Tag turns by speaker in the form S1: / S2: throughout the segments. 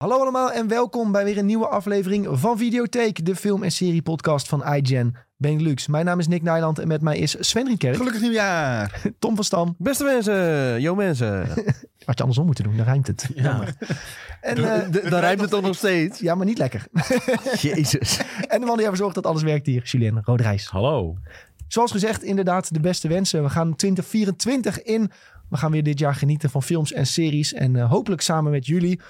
S1: Hallo allemaal en welkom bij weer een nieuwe aflevering van Videotheek, de film- en serie-podcast van iGen Benelux. Mijn naam is Nick Nijland en met mij is Sven Rietkerk,
S2: Gelukkig nieuwjaar!
S1: Tom van Stam.
S3: Beste mensen, yo mensen.
S1: Had je andersom moeten doen, dan rijmt het. Jammer. En, eh,
S3: D- Dan rijmt het toch nog steeds?
S1: ja, maar niet lekker.
S3: Jezus.
S1: En de man die ervoor zorgt dat alles werkt hier, Julien Roodrijs.
S4: Hallo.
S1: Zoals gezegd, inderdaad, de beste wensen. We gaan 2024 in. We gaan weer dit jaar genieten van films en series. En eh, hopelijk samen met jullie.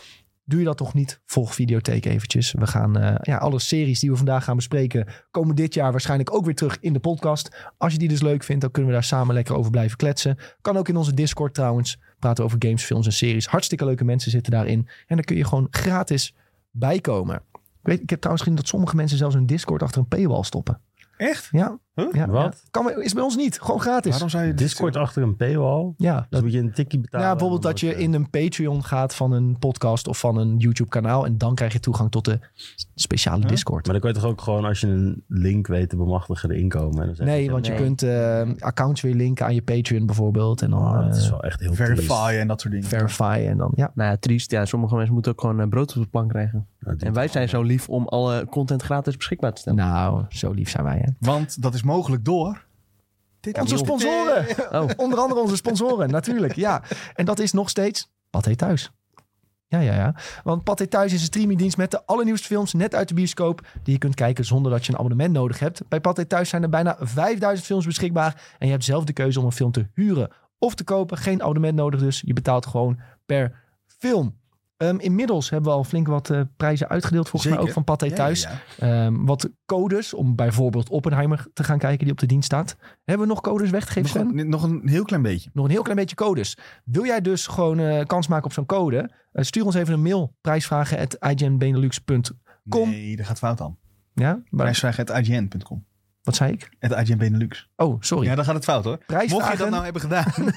S1: Doe je dat toch niet? Volg Videotheek eventjes. We gaan eh, ja, alle series die we vandaag gaan bespreken... komen dit jaar waarschijnlijk ook weer terug in de podcast. Als je die dus leuk vindt, dan kunnen we daar samen lekker over blijven kletsen. Kan ook in onze Discord trouwens. Praten over games, films en series. Hartstikke leuke mensen zitten daarin. En dan kun je gewoon gratis bijkomen. Ik, weet, ik heb trouwens gezien dat sommige mensen zelfs hun Discord achter een paywall stoppen.
S2: Echt?
S1: Ja, ja,
S4: Wat?
S1: ja. Kan, bij- is bij ons niet. Gewoon gratis.
S2: Waarom zou je dit
S4: Discord
S2: doen?
S4: achter een paywall.
S1: Ja,
S4: Dus
S1: dat,
S4: moet je een tikkie betalen. eh,
S1: ja, bijvoorbeeld dat je in een Patreon gaat van een podcast of van een YouTube kanaal. En dan krijg je toegang tot de speciale
S2: Huh?
S1: Discord.
S4: Maar dan kan je toch ook gewoon als je een link weet te bemachtigen erin komen. En dan zeg
S1: Nee, want je
S3: Nee.
S1: kunt eh, accounts weer linken aan je Patreon bijvoorbeeld. En dan
S4: Oh, dat
S1: eh,
S4: is wel echt heel
S2: Verify en dat soort dingen.
S1: verify en dan ja.
S3: Nou ja, triest. Ja, sommige mensen moeten ook gewoon eh, brood op de plank krijgen. En
S4: En
S3: wij zijn zo lief om alle content gratis beschikbaar te stellen.
S1: Nou, zo lief zijn wij hè.
S2: Want dat is mogelijk door... Dit
S1: Onze
S2: nieuwe-
S1: sponsoren!
S3: Oh,
S1: Onder andere onze sponsoren, natuurlijk. Ja. En dat is nog steeds Pathé Thuis. Ja, ja, ja. Want Pathé Thuis is een streamingdienst met de allernieuwste films net uit de bioscoop. Die je kunt kijken zonder dat je een abonnement nodig hebt. Bij Pathé Thuis zijn er bijna 5000 films beschikbaar. En je hebt zelf de keuze om een film te huren of te kopen. Geen abonnement nodig dus. Je betaalt gewoon per film. Ehm, inmiddels hebben we al flink wat eh, prijzen uitgedeeld volgens mij ook
S2: Zeker.
S1: van Pathé
S2: Ja, ja,
S1: Thuis.
S2: ja.
S1: Ehm, wat codes om bijvoorbeeld Oppenheimer te gaan kijken die op de dienst staat. Hebben we nog codes weggegeven?
S2: Nog
S1: Sven?
S2: een, nog een heel klein beetje.
S1: nog een heel klein beetje codes. Wil jij dus gewoon eh, kans maken op zo'n code? Eh, stuur ons even een mail. Prijsvragen at Kom.
S2: Nee, dat gaat fout dan.
S1: Ja, maar
S2: Prijsvraag.ign.com.
S1: wat zei ik?
S2: Het IGN Benelux.
S1: Oh, sorry.
S2: Ja, dan gaat het fout hoor. Mocht je dat
S1: prijsvragen
S2: nou hebben gedaan.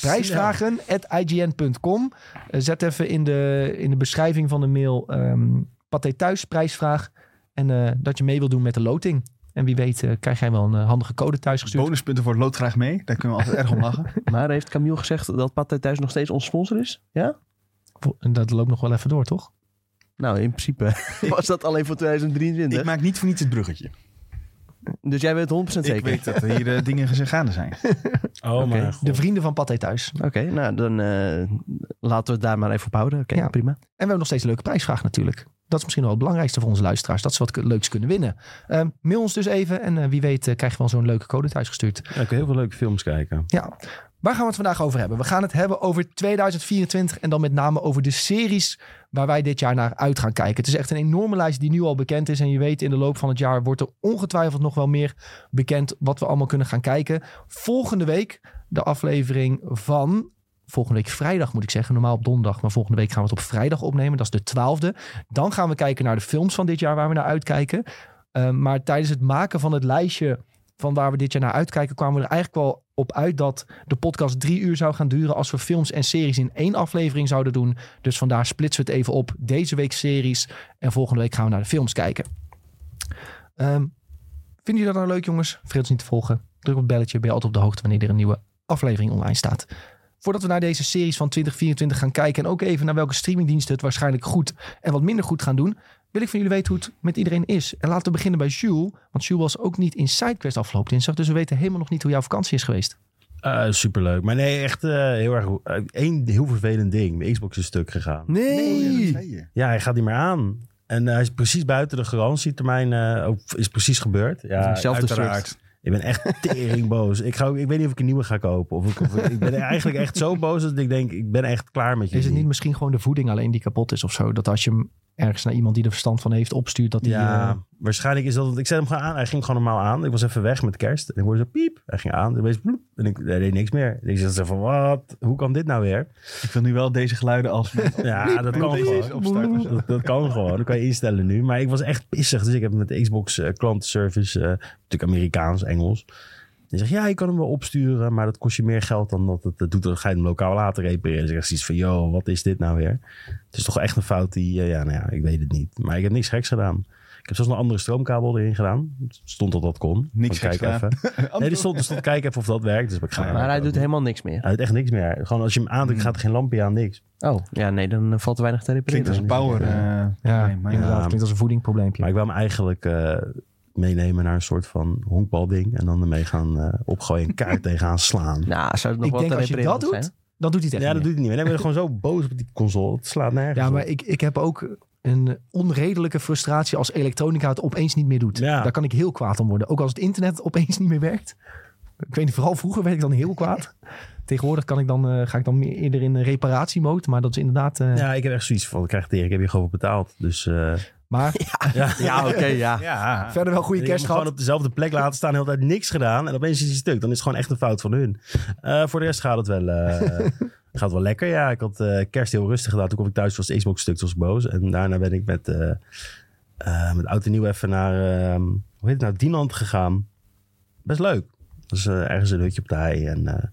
S1: prijsvragen at ign.com. Eh, zet even in de, in de beschrijving van de mail ehm Pathé Thuis prijsvraag. En eh, dat je mee wil doen met de loting. En wie weet eh, krijg jij wel een eh, handige code thuis gestuurd.
S2: Bonuspunten voor het lood graag mee. Daar kunnen we altijd erg om lachen.
S3: maar heeft Camille gezegd dat Pathé Thuis nog steeds ons sponsor is? Ja?
S1: En dat loopt nog wel even door, toch?
S3: Nou, in principe was dat alleen voor
S2: Ik
S3: 2023.
S2: maak niet voor niets het bruggetje.
S3: Dus jij weet 100% zeker?
S2: Ik weet dat hier eh, dingen geze- gaande zijn.
S4: Oh, maar
S1: De vrienden van Pathé Thuis.
S3: Oké, nou dan eh, laten we het daar maar even op houden. Oké,
S1: Ja.
S3: prima.
S1: En we hebben nog steeds een leuke prijsvraag natuurlijk. Dat is misschien wel het belangrijkste voor onze luisteraars. Dat ze wat k- leuks kunnen winnen. Ehm, mail ons dus even. En eh, wie weet eh, krijg je wel zo'n leuke code thuis gestuurd.
S4: Ja, ik kan heel veel leuke films kijken.
S1: Ja. Waar gaan we het vandaag over hebben? We gaan het hebben over 2024. En dan met name over de series waar wij dit jaar naar uit gaan kijken. Het is echt een enorme lijst die nu al bekend is. En je weet in de loop van het jaar wordt er ongetwijfeld nog wel meer bekend. Wat we allemaal kunnen gaan kijken. Volgende week de aflevering van... Volgende week vrijdag moet ik zeggen. Normaal op donderdag. Maar volgende week gaan we het op vrijdag opnemen. Dat is de 12e. Dan gaan we kijken naar de films van dit jaar waar we naar uitkijken. Eh, maar tijdens het maken van het lijstje van waar we dit jaar naar uitkijken, kwamen we er eigenlijk wel op uit dat de podcast drie uur zou gaan duren als we films en series in één aflevering zouden doen. Dus vandaar splitsen we het even op. Deze week series en volgende week gaan we naar de films kijken. Ehm, vinden jullie dat nou leuk, jongens? Vergeet ons niet te volgen. Druk op het belletje, ben je altijd op de hoogte wanneer er een nieuwe aflevering online staat. Voordat we naar deze series van 2024 gaan kijken en ook even naar welke streamingdiensten het waarschijnlijk goed en wat minder goed gaan doen, wil ik van jullie weten hoe het met iedereen is. En laten we beginnen bij Jules, want Jules was ook niet in SideQuest afgelopen dinsdag, dus we weten helemaal nog niet hoe jouw vakantie is geweest.
S4: Eh, superleuk. Maar nee, echt eh, heel erg... eh, één heel vervelend ding. Mijn Xbox is stuk gegaan.
S2: Oh, Ja,
S3: Nee!
S2: dat zei je.
S4: Ja, hij gaat niet meer aan. En eh, hij is precies buiten de garantietermijn. eh, ook, is precies gebeurd. Ja,
S3: Zelfde
S2: uiteraard.
S3: soort.
S4: Ik ben echt tering boos. Ik, ga, ook- ik weet niet of ik een nieuwe ga kopen. Of ik, of ik- ik ben eigenlijk echt zo boos dat ik denk, ik ben echt klaar met je.
S1: Is het niet misschien gewoon de voeding alleen die kapot is of zo? Dat als je hem ergens naar iemand die er verstand van heeft opstuurt, dat die...
S4: Ja,
S1: eh,
S4: waarschijnlijk is dat. want Ik zet hem gewoon aan. Hij ging gewoon normaal aan. Ik was even weg met kerst. En ik hoorde zo piep. Hij ging aan. En opeens bloep. En ik hij deed niks meer. En ik zat zo van, wat? Hoe kan dit nou weer?
S2: Ik wil nu wel deze geluiden als...
S4: Ja, dat kan
S2: Deze
S4: gewoon.
S2: is opstarten of zo.
S4: Dat, dat kan gewoon. Dat kan je instellen nu. Maar ik was echt pissig. Dus ik heb met de Xbox eh, klantenservice, eh, natuurlijk Amerikaans, Engels. Die zegt, ja, je kan hem wel opsturen, maar dat kost je meer geld dan dat het dat doet. Dan ga je hem lokaal laten repareren. Dan zeg ik iets van, yo, wat is dit nou weer? Het is toch echt een fout die, eh, ja, nou ja, ik weet het niet. Maar ik heb niks geks gedaan. Ik heb zelfs een andere stroomkabel erin gedaan. Stond dat dat kon.
S2: Niks
S4: Van,
S2: geks
S4: kijk
S2: gedaan.
S4: even. Nee, er stond, er stond kijk even of dat werkt. Dus ik ga
S2: Maar
S3: Maar hij doet
S4: Hij
S3: helemaal niks meer.
S4: doet echt niks meer. Gewoon als je hem
S2: Hmm.
S4: aandrukt, gaat er geen lampje aan, niks.
S3: Oh, ja, nee, dan eh, valt er weinig te repareren.
S2: Klinkt als een power. eh,
S1: Ja,
S2: probleem, maar
S1: inderdaad.
S4: ja.
S1: Het klinkt als een voedingprobleempje.
S4: Maar ik wil hem eigenlijk eh, meenemen naar een soort van honkbalding. En dan ermee gaan eh, opgooien en kaart tegenaan slaan.
S3: Nou, zou het nog
S1: Ik
S3: wel
S1: denk
S3: te
S1: als je
S3: repareren
S1: dat
S3: zijn?
S1: doet, dan doet hij het echt
S4: Ja, dat
S1: niet
S4: doet hij niet meer. Nee, maar gewoon zo boos op die console. Het slaat nergens
S1: meer. Ja,
S4: op.
S1: maar ik, ik heb ook een onredelijke frustratie als elektronica het opeens niet meer doet.
S4: Ja.
S1: Daar kan ik heel kwaad om worden. Ook als het internet opeens niet meer werkt. Ik weet niet, vooral vroeger werd ik dan heel kwaad. Tegenwoordig kan ik dan, eh, ga ik dan meer eerder in een reparatiemode. Maar dat is inderdaad... eh,
S4: Ja, ik heb echt zoiets van, krijg tering, ik heb je gewoon voor betaald. Dus eh,
S1: Maar
S4: ja.
S3: Ja, oké, ja.
S2: Ja.
S1: verder wel goede
S4: Ik heb
S1: kerst
S4: hem
S1: gehad.
S4: gewoon op dezelfde plek laten staan, de hele tijd niks gedaan. En opeens is hij stuk. Dan is het gewoon echt een fout van hun. Eh, voor de rest gaat het wel, eh, gaat wel lekker. Ja, ik had eh, kerst heel rustig gedaan. Toen kwam ik thuis, was de Xbox stuk, toen was ik boos. En daarna ben ik met, eh eh, met oud en nieuw even naar, ehm, hoe heet het nou, Dinant gegaan. Best leuk. Dus eh, ergens een hutje op de hei en eh,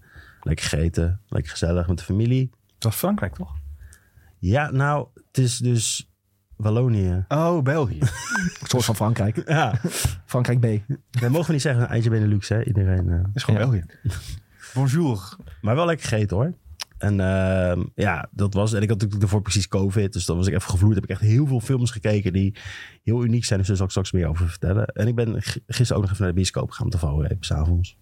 S4: lekker gegeten. Lekker gezellig met de familie.
S2: Het was Frankrijk, toch?
S4: Ja, nou, het is dus Wallonië.
S2: Oh, België.
S1: Een soort van Frankrijk.
S4: Ja,
S1: Frankrijk B.
S4: dat mogen we niet zeggen. Eindje Benelux, hè. Iedereen... eh,
S2: is gewoon
S1: Ja.
S2: België. Bonjour.
S4: Maar wel lekker gegeten hoor. En ehm, ja, dat was. En ik had natuurlijk daarvoor precies COVID. Dus dat was ik even gevloerd. Heb ik echt heel veel films gekeken die heel uniek zijn. Dus daar zal ik straks meer over vertellen. En ik ben g- gisteren ook nog even naar de bioscoop gegaan. Om te vallen, even s'avonds.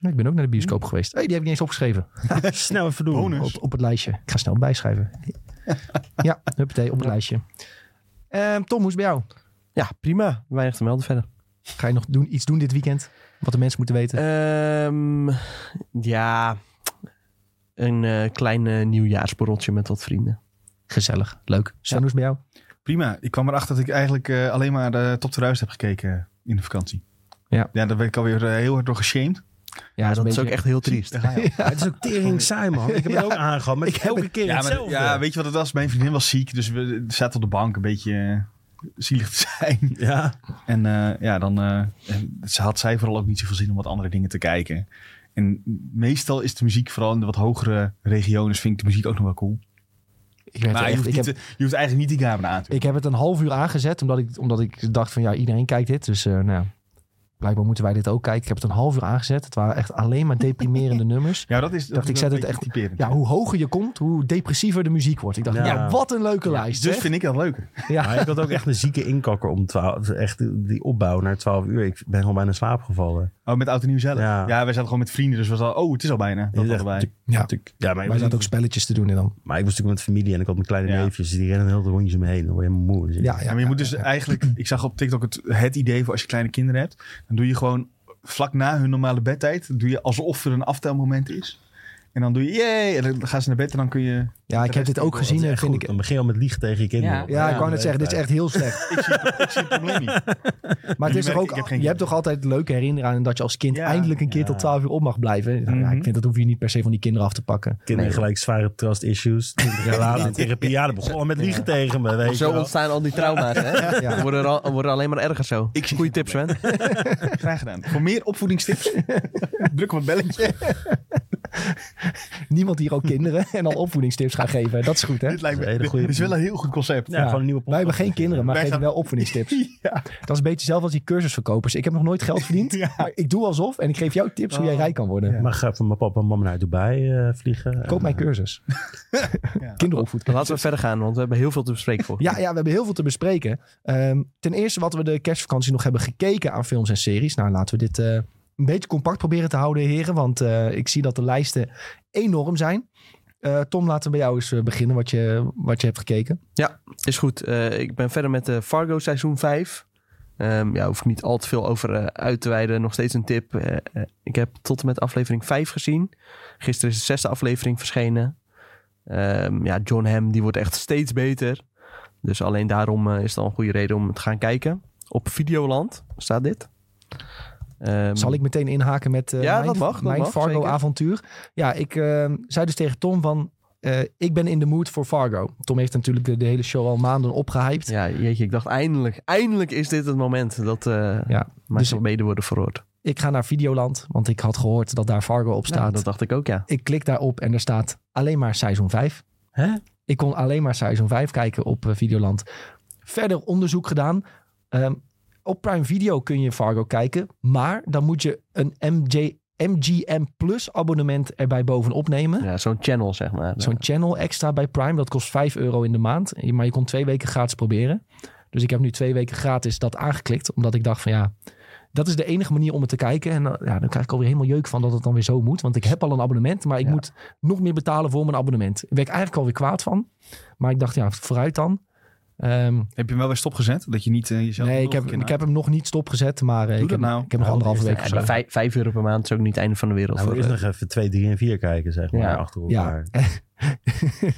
S1: Ik ben ook naar de bioscoop
S4: Hm.
S1: geweest. hey, die heb ik niet eens opgeschreven.
S4: Snel even doen.
S2: Bonus.
S1: Op, op het lijstje. Ik ga snel bijschrijven. ja, huppatee, op het lijstje. Ehm, Tom, hoe is het bij jou?
S3: Ja, prima. Weinig te melden verder.
S1: Ga je nog doen, iets doen dit weekend? Wat de mensen moeten
S3: Eh,
S1: weten?
S3: Ehm, ja, een eh, klein eh, nieuwjaarsborreltje met wat vrienden.
S1: Gezellig, leuk. Sven, hoe is het bij jou?
S2: Prima. Ik kwam erachter dat ik eigenlijk eh, alleen maar de Top 2000 heb gekeken in de vakantie.
S1: Ja.
S2: Ja, daar ben ik alweer eh, heel hard door geshamed.
S1: Ja,
S3: dat is ook echt heel triest.
S2: Daar ga je al.
S4: Ja, het is ook tering saai man. Ik heb het ook aangehad. Maar
S1: Ik heb
S4: elke keer
S2: Ja, maar,
S4: hetzelfde.
S2: ja, weet je wat het was? Mijn vriendin was ziek, dus we zaten op de bank een beetje eh, zielig te zijn.
S4: ja.
S2: En eh, ja, dan eh, en ze had zij vooral ook niet zoveel zin om wat andere dingen te kijken. En meestal is de muziek, vooral in de wat hogere regiones, vind ik de muziek ook nog wel cool.
S1: Ik, werd er
S2: Maar je
S1: echt-
S2: hoeft,
S1: ik,
S2: niet,
S1: heb,
S2: te- je hoeft eigenlijk niet die kamer aan te
S1: ik heb het een half uur aangezet, omdat ik, omdat ik dacht van ja, iedereen kijkt dit. Dus eh, nou, ja, blijkbaar moeten wij dit ook kijken. Ik heb het een half uur aangezet. Het waren echt alleen maar deprimerende nummers.
S2: Ja, dat is dat
S1: Dacht,
S2: is
S1: ik
S2: wel
S1: zet
S2: een
S1: het
S2: beetje typerend.
S1: Ja, hoe hoger je komt, hoe depressiever de muziek wordt. Ik dacht, ja,
S4: Ja.
S1: wat een leuke lijst.
S2: Dus
S1: hè?
S2: vind ik dat leuker.
S1: ja.
S4: Maar ik had ook echt een zieke inkakker om 12. Echt die opbouw naar 12 uur. Ik ben gewoon bijna in slaap gevallen.
S2: Oh, met Oud en Nieuw zelf. Ja.
S4: Ja.
S2: wij zaten gewoon met vrienden, dus was al, oh, het is al bijna. Dat
S4: Ja,
S2: was al bij.
S1: Ja.
S4: Ja, maar ik
S1: Wij
S4: was
S1: zaten ook spelletjes te doen en dan.
S4: Maar ik was natuurlijk met familie en ik had mijn kleine
S2: Ja.
S4: neefjes. dus Die rennen een hele rondjes om me heen. Dan word je helemaal moe. Dus ik-
S1: Ja,
S2: Ja,
S1: ja,
S2: maar je
S1: ja,
S2: moet dus eigenlijk, ik zag op TikTok het, het idee voor als je kleine kinderen hebt, dan doe je gewoon vlak na hun normale bedtijd, doe je alsof er een aftelmoment is. En dan doe je, jee, en dan gaan ze naar bed en dan kun je...
S1: ja, ik heb dit ook
S2: Dat is
S1: gezien
S4: Dat
S1: en
S4: is echt
S1: vind
S4: goed.
S1: ik.
S4: Dan begin je al met liegen tegen je kinderen.
S3: Ja.
S4: Op-
S1: Ja, ik wou net
S4: de
S1: zeggen, dit is
S4: leeftijd.
S1: echt heel slecht.
S2: Ik zie, ik zie het probleem niet.
S1: Maar het
S2: Jullie
S1: is toch
S2: merken, ik heb
S1: ook,
S2: geen
S1: je hebt toch altijd leuke herinneringen aan dat je als kind
S2: Ja.
S1: eindelijk een keer
S4: Ja.
S1: tot 12 uur op mag blijven. Ja,
S2: Mhm.
S1: ik vind dat hoef je niet per se van die kinderen af te pakken.
S4: Kinderen
S3: Nee.
S4: gelijk zware trust issues. Twintig jaar later in therapie. Ja, dat begon al met liegen tegen me. Weet je
S3: Zo
S4: wel.
S3: ontstaan al die trauma's, hè? Ze Worden, er al- worden alleen maar erger zo.
S2: Ik zie
S3: Goeie
S2: het
S3: tips, man.
S2: Graag gedaan. Voor meer opvoedingstips, druk op het belletje.
S1: Niemand hier ook kinderen en dan opvoedingstips gaan geven. Dat is goed, hè?
S2: Dit lijkt me,
S4: Dat is een hele
S2: dit-
S4: goede-
S2: dit is wel een heel goed concept.
S4: Ja, gewoon een nieuwe
S1: Wij
S4: podcast.
S1: hebben geen kinderen, maar
S2: Wij
S1: geven
S2: gaan-
S1: wel opvoedingstips. Dat is een beetje zelf als die cursusverkopers. Ik heb nog nooit geld verdiend,
S2: Ja.
S1: maar ik doe alsof en ik geef jou tips hoe jij
S2: Oh.
S1: rijk kan worden.
S2: Ja.
S4: Ik mag eh, van mijn papa en mama naar Dubai eh, vliegen.
S1: Koop mijn cursus.
S2: Ja.
S1: Kinderopvoedcursus.
S3: Laten we verder gaan, want we hebben heel veel te bespreken voor.
S1: Ja, ja, we hebben heel veel te bespreken. Ehm, ten eerste wat we de kerstvakantie nog hebben gekeken aan films en series. Nou, laten we dit eh, een beetje compact proberen te houden, heren. Want eh, ik zie dat de lijsten enorm zijn. Eh, Tom, laten we bij jou eens eh, beginnen wat je, wat je hebt gekeken.
S3: Is goed. Eh, ik ben verder met de Fargo seizoen 5. Ehm ja, hoef ik niet al te veel over eh, uit te wijden. Nog steeds een tip. Eh, eh, ik heb tot en met aflevering 5 gezien. Gisteren is de zesde aflevering verschenen. Ehm, ja, John Hamm die wordt echt steeds beter. Dus alleen daarom eh, is het al een goede reden om te gaan kijken. Op Videoland staat dit. Ehm,
S1: Zal ik meteen inhaken met eh,
S3: Ja,
S1: mijn,
S3: dat mag, dat
S1: mijn
S3: mag,
S1: Fargo
S3: zeker.
S1: avontuur? Ja, ik eh, zei dus tegen Tom van... eh, ik ben in de mood voor Fargo. Tom heeft natuurlijk de, de hele show al maanden opgehyped.
S3: Ja, jeetje, ik dacht eindelijk, eindelijk is dit het moment dat eh
S1: Ja,
S3: ja,
S1: dus-
S3: mede worden verhoord.
S1: Ik ga naar Videoland, want ik had gehoord dat daar Fargo op staat.
S3: Nou, dat dacht ik ook, ja.
S1: Ik klik daarop en er staat alleen maar seizoen 5.
S4: Hè?
S1: Ik kon alleen maar seizoen 5 kijken op eh, Videoland. Verder onderzoek gedaan. Ehm, op Prime Video kun je Fargo kijken. Maar dan moet je een MJ, MGM Plus abonnement erbij bovenop nemen.
S3: ja Zo'n channel, zeg maar.
S1: Zo'n channel extra bij Prime. Dat kost 5 euro in de maand. Je- Maar je kon twee weken gratis proberen. Dus ik heb nu twee weken gratis dat aangeklikt. Omdat ik dacht van ja, dat is de enige manier om het te kijken. En dan, ja, dan krijg ik alweer helemaal jeuk van dat het dan weer zo moet. Want ik heb al een abonnement, maar ik
S3: Ja.
S1: moet nog meer betalen voor mijn abonnement. Daar ben ik eigenlijk alweer kwaad van. Maar ik dacht ja, vooruit dan. Ehm,
S2: Heb je hem wel weer stopgezet? Dat je niet eh, jezelf...
S1: nee,
S2: nog
S1: ik
S2: een
S1: heb,
S2: keer
S1: ik heb hem nog niet stopgezet. Maar eh, ik,
S2: dat
S1: heb,
S2: nou.
S1: ik heb nog anderhalve week of zo.
S3: Ja, vijf, vijf euro per maand is ook niet het einde van de wereld.
S4: Nou, we
S3: voor,
S4: eerst
S3: eh,
S4: nog even 2, 3 en 4 kijken, zeg maar,
S3: Ja.
S4: achter
S1: Ja,
S4: elkaar.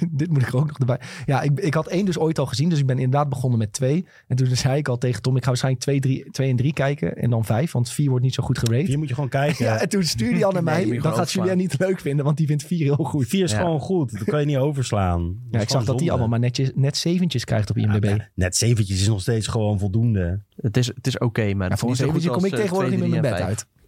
S1: dit moet ik er ook nog erbij. Ja, ik, ik had één dus ooit al gezien. Dus ik ben inderdaad begonnen met twee. En toen zei ik al tegen Tom, ik ga waarschijnlijk twee, drie, twee en drie kijken. En dan vijf, want vier wordt niet zo goed gerate.
S4: Hier moet je gewoon kijken.
S1: Ja, en toen stuurde hij al naar
S3: Nee,
S1: mij.
S3: moet je
S1: dan
S3: gewoon
S1: gaat Julien niet leuk vinden, want die vindt vier heel goed.
S4: Goed, 4 is
S3: Ja.
S4: gewoon goed. Dat kan je niet overslaan. Dat is
S1: Ja, ik zag
S4: gewoon
S1: dat
S4: zonde.
S1: die allemaal maar netjes, net zeventjes krijgt op IMDb.
S4: Ja, net zeventjes is nog steeds gewoon voldoende.
S3: het is, het is oké, maar
S1: Ja,
S3: het is
S1: voor een
S3: niet zo goed
S1: zeventje kom
S3: als,
S1: ik
S3: eh,
S1: tegenwoordig niet
S3: twee,
S1: met mijn
S3: drie
S1: bed
S3: en
S1: uit.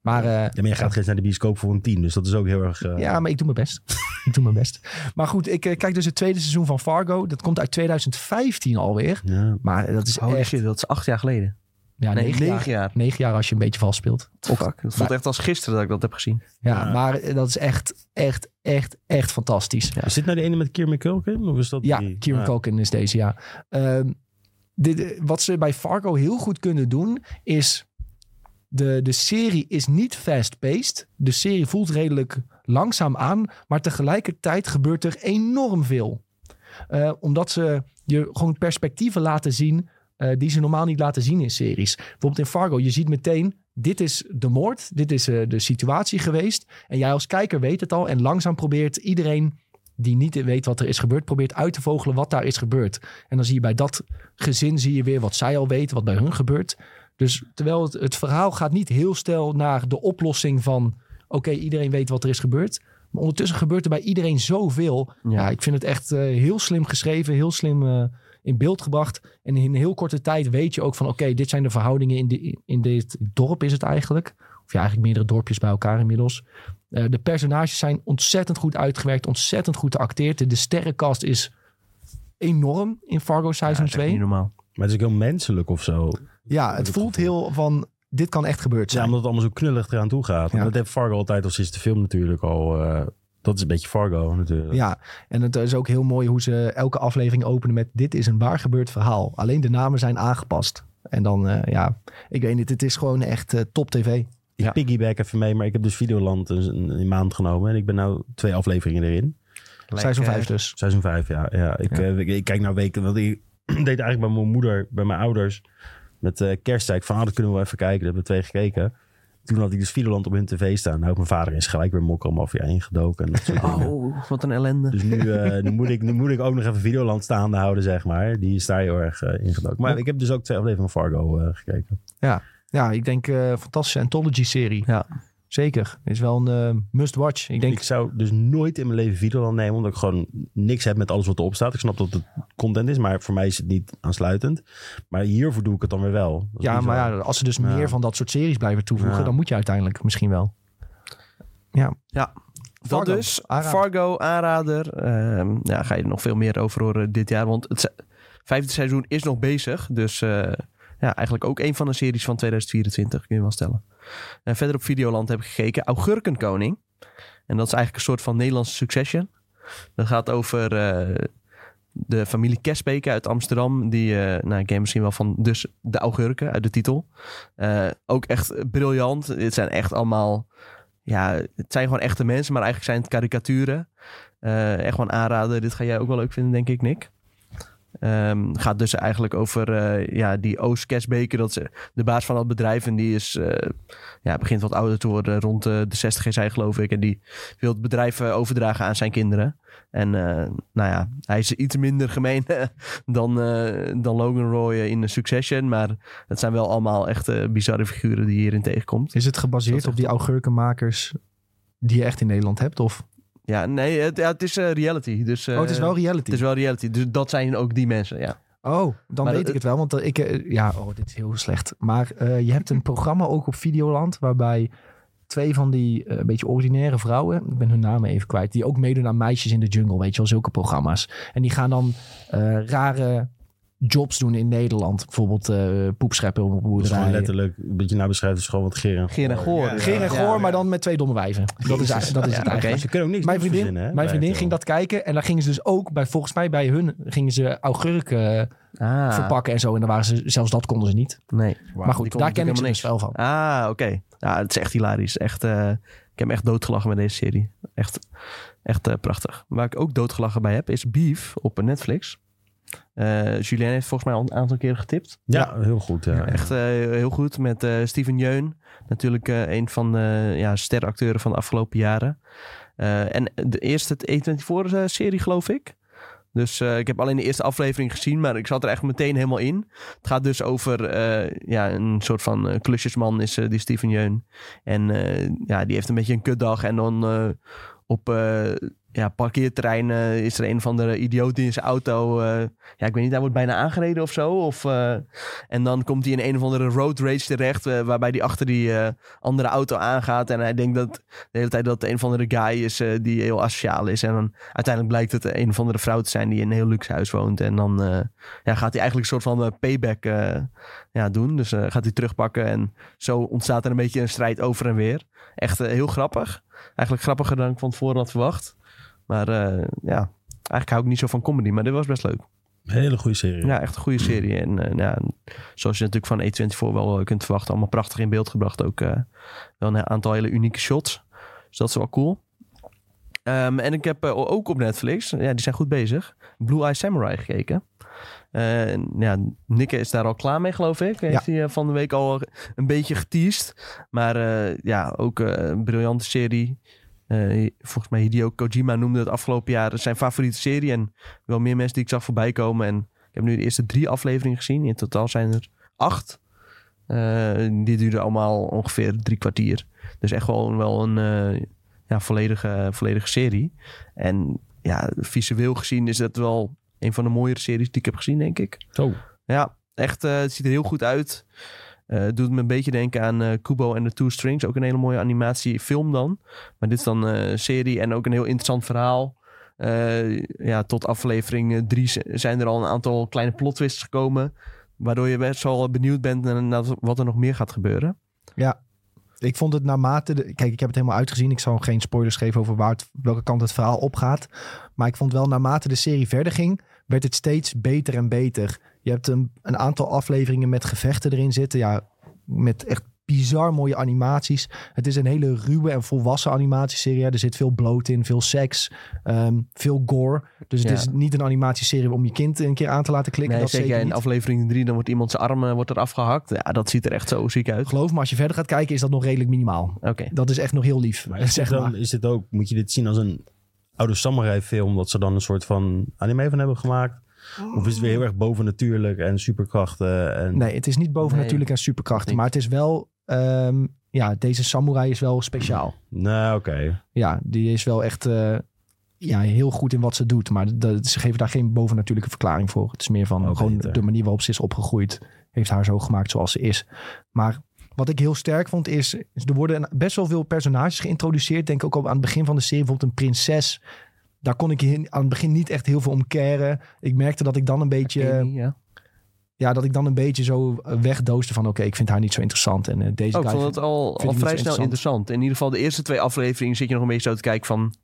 S1: Maar eh,
S4: Ja, maar je gaat gisteren naar de bioscoop voor een 10, dus dat is ook heel erg... eh,
S1: Ja, maar ik doe mijn best. ik doe mijn best. Maar goed, ik eh, kijk dus het tweede seizoen van Fargo. Dat komt uit 2015 alweer.
S4: ja.
S1: Maar dat is
S3: vijf. Holy
S1: echt...
S3: shit, dat is acht jaar geleden.
S1: Ja,
S3: Nee,
S1: negen, jaar,
S3: negen jaar.
S1: negen jaar als je een beetje vast speelt.
S3: Fuck, het voelt echt als gisteren dat ik dat heb gezien.
S1: Ja,
S4: Ja.
S1: maar eh, dat is echt, echt, echt, echt fantastisch.
S4: Is dit nou de ene met Kieran Culkin? Of is dat
S1: Ja,
S4: die?
S1: Kieran
S4: Ah.
S1: Culkin is deze, ja. Ehm, dit, eh, wat ze bij Fargo heel goed kunnen doen, is... De, de serie is niet fast-paced. De serie voelt redelijk langzaam aan. Maar tegelijkertijd gebeurt er enorm veel. Eh, omdat ze je gewoon perspectieven laten zien... eh, die ze normaal niet laten zien in series. Bijvoorbeeld in Fargo, je ziet meteen... dit is de moord, dit is eh, de situatie geweest. En jij als kijker weet het al. En langzaam probeert iedereen die niet weet wat er is gebeurd, probeert uit te vogelen wat daar is gebeurd. En dan zie je bij dat gezin zie je weer wat zij al weten, wat bij hun gebeurt. Dus terwijl het, het verhaal gaat niet heel snel naar de oplossing van... oké, iedereen weet wat er is gebeurd. Maar ondertussen gebeurt er bij iedereen zoveel. Ja, ik vind het echt eh, heel slim geschreven, heel slim eh, in beeld gebracht. En in een heel korte tijd weet je ook van... oké, dit zijn de verhoudingen in, de, in dit dorp is het eigenlijk. Of ja, eigenlijk meerdere dorpjes bij elkaar inmiddels. Eh, de personages zijn ontzettend goed uitgewerkt, ontzettend goed geacteerd. De, de sterrenkast is enorm in Fargo
S3: Ja,
S1: seizoen
S3: dat is echt
S1: 2.
S3: niet normaal.
S4: Maar het is ook heel menselijk of zo.
S1: Ja,
S4: Heb
S1: het
S4: ik
S1: voelt
S4: gevoel.
S1: heel van... Dit kan echt gebeurd
S4: Ja,
S1: zijn.
S4: omdat het allemaal zo knullig eraan toe gaat.
S1: Ja.
S4: En dat heeft Fargo altijd al sinds de film natuurlijk al. eh, dat is een beetje Fargo natuurlijk.
S1: Ja, en het is ook heel mooi hoe ze elke aflevering openen met... dit is een waar gebeurd verhaal. Alleen de namen zijn aangepast. En dan, eh, ja, ik weet niet, het is gewoon echt eh, top tv.
S4: Ik
S3: Ja.
S4: piggyback even mee, maar ik heb dus Videoland een, een, een maand genomen. En ik ben nou twee afleveringen erin.
S1: Seizoen
S3: Lekker.
S1: 5 dus.
S4: Seizoen vijf, ja. ja, ik,
S1: Ja.
S4: eh, ik, ik kijk nou weken, want ik deed eigenlijk bij mijn moeder, bij mijn ouders... met eh kersttijd van, ah, dat kunnen we wel even kijken. Dat hebben we twee gekeken. Toen had ik dus Videoland op hun tv staan. Nou, mijn vader is gelijk weer mokkelmafia ingedoken. En dat soort dingen.
S3: Oh, wat een ellende.
S4: Dus nu, eh, nu, moet ik, nu moet ik ook nog even Videoland staande houden, zeg maar. Die is daar heel erg eh, ingedoken. Maar ik heb dus ook twee afleveringen van Fargo eh, gekeken.
S1: Ja, ik denk eh fantastische anthology-serie.
S3: Ja.
S1: Zeker. Is wel een eh, must-watch. Ik denk,
S4: Ik zou dus nooit in mijn leven Videoland nemen, omdat ik gewoon niks heb met alles wat erop staat. Ik snap dat het content is, maar voor mij is het niet aansluitend. Maar hiervoor doe ik het dan weer wel. Dat is
S1: ja,
S4: bizar.
S1: maar ja, als ze dus
S4: Ja.
S1: meer van dat soort series blijven toevoegen...
S4: Ja.
S1: dan moet je uiteindelijk misschien wel.
S3: Dat
S1: Fargo,
S3: dus.
S1: aanrader.
S3: Fargo, aanrader. Ehm, ja, ga je er nog veel meer over horen dit jaar. Want het se- vijfde seizoen is nog bezig. Dus eh, ja, eigenlijk ook een van de series van 2024, kun je wel stellen. En verder op Videoland heb ik gekeken Augurkenkoning. En dat is eigenlijk een soort van Nederlandse Succession. Dat gaat over eh, de familie Kesbeke uit Amsterdam. Die, eh, nou, ik ken misschien wel van dus de augurken uit de titel. Eh, ook echt briljant. Dit zijn echt allemaal... Ja, het zijn gewoon echte mensen, maar eigenlijk zijn het karikaturen. Eh, echt gewoon aanraden. Dit ga jij ook wel leuk vinden, denk ik, Nick. Ehm, gaat dus eigenlijk over eh, ja, die Oost Kesbeke. Dat is eh, de baas van dat bedrijf. En die is, eh, ja, begint wat ouder te worden. Rond eh, de 60 is hij, geloof ik. En die wil het bedrijf eh, overdragen aan zijn kinderen. En eh, nou ja, hij is iets minder gemeen dan, eh, dan Logan Roy in de Succession. Maar het zijn wel allemaal echt eh, bizarre figuren die je hierin tegenkomt.
S1: Is het
S3: Dat
S1: gebaseerd
S3: is
S1: op die augurkenmakers die je echt in Nederland hebt? Of?
S3: Ja, nee, het, ja, het is eh, reality. Dus, eh,
S1: oh, het is wel reality.
S3: Het is wel reality. Dus dat zijn ook die mensen, ja.
S1: Oh, dan
S3: Maar
S1: weet ik
S3: dat-
S1: het wel. Want eh, ik, eh, ja, oh, dit is heel slecht. Maar eh, je hebt een programma ook op Videoland waarbij twee van die eh, een beetje ordinaire vrouwen, ik ben hun namen even kwijt, die ook meedoen aan meisjes in de jungle, weet je wel, zulke programma's. En die gaan dan eh, rare jobs doen in Nederland. Bijvoorbeeld eh poepscheppen op een
S4: Dat is gewoon
S1: boerderij.
S4: letterlijk, een beetje nabeschrijven, is gewoon wat geren.
S3: Geer en Goor.
S2: Ja,
S1: Geen en
S3: Ja.
S1: goor, maar dan met twee domme wijven. Dat is, dat is
S3: Ja,
S1: het
S3: oké.
S1: eigenlijk.
S4: Ze kunnen ook niks
S1: Mijn
S4: nieuws
S1: vriendin,
S4: verzinnen, hè,
S1: mijn
S4: bij eh,
S1: vriendin
S4: RTL.
S1: ging dat kijken. En daar gingen ze dus ook bij, volgens mij bij hun, gingen ze augurken
S3: Ah,
S1: verpakken en zo. En daar waren ze, zelfs dat konden ze niet.
S3: Nee.
S1: Maar goed, daar ken ik ze dus wel van.
S3: Ah, oké. Ja, het is echt hilarisch. Echt, eh, ik heb me echt doodgelachen met deze serie. Echt, echt eh, prachtig. Waar ik ook doodgelachen bij heb, is Beef op Netflix. Eh Julien heeft volgens mij al een aantal keren getipt.
S4: Ja, heel goed. Ja.
S3: Echt eh, heel goed met eh, Steven Yeun. Natuurlijk eh, een van de ja, steracteuren van de afgelopen jaren. Eh, en de eerste E24-serie, geloof ik. Dus eh, ik heb alleen de eerste aflevering gezien, maar ik zat er echt meteen helemaal in. Het gaat dus over eh, ja, een soort van eh, klusjesman, is eh, die Steven Yeun. En eh, ja, die heeft een beetje een kutdag. En dan eh, op eh ja, parkeerterrein eh, is er een of andere idioot die in zijn auto... eh, ja, ik weet niet, hij wordt bijna aangereden of zo. Of, eh, en dan komt hij in een of andere road rage terecht... eh, waarbij hij achter die eh, andere auto aangaat. En hij denkt dat de hele tijd dat het een of andere guy is eh, die heel asociaal is. En dan uiteindelijk blijkt het een of andere vrouw te zijn die in een heel luxe huis woont. En dan eh, ja, gaat hij eigenlijk een soort van eh, payback eh, ja, doen. Dus eh, gaat hij terugpakken en zo ontstaat er een beetje een strijd over en weer. Echt eh, heel grappig. Eigenlijk grappiger dan ik van tevoren had verwacht. Maar eh, ja, eigenlijk hou ik niet zo van comedy, maar dit was best leuk.
S4: Hele goede serie.
S3: Ja, echt een goede serie. En eh, nou ja, zoals je natuurlijk van E24 wel eh, kunt verwachten, allemaal prachtig in beeld gebracht. Ook eh, wel een aantal hele unieke shots. Dus dat is wel cool. Ehm, en ik heb eh, ook op Netflix, ja, die zijn goed bezig, Blue Eye Samurai gekeken. Eh, en ja, Nikke is daar al klaar mee, geloof ik. Heeft hij eh, van de week al een beetje geteased. Maar eh, ja, ook eh, een briljante serie. Eh, volgens mij Hideo Kojima noemde het afgelopen jaar zijn favoriete serie. En wel meer mensen die ik zag voorbij komen. En ik heb nu de eerste drie afleveringen gezien. In totaal zijn er acht. Eh, die duurden allemaal ongeveer drie kwartier. Dus echt gewoon wel een eh, ja, volledige, volledige serie. En ja, visueel gezien is dat wel een van de mooiere series die ik heb gezien, denk ik.
S4: Zo.
S3: Ja, echt. eh, het ziet er heel goed uit. Eh, het doet me een beetje denken aan eh, Kubo en de Two Strings. Ook een hele mooie animatiefilm dan. Maar dit is dan eh, een serie en ook een heel interessant verhaal. Eh, ja, tot aflevering eh, drie z- zijn er al een aantal kleine plot twists gekomen. Waardoor je best wel benieuwd bent naar- naar wat er nog meer gaat gebeuren.
S1: Ik vond het naarmate... De, kijk, ik heb het helemaal uitgezien. Ik zal geen spoilers geven over waar het, welke kant het verhaal opgaat. Maar ik vond wel, naarmate de serie verder ging... werd het steeds beter en beter. Je hebt een, een aantal afleveringen met gevechten erin zitten. Ja, met echt bizar mooie animaties. Het is een hele ruwe en volwassen animatieserie. Ja, Er zit veel bloot in, veel seks, ehm, veel gore. Dus het
S3: Ja.
S1: is niet een animatieserie om je kind een keer aan te laten klikken.
S3: Nee,
S1: dat
S3: zeker
S1: zeker
S3: in
S1: niet.
S3: aflevering drie, dan wordt iemand zijn arm eh, wordt eraf gehakt. Ja, dat ziet er echt zo ziek uit.
S1: Geloof me, als je verder gaat kijken is dat nog redelijk minimaal.
S3: Oké.
S1: Dat is echt nog heel lief,
S4: Maar is,
S1: zeg
S4: dit
S1: maar.
S4: dan, is dit ook, moet je dit zien als een oude samurai film, dat ze dan een soort van anime van hebben gemaakt? Of is het weer heel erg bovennatuurlijk en superkrachten? En...
S1: Nee, het is niet bovennatuurlijk
S3: Nee,
S1: en superkrachten.
S3: niet.
S1: Maar het is wel... ehm, ja, deze samurai is wel speciaal.
S4: Nou, oké.
S1: Ja, die is wel echt eh, ja, heel goed in wat ze doet. Maar dat, ze geven daar geen bovennatuurlijke verklaring voor. Het is meer van
S4: Oh,
S1: gewoon
S4: beter.
S1: de manier waarop ze is opgegroeid. Heeft haar zo gemaakt zoals ze is. Maar wat ik heel sterk vond is... is Er worden een- best wel veel personages geïntroduceerd. Denk ook al aan het begin van de serie. Bijvoorbeeld een prinses. Daar kon ik in- aan het begin niet echt heel veel om caren. Ik merkte dat ik dan een beetje
S3: Amy, ja.
S1: ja, dat ik dan een beetje zo eh, wegdoosde van... oké, ik vind haar niet zo interessant en eh, deze
S3: Oh, ik
S1: guy...
S3: vond
S1: vind-
S3: het al,
S1: vind
S3: al
S1: ik niet
S3: vrij
S1: zo
S3: snel
S1: interessant.
S3: interessant. In ieder geval de eerste twee afleveringen zit je nog een beetje zo te kijken van...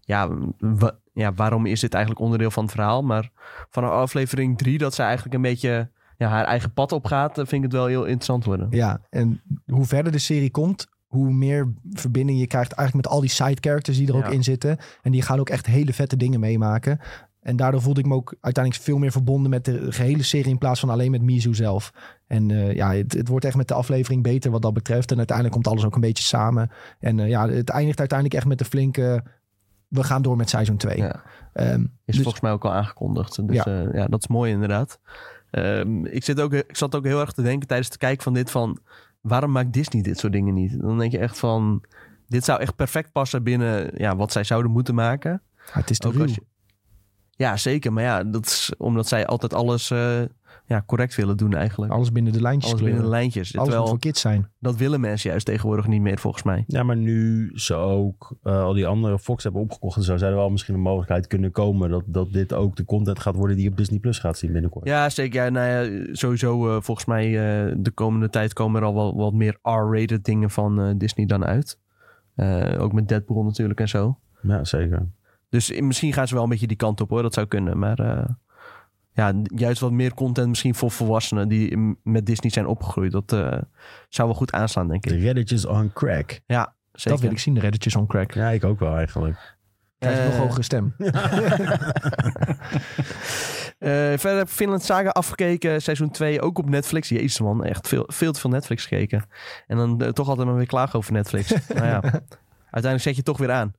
S3: Ja, wa- ja, waarom is dit eigenlijk onderdeel van het verhaal? Maar vanaf aflevering drie dat zij eigenlijk een beetje ja, haar eigen pad opgaat... dan vind ik het wel heel interessant worden.
S1: Ja, en hoe verder de serie komt... hoe meer verbinding je krijgt eigenlijk met al die side characters die er
S3: Ja.
S1: ook in zitten. En die gaan ook echt hele vette dingen meemaken. En daardoor voelde ik me ook uiteindelijk veel meer verbonden met de gehele serie... in plaats van alleen met Mizu zelf. En eh, ja, het, het wordt echt met de aflevering beter wat dat betreft. En uiteindelijk komt alles ook een beetje samen. En eh, ja, het eindigt uiteindelijk echt met een flinke... we gaan door met seizoen Ehm, 2.
S3: Ja. Is volgens mij ook al aangekondigd. Dus
S1: dus- Ja.
S3: ja, ja dat is mooi inderdaad. Ehm, ik, zit ook, ik zat ook heel erg te denken tijdens het kijken van dit van... waarom maakt Disney dit soort dingen niet? Dan denk je echt van... dit zou echt perfect passen binnen ja, wat zij zouden moeten maken.
S1: het is te
S3: Ook als
S1: ruw.
S3: je- Ja, zeker. Maar ja, dat is omdat zij altijd alles eh, ja, correct willen doen eigenlijk.
S1: Alles binnen de lijntjes
S3: Alles
S1: kleuren.
S3: binnen de lijntjes.
S1: Alles moet
S3: Terwijl,
S1: voor kids zijn.
S3: dat willen mensen juist tegenwoordig niet meer volgens mij.
S4: Ja, maar nu ze ook eh, al die andere Fox hebben opgekocht en zo, zou er wel misschien een mogelijkheid kunnen komen dat, dat dit ook de content gaat worden die je op Disney Plus gaat zien binnenkort.
S3: Ja, zeker. Ja, nou ja, sowieso eh, volgens mij eh, de komende tijd komen er al wel wat meer R-rated dingen van eh, Disney dan uit. Eh, ook met Deadpool natuurlijk en zo.
S4: Ja, zeker.
S3: Dus eh, misschien gaan ze wel een beetje die kant op hoor, dat zou kunnen. Maar eh, ja, juist wat meer content misschien voor volwassenen die m- met Disney zijn opgegroeid. Dat eh, zou wel goed aanslaan denk
S4: De
S3: ik.
S4: redditjes on crack.
S3: Ja, zeker.
S1: Dat wil ik zien, de reddertjes on crack.
S4: Ja, ik ook wel eigenlijk.
S1: Krijg je nog
S3: Eh,
S1: hogere stem.
S3: Eh, verder heb ik Finland Saga afgekeken. Seizoen 2 ook op Netflix. Jezus man, echt veel, veel te veel Netflix gekeken. En dan eh, toch altijd maar weer klagen over Netflix. nou ja, uiteindelijk zet je toch weer aan.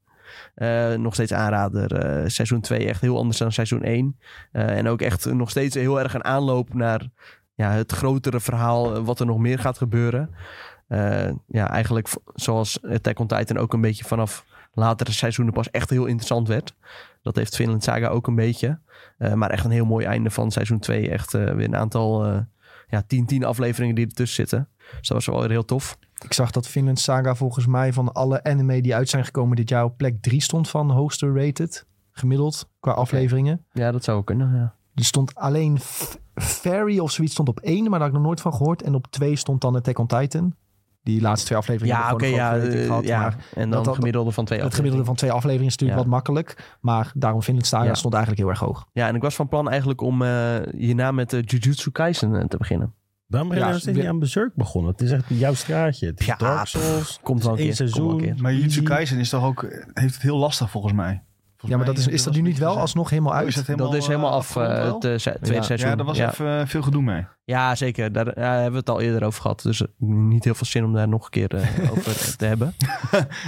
S3: Eh, nog steeds aanrader. Eh, seizoen 2 echt heel anders dan seizoen 1. Eh, en ook echt nog steeds heel erg een aanloop naar ja, het grotere verhaal. eh, Wat er nog meer gaat gebeuren. Eh, ja, eigenlijk v- zoals Attack on Titan ook een beetje vanaf latere seizoenen pas echt heel interessant werd. Dat heeft Finland Saga ook een beetje. Eh, maar echt een heel mooi einde van seizoen 2. Echt eh, weer een aantal eh, ja, 10, 10 afleveringen die ertussen zitten. Dus dat was wel weer heel tof.
S1: Ik zag dat Finland Saga volgens mij van alle anime die uit zijn gekomen dit jaar op plek 3 stond van hoogste rated. Gemiddeld qua afleveringen.
S3: Ja, dat zou ook kunnen. Ja.
S1: Er stond alleen F- Fairy of zoiets stond op 1, maar daar had ik nog nooit van gehoord. En op 2 stond dan Attack on Titan. Die laatste twee afleveringen
S3: Ja, oké,
S1: hebben gewoon
S3: ja,
S1: een grote rating
S3: eh,
S1: gehad,
S3: ja.
S1: maar
S3: En dan
S1: dat- dat-
S3: het gemiddelde van twee
S1: Het gemiddelde van twee afleveringen is natuurlijk
S3: Ja.
S1: wat makkelijk. Maar daarom Finland Saga
S3: Ja.
S1: stond eigenlijk heel erg hoog.
S3: Ja, en ik was van plan eigenlijk om eh, hierna met eh, Jujutsu Kaisen eh, te beginnen.
S4: Waarom ben je
S1: Ja,
S4: nou steeds
S1: ja.
S4: niet aan Berserk begonnen? Het is echt jouw straatje. Het is
S3: Ja,
S4: Dark Souls.
S3: Komt wel een
S4: Eén
S3: keer. Komt wel een
S4: seizoen.
S3: keer.
S2: Maar Jujutsu
S4: Easy.
S2: Kaisen is toch ook, eh, heeft het heel lastig volgens mij. Volgens
S1: Ja, maar
S2: mij
S1: dat is, is dat nu niet wel alsnog helemaal
S2: Is
S1: uit?
S2: dat helemaal,
S3: Dat Oh, is helemaal
S2: eh,
S3: af, eh,
S2: afgerond wel?
S3: het eh, se- tweede
S1: Ja,
S3: seizoen.
S2: ja, daar was
S3: ja.
S2: even eh, veel gedoe mee.
S3: Ja, zeker. Daar eh, hebben we het al eerder over gehad. Dus eh, niet heel veel zin om daar nog een keer eh, over te hebben.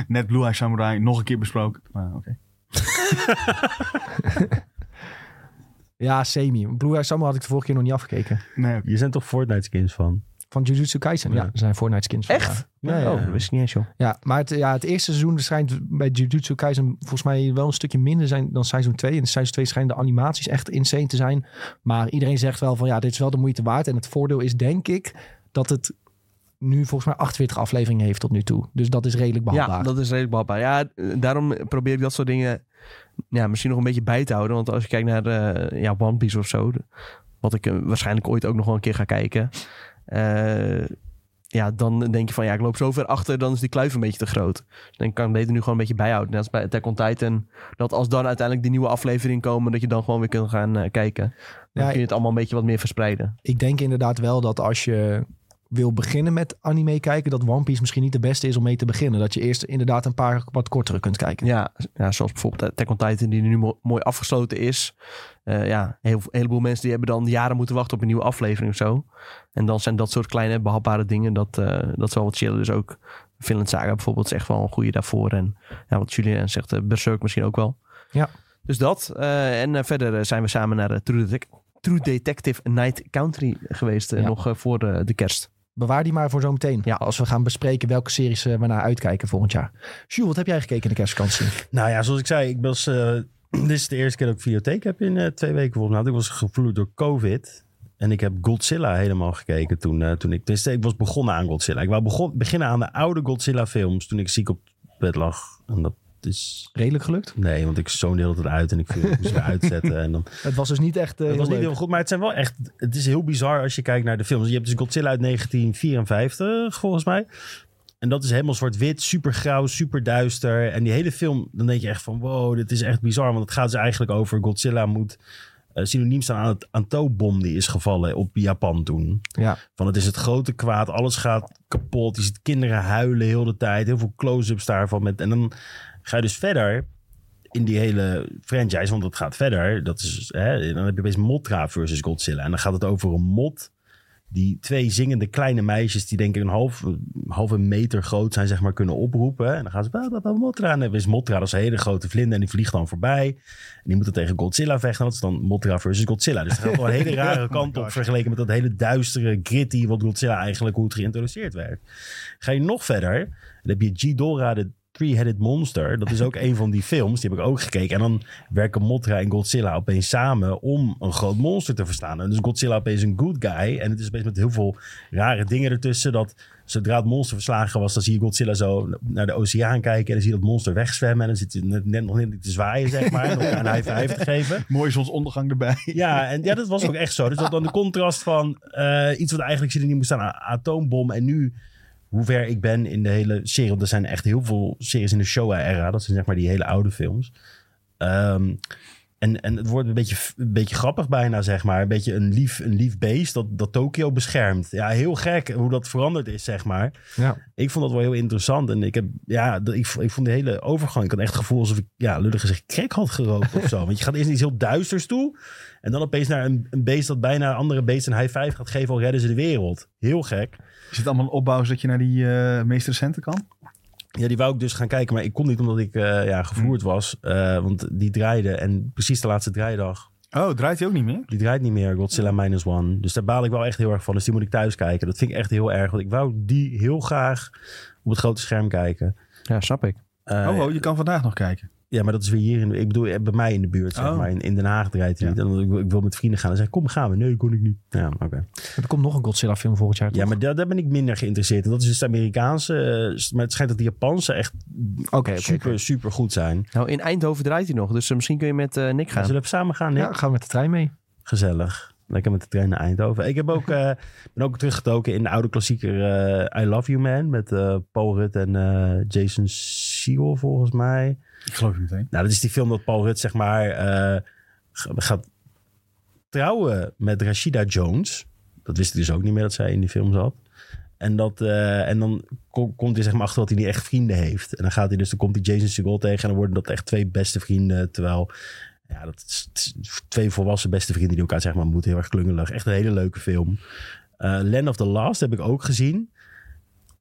S2: Net Blue Eye Samurai nog een keer besproken. Maar oké.
S1: Ja, semi. Blue Eye Samurai had ik de vorige keer nog niet afgekeken.
S2: Nee, oké.
S4: Je zijn toch Fortnite skins van?
S1: Van Jujutsu Kaisen. Ja,
S4: Ja.
S1: er zijn Fortnite skins. van,
S3: Echt?
S1: Ja, ja, ja.
S3: Oh, dat wist ik niet eens, joh.
S1: Ja, maar het, ja, het eerste seizoen schijnt bij Jujutsu Kaisen volgens mij wel een stukje minder zijn dan seizoen 2. In seizoen 2 schijnen de animaties echt insane te zijn. Maar iedereen zegt wel van ja, dit is wel de moeite waard. En het voordeel is denk ik dat het nu volgens mij 48 afleveringen heeft tot nu toe. Dus dat is redelijk behapbaar.
S3: Ja, dat is redelijk behapbaar. Ja, eh, daarom probeer ik dat soort dingen ja, misschien nog een beetje bij te houden. Want als je kijkt naar eh, ja, One Piece of zo, de- wat ik eh, waarschijnlijk ooit ook nog wel een keer ga kijken. eh, ja, dan denk je van ja, ik loop zo ver achter, dan is die kluif een beetje te groot. Dus dan kan ik beter nu gewoon een beetje bijhouden. Net als bij Attack on Titan, dat als dan uiteindelijk die nieuwe aflevering komen, dat je dan gewoon weer kunt gaan eh, kijken. Dan
S1: Ja,
S3: kun je het allemaal een beetje wat meer verspreiden.
S1: ik denk inderdaad wel dat als je wil beginnen met anime kijken, dat One Piece misschien niet de beste is om mee te beginnen. Dat je eerst inderdaad een paar wat kortere kunt kijken.
S3: Ja, ja, zoals bijvoorbeeld eh, Attack on Titan, die nu mo- mooi afgesloten is. Eh, ja, heel, een heleboel mensen die hebben dan jaren moeten wachten op een nieuwe aflevering of zo. En dan zijn dat soort kleine behapbare dingen, dat, eh, dat is wel wat chillen. Dus ook Finland Saga bijvoorbeeld is echt wel een goede daarvoor. En ja, wat Julian zegt, eh, Berserk misschien ook wel.
S1: Ja.
S3: Dus dat. Eh, en eh, verder eh, zijn we samen naar eh, True, Detec- True Detective Night Country geweest, eh,
S1: Ja.
S3: nog eh, voor de, de kerst.
S1: Bewaar die maar voor zometeen.
S3: Ja.
S1: Als we gaan bespreken welke series eh, we naar uitkijken volgend jaar. Jules, wat heb jij gekeken in de kerstvakantie?
S4: Nou ja, zoals ik zei, ik was, eh, dit is de eerste keer dat ik videotheek heb in eh, twee weken volgens mij. Want Ik was gevloerd door COVID. En ik heb Godzilla helemaal gekeken toen, eh, toen ik... Dus ik was begonnen aan Godzilla. Ik wou begon, beginnen aan de oude Godzilla films toen ik ziek op bed lag. En dat is...
S1: Redelijk gelukt.
S4: Nee, want ik zoon de hele tijd uit en ik viel- ik moest weer uitzetten. En dan,
S1: Het was dus niet echt eh,
S4: het was
S1: heel
S4: niet
S1: leuk.
S4: heel goed, maar het zijn wel echt... Het is heel bizar als je kijkt naar de films. Je hebt dus Godzilla uit 1954, volgens mij. En dat is helemaal zwart-wit, super grauw, super duister. En die hele film, dan denk je echt van... Wow, dit is echt bizar. Want het gaat dus eigenlijk over Godzilla moet... eh, synoniem staan aan het Anto-bom die is gevallen op Japan toen.
S1: Ja.
S4: Van het is het grote kwaad, alles gaat kapot. Je ziet kinderen huilen heel de tijd. Heel veel close-ups daarvan. Met, en dan ga je dus verder in die hele franchise, want dat gaat verder. Dat is, hè, dan heb je opeens Motra versus Godzilla. En dan gaat het over een mot. Die twee zingende kleine meisjes, die denk ik een half, halve meter groot zijn, zeg maar, kunnen oproepen. En dan gaan ze, bah, bah, bah, Motra. En dan is Motra, dat is een hele grote vlinder en die vliegt dan voorbij. En die moeten tegen Godzilla vechten. Dat is dan Motra versus Godzilla. Dus dat gaat wel een hele rare kant op vergeleken met dat hele duistere, gritty wat Godzilla eigenlijk, hoe het geïntroduceerd werd. Ga je nog verder, dan heb je Ghidorah, de Three-Headed Monster. Dat is ook een van die films, die heb ik ook gekeken. En dan werken Mothra en Godzilla opeens samen om een groot monster te verslaan. En dus Godzilla opeens een good guy. En het is opeens met heel veel rare dingen ertussen. Dat zodra het monster verslagen was, dan zie je Godzilla zo naar de oceaan kijken. En dan zie je dat monster wegzwemmen. En dan zit hij net, net nog niet te zwaaien, zeg maar. en elkaar een high five te geven.
S2: Mooi zonsondergang erbij.
S4: Ja, en ja, dat was ook echt zo. Dus dat dan de contrast van eh, iets wat eigenlijk zit er niet moest staan, a- atoombom. En nu, hoe ver ik ben in de hele serie. Want er zijn echt heel veel series in de Showa-era. Dat zijn zeg maar die hele oude films. Ehm, en, en het wordt een beetje, een beetje grappig bijna, zeg maar. Een beetje een lief, een lief beest dat, dat Tokio beschermt. Ja, heel gek hoe dat veranderd is, zeg maar.
S1: Ja.
S4: Ik vond dat wel heel interessant. En ik heb, ja, dat- ik, ik vond de hele overgang. Ik had echt het gevoel alsof ik, ja, lullig gezegd, crack had gerookt of zo. Want je gaat eerst naar iets heel duisters toe. En dan opeens naar een, een beest dat bijna een andere beest een high five gaat geven. Al redden ze de wereld. Heel gek.
S2: Is het allemaal een opbouw zodat je naar die eh, meest recente kan?
S4: Ja, die wou ik dus gaan kijken. Maar ik kon niet omdat ik eh, ja, gevoerd was. Eh, want die draaide. En precies de laatste draaidag.
S2: Oh, draait hij ook niet meer?
S4: Die draait niet meer. Godzilla Minus One. Dus daar baal ik wel echt heel erg van. Dus die moet ik thuis kijken. Dat vind ik echt heel erg. Want ik wou die heel graag op het grote scherm kijken.
S3: Ja, snap ik.
S4: Eh,
S2: Oh, oh, je kan vandaag nog kijken.
S4: Ja, maar dat is weer hier. In, de- ik bedoel, eh, bij mij in de buurt, zeg
S2: Oh.
S4: maar. In, in Den Haag draait hij
S2: Ja.
S4: niet. En dan, ik, wil- ik wil met vrienden gaan. Dan zeg ik, kom, gaan we. Nee, kon ik niet. Ja, oké.
S1: Er komt nog een Godzilla film volgend jaar.
S4: Ja,
S1: toch?
S4: maar daar, daar ben ik minder geïnteresseerd. En dat is dus het Amerikaanse. eh, s- maar het schijnt dat de Japanse echt
S1: oké. oké, oké.
S4: super, super goed zijn.
S3: Nou, in Eindhoven draait hij nog, dus eh, misschien kun je met eh, Nick gaan.
S4: Zullen we samen gaan, Nick?
S1: Ja, gaan we met de trein mee.
S4: Gezellig. Lekker met de trein naar Eindhoven. Ik heb ook, eh, ben ook teruggetoken in de oude klassieker eh, I Love You Man. Met eh Paul Rudd en eh, Jason Segel, volgens mij.
S2: Ik geloof je meteen.
S4: Nou, dat is die film dat Paul Rudd, zeg maar, eh, g- gaat trouwen met Rashida Jones. Dat wist ik dus ook niet meer dat zij in die film zat. En, dat, eh, en dan ko- komt hij zeg maar achter dat hij niet echt vrienden heeft. En dan gaat hij dus, dan komt hij Jason Segel tegen en dan worden dat echt twee beste vrienden. Terwijl, ja, dat is, het is twee volwassen beste vrienden die elkaar zeg maar moeten. Heel erg klungelig. Echt een hele leuke film. Eh Land of the Last heb ik ook gezien.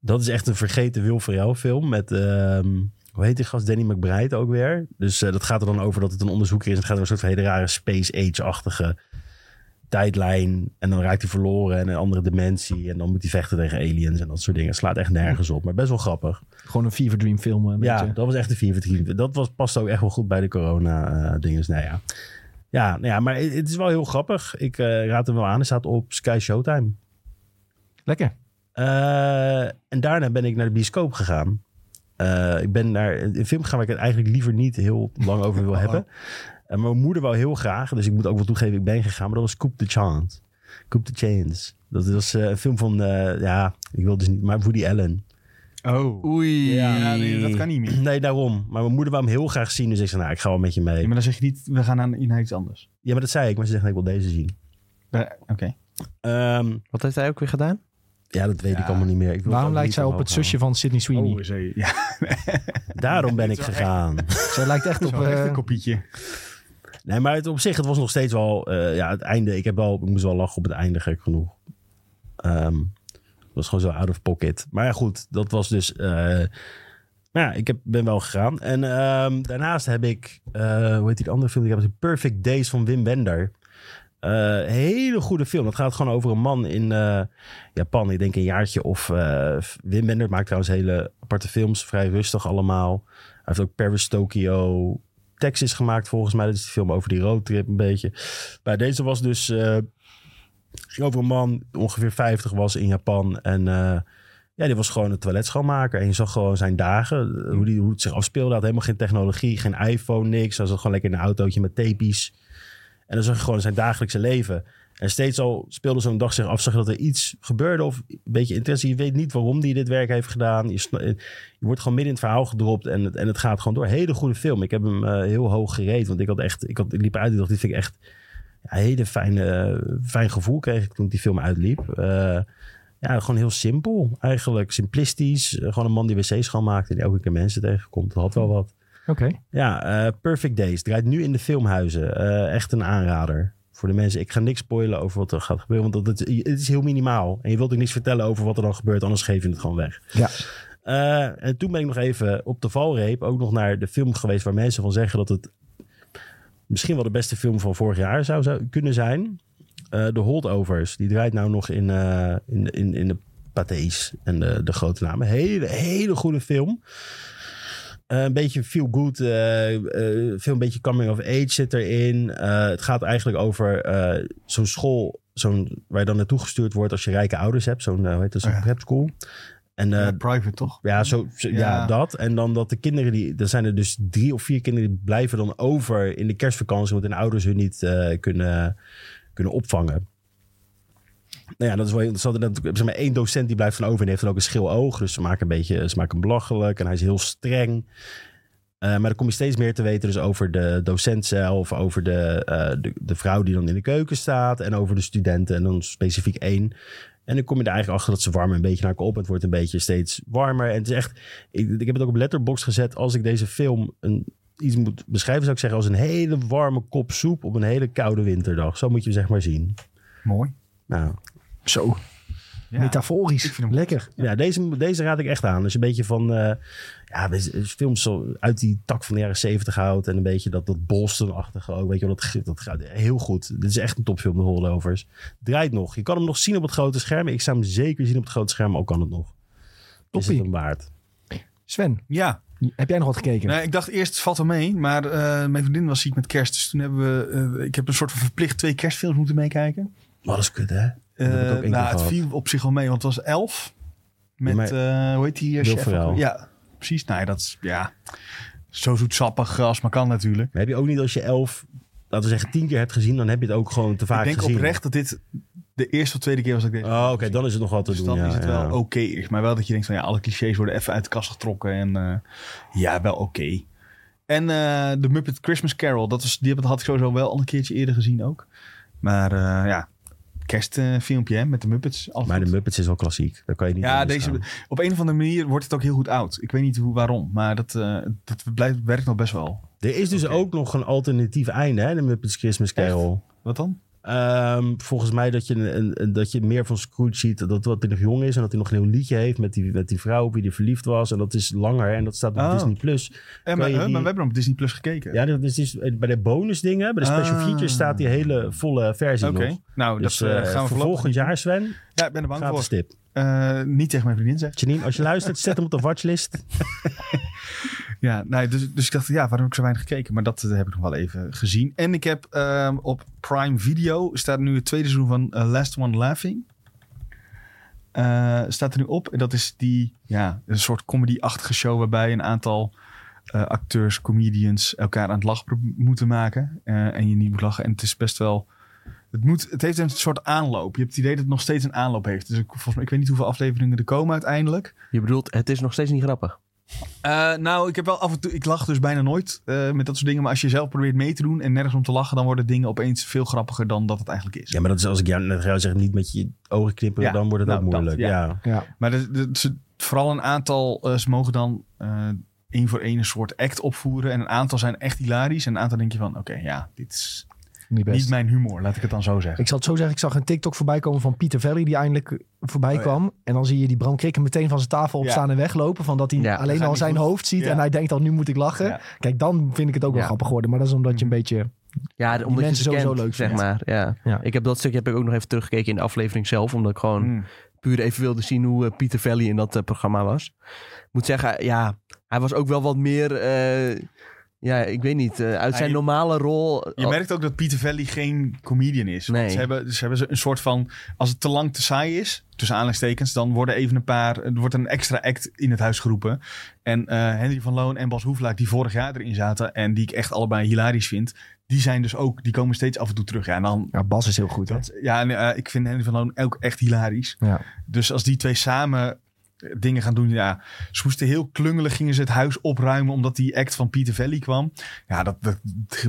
S4: Dat is echt een vergeten Will Ferrell film met... ehm, hoe heet die gast? Danny McBride ook weer. Dus eh, dat gaat er dan over dat het een onderzoeker is. Het gaat over een soort van hele rare space age-achtige tijdlijn. En dan raakt hij verloren en een andere dimensie. En dan moet hij vechten tegen aliens en dat soort dingen. Het slaat echt nergens op, maar best wel grappig.
S1: Gewoon een fever dream film. eh, Een
S4: ja,
S1: beetje.
S4: dat was echt een 44. Dat was, past ook echt wel goed bij de corona-dinges. nou ja. Ja, nou ja, maar het het is wel heel grappig. Ik eh, raad hem wel aan. Hij staat op Sky Showtime.
S1: Lekker.
S4: Eh, en daarna ben ik naar de bioscoop gegaan. Eh, ik ben naar een film gegaan waar ik het eigenlijk liever niet heel lang over wil hebben. En mijn moeder wou heel graag, dus ik moet ook wel toegeven, ik ben gegaan. Maar dat was Coop the Chance. Coop the Chains. Dat was eh, een film van, eh, ja, ik wil dus niet, maar Woody Allen.
S2: Oh.
S3: Oei.
S2: Ja, nee, dat kan niet meer.
S4: Nee, daarom. Maar mijn moeder wou hem heel graag zien, dus ik zei, nou, ik ga wel met je mee.
S2: Ja, maar dan zeg je niet, we gaan aan, naar iets anders.
S4: Ja, maar dat zei ik, maar ze zegt, nee, ik wil deze zien.
S2: Eh, Oké.
S4: Ehm,
S3: Wat heeft hij ook weer gedaan?
S4: ja, dat weet
S2: Ja.
S4: ik allemaal niet meer. Ik wil
S1: Waarom
S4: het ook
S1: lijkt
S4: niet
S1: zij op het
S4: omhoog
S1: zusje van Sydney Sweeney?
S2: Oh, zei je. Ja,
S4: halen. Daarom ben ik gegaan.
S1: Zij lijkt echt op...
S2: zo'n echt een
S1: eh,
S2: kopietje.
S4: Nee, maar het, op zich, het was nog steeds wel... eh, ja, het einde, ik, heb wel, ik moest wel lachen op het einde, gek genoeg. Ehm, het was gewoon zo out of pocket. Maar ja, goed, dat was dus... eh, nou ja, ik heb, ben wel gegaan. En ehm, daarnaast heb ik... eh, hoe heet die andere film? die Ik heb Perfect Days van Wim Wender. Eh, hele goede film. Dat gaat gewoon over een man in eh, Japan. Ik denk een jaartje of... eh, Wim Wender maakt trouwens hele aparte films. Vrij rustig allemaal. Hij heeft ook Paris, Tokyo, Texas gemaakt volgens mij. Dat is de film over die roadtrip een beetje. Maar deze was dus... eh, ging over een man die ongeveer 50 was in Japan. En eh, ja, die was gewoon het toilet schoonmaker. En je zag gewoon zijn dagen, eh, hoe, die, hoe het zich afspeelde. Hij had helemaal geen technologie, geen iPhone, niks. Hij zat gewoon lekker in een autootje met tapies. En dan zag je gewoon zijn dagelijkse leven. En steeds al speelde zo'n dag zich af, zag je dat er iets gebeurde of een beetje interesse. Je weet niet waarom hij dit werk heeft gedaan. Je, sna- je wordt gewoon midden in het verhaal gedropt en het, en het gaat gewoon door. Hele goede film. Ik heb hem eh, heel hoog gereed, want ik had echt, ik, had, ik liep uit en dacht, dit vind ik echt ja, een hele fijne, fijn gevoel kreeg ik toen ik die film uitliep. Eh, ja, gewoon heel simpel eigenlijk. Simplistisch. Eh, Gewoon een man die wc's schoonmaakt en die elke keer mensen tegenkomt. Dat had wel wat.
S1: Oké.
S4: Ja, eh, Perfect Days draait nu in de filmhuizen. Eh, echt een aanrader voor de mensen. Ik ga niks spoilen over wat er gaat gebeuren, want dat, het, het is heel minimaal. En je wilt ook niks vertellen over wat er dan gebeurt, anders geef je het gewoon weg.
S1: Ja.
S4: Eh, en toen ben ik nog even op de valreep ook nog naar de film geweest waar mensen van zeggen dat het misschien wel de beste film van vorig jaar zou, zou kunnen zijn. Eh de Holdovers, die draait nou nog in, eh, in, de- in, in de Pathé's en de, de grote namen. Hele, hele goede film. Eh, een beetje feel good, eh, eh, veel een beetje coming of age zit erin. Eh, het gaat eigenlijk over eh, zo'n school zo'n, waar je dan naartoe gestuurd wordt als je rijke ouders hebt. Zo'n eh, hoe heet dat, zo'n
S2: Oh ja.
S4: prep school. En eh,
S2: Ja, private toch?
S4: ja, zo, zo- ja.
S2: Ja.
S4: dat. En dan dat de kinderen die. Er zijn er dus drie of vier kinderen die blijven dan over in de kerstvakantie. omdat hun ouders hun niet eh, kunnen, kunnen opvangen. Nou ja, dat is wel heel interessant. En Dat, zeg maar, één docent die blijft van over en die heeft dan ook een schil oog. Dus ze maken, een beetje, ze maken hem belachelijk en hij is heel streng. Eh, maar dan kom je steeds meer te weten dus over de docent zelf, over de, eh, de, de vrouw die dan in de keuken staat en over de studenten en dan specifiek één. En dan kom je er eigenlijk achter dat ze warmen een beetje naar elkaar op. Het wordt een beetje steeds warmer. En het is echt, ik, ik heb het ook op Letterboxd gezet. Als ik deze film een, iets moet beschrijven, zou ik zeggen als een hele warme kop soep op een hele koude winterdag. Zo moet je hem zeg maar zien.
S2: Mooi.
S4: Nou,
S1: Zo,
S2: Ja.
S1: metaforisch.
S2: ik vind hem-
S1: Lekker.
S4: ja, deze, deze raad ik echt aan. Dus een beetje van, eh, ja, we- films zo uit die tak van de jaren zeventig houdt. En een beetje dat, dat Boston-achtige ook. Weet je wel, dat, ge- dat gaat heel goed. Dit is echt een topfilm, de Holdovers. Draait nog. Je kan hem nog zien op het grote scherm. Ik zou hem zeker zien op het grote scherm, al kan het nog. Is het
S1: Toppie.
S4: hem waard?
S1: Sven,
S2: Ja,
S1: heb jij nog wat gekeken?
S2: Nou, ik dacht eerst valt er mee, maar eh, mijn vriendin was ziek met kerst. Dus toen hebben we, eh, ik heb een soort van verplicht twee kerstfilms moeten meekijken.
S4: Wat is kut, hè?
S2: Eh,
S4: heb ik ook één keer
S2: nou, het
S4: gehad.
S2: viel op zich al mee, want het was elf. Met,
S4: Ja,
S2: eh, hoe heet die eh,
S4: Will
S2: chef?
S4: Ferrell.
S2: Ja, precies. Nou ja, dat is, ja, zo zoetsappig als maar kan natuurlijk.
S4: Maar heb je ook niet als je elf, laten we zeggen tien keer hebt gezien, dan heb je het ook gewoon te vaak
S2: ik denk
S4: gezien.
S2: oprecht dat dit de eerste of tweede keer was dat ik deze
S4: Oh, oké, dan is het nog wat te
S2: Dus
S4: doen.
S2: dan
S4: ja,
S2: is het
S4: ja.
S2: wel oké. is. Maar wel dat je denkt van ja, alle clichés worden even uit de kast getrokken. En eh, ja, wel oké. En eh, de Muppet Christmas Carol, dat was, die heb- had ik sowieso wel al een keertje eerder gezien ook. Maar eh, ja, kerstfilmpje hè, met de Muppets. altijd
S4: Maar de
S2: goed.
S4: Muppets is wel klassiek. Daar kan je niet nou.
S2: ja,
S4: anders
S2: deze,
S4: gaan.
S2: op een of andere manier wordt het ook heel goed oud. Ik weet niet hoe, waarom, maar dat, eh, dat blijft, werkt nog best wel.
S4: Er is dus
S2: Oké.
S4: ook nog een alternatief einde, hè, de Muppets Christmas Carol.
S2: Wat dan?
S4: Ehm, volgens mij dat je, een- een, een- dat je meer van Scrooge ziet, dat wat hij nog jong is en dat hij nog een heel liedje heeft met die, met die vrouw op wie hij verliefd was. En dat is langer en dat staat op
S2: Oh.
S4: Disney+. Plus.
S2: Eh, maar,
S4: je
S2: huh,
S4: die-
S2: maar we hebben op Disney Plus gekeken.
S4: Ja, dat is, dus- bij de bonusdingen, bij de special
S2: Ah.
S4: features staat die hele volle versie
S2: Oké,
S4: nog.
S2: nou
S4: Dus
S2: dat eh,
S4: eh,
S2: gaan we
S4: voor
S2: voorlopig.
S4: volgend jaar, Sven,
S2: Ja, ik ben er bang
S4: gratis
S2: voor.
S4: tip.
S2: Eh, niet tegen mijn vriendin zeggen.
S4: Janine, als je luistert, zet hem op de watchlist.
S2: Ja, nee, dus, dus ik dacht, ja, waarom heb ik zo weinig gekeken? Maar dat eh, heb ik nog wel even gezien. En ik heb ehm, op Prime Video staat nu het tweede seizoen van eh, Last One Laughing. Eh, staat er nu op. En dat is die, ja, een soort comedy-achtige show waarbij een aantal eh, acteurs, comedians elkaar aan het lachen pro- moeten maken. eh, en je niet moet lachen. En het is best wel. Het, moet, het heeft een soort aanloop. Je hebt het idee dat het nog steeds een aanloop heeft. Dus ik, volgens mij, ik weet niet hoeveel afleveringen er komen uiteindelijk.
S3: Je bedoelt, het is nog steeds niet grappig.
S2: Eh, nou, ik heb wel af en toe. Ik lach dus bijna nooit eh, met dat soort dingen. Maar als je zelf probeert mee te doen en nergens om te lachen, dan worden dingen opeens veel grappiger dan dat het eigenlijk is.
S4: Ja, maar dat is als ik jou net ga zeggen, niet met je ogen knipperen,
S2: Ja,
S4: dan wordt het
S2: nou,
S4: ook
S2: dat,
S4: moeilijk.
S2: ja.
S4: ja.
S1: Ja.
S2: Maar er- er- ze- vooral een aantal. eh, ze mogen dan eh, één voor één een soort act opvoeren. En een aantal zijn echt hilarisch. En een aantal denk je van: oké, ja, dit is
S1: Niet best.
S2: niet mijn humor, laat ik het dan zo zeggen.
S1: Ik zal het zo zeggen, ik zag een TikTok voorbij komen van Pieter Valley, die eindelijk voorbij
S2: Oh ja.
S1: kwam. En dan zie je die Bram Krikken meteen van zijn tafel
S2: Ja.
S1: opstaan en weglopen. Van dat hij
S3: Ja,
S2: dat
S1: alleen
S2: gaat
S1: al
S2: niet
S1: zijn
S2: goed.
S1: hoofd ziet
S2: Ja.
S1: en hij denkt al, nu moet ik lachen.
S2: Ja. Mhm.
S1: Kijk, dan vind ik het ook wel
S3: Ja.
S1: grappig geworden. Maar dat is omdat je een beetje...
S3: Ja, omdat je
S1: mensen
S3: ze
S1: sowieso
S3: kent,
S1: leuk
S3: zeg
S1: vindt.
S3: maar. Ja.
S1: Ja.
S3: Ik heb dat stukje heb ik ook nog even teruggekeken in de aflevering zelf. Omdat ik gewoon
S2: Mm.
S3: puur even wilde zien hoe eh, Pieter Valley in dat eh, programma was. Ik moet zeggen, ja, hij was ook wel wat meer... eh, ja, ik weet niet. eh, uit
S2: Hij-
S3: zijn normale rol... oh,
S2: Je merkt ook dat Pieter Valley geen comedian is. Want
S3: Nee.
S2: Ze hebben, ze hebben ze een soort van, als het te lang te saai is, tussen aanleidingstekens, dan worden even een paar, er wordt een extra act in het huis geroepen. En eh, Henry van Loon en Bas Hoeflaak, die vorig jaar erin zaten en die ik echt allebei hilarisch vind, die zijn dus ook, die komen steeds af en toe terug. Ja, en dan,
S1: Ja, Bas is heel goed. Hè?
S2: dat, ja en, eh, ik vind Henry van Loon ook echt hilarisch.
S1: Ja.
S2: Dus als die twee samen eh, dingen gaan doen, ja, ze moesten heel klungelig gingen ze het huis opruimen omdat die act van Pieter Valley kwam. Ja, dat, dat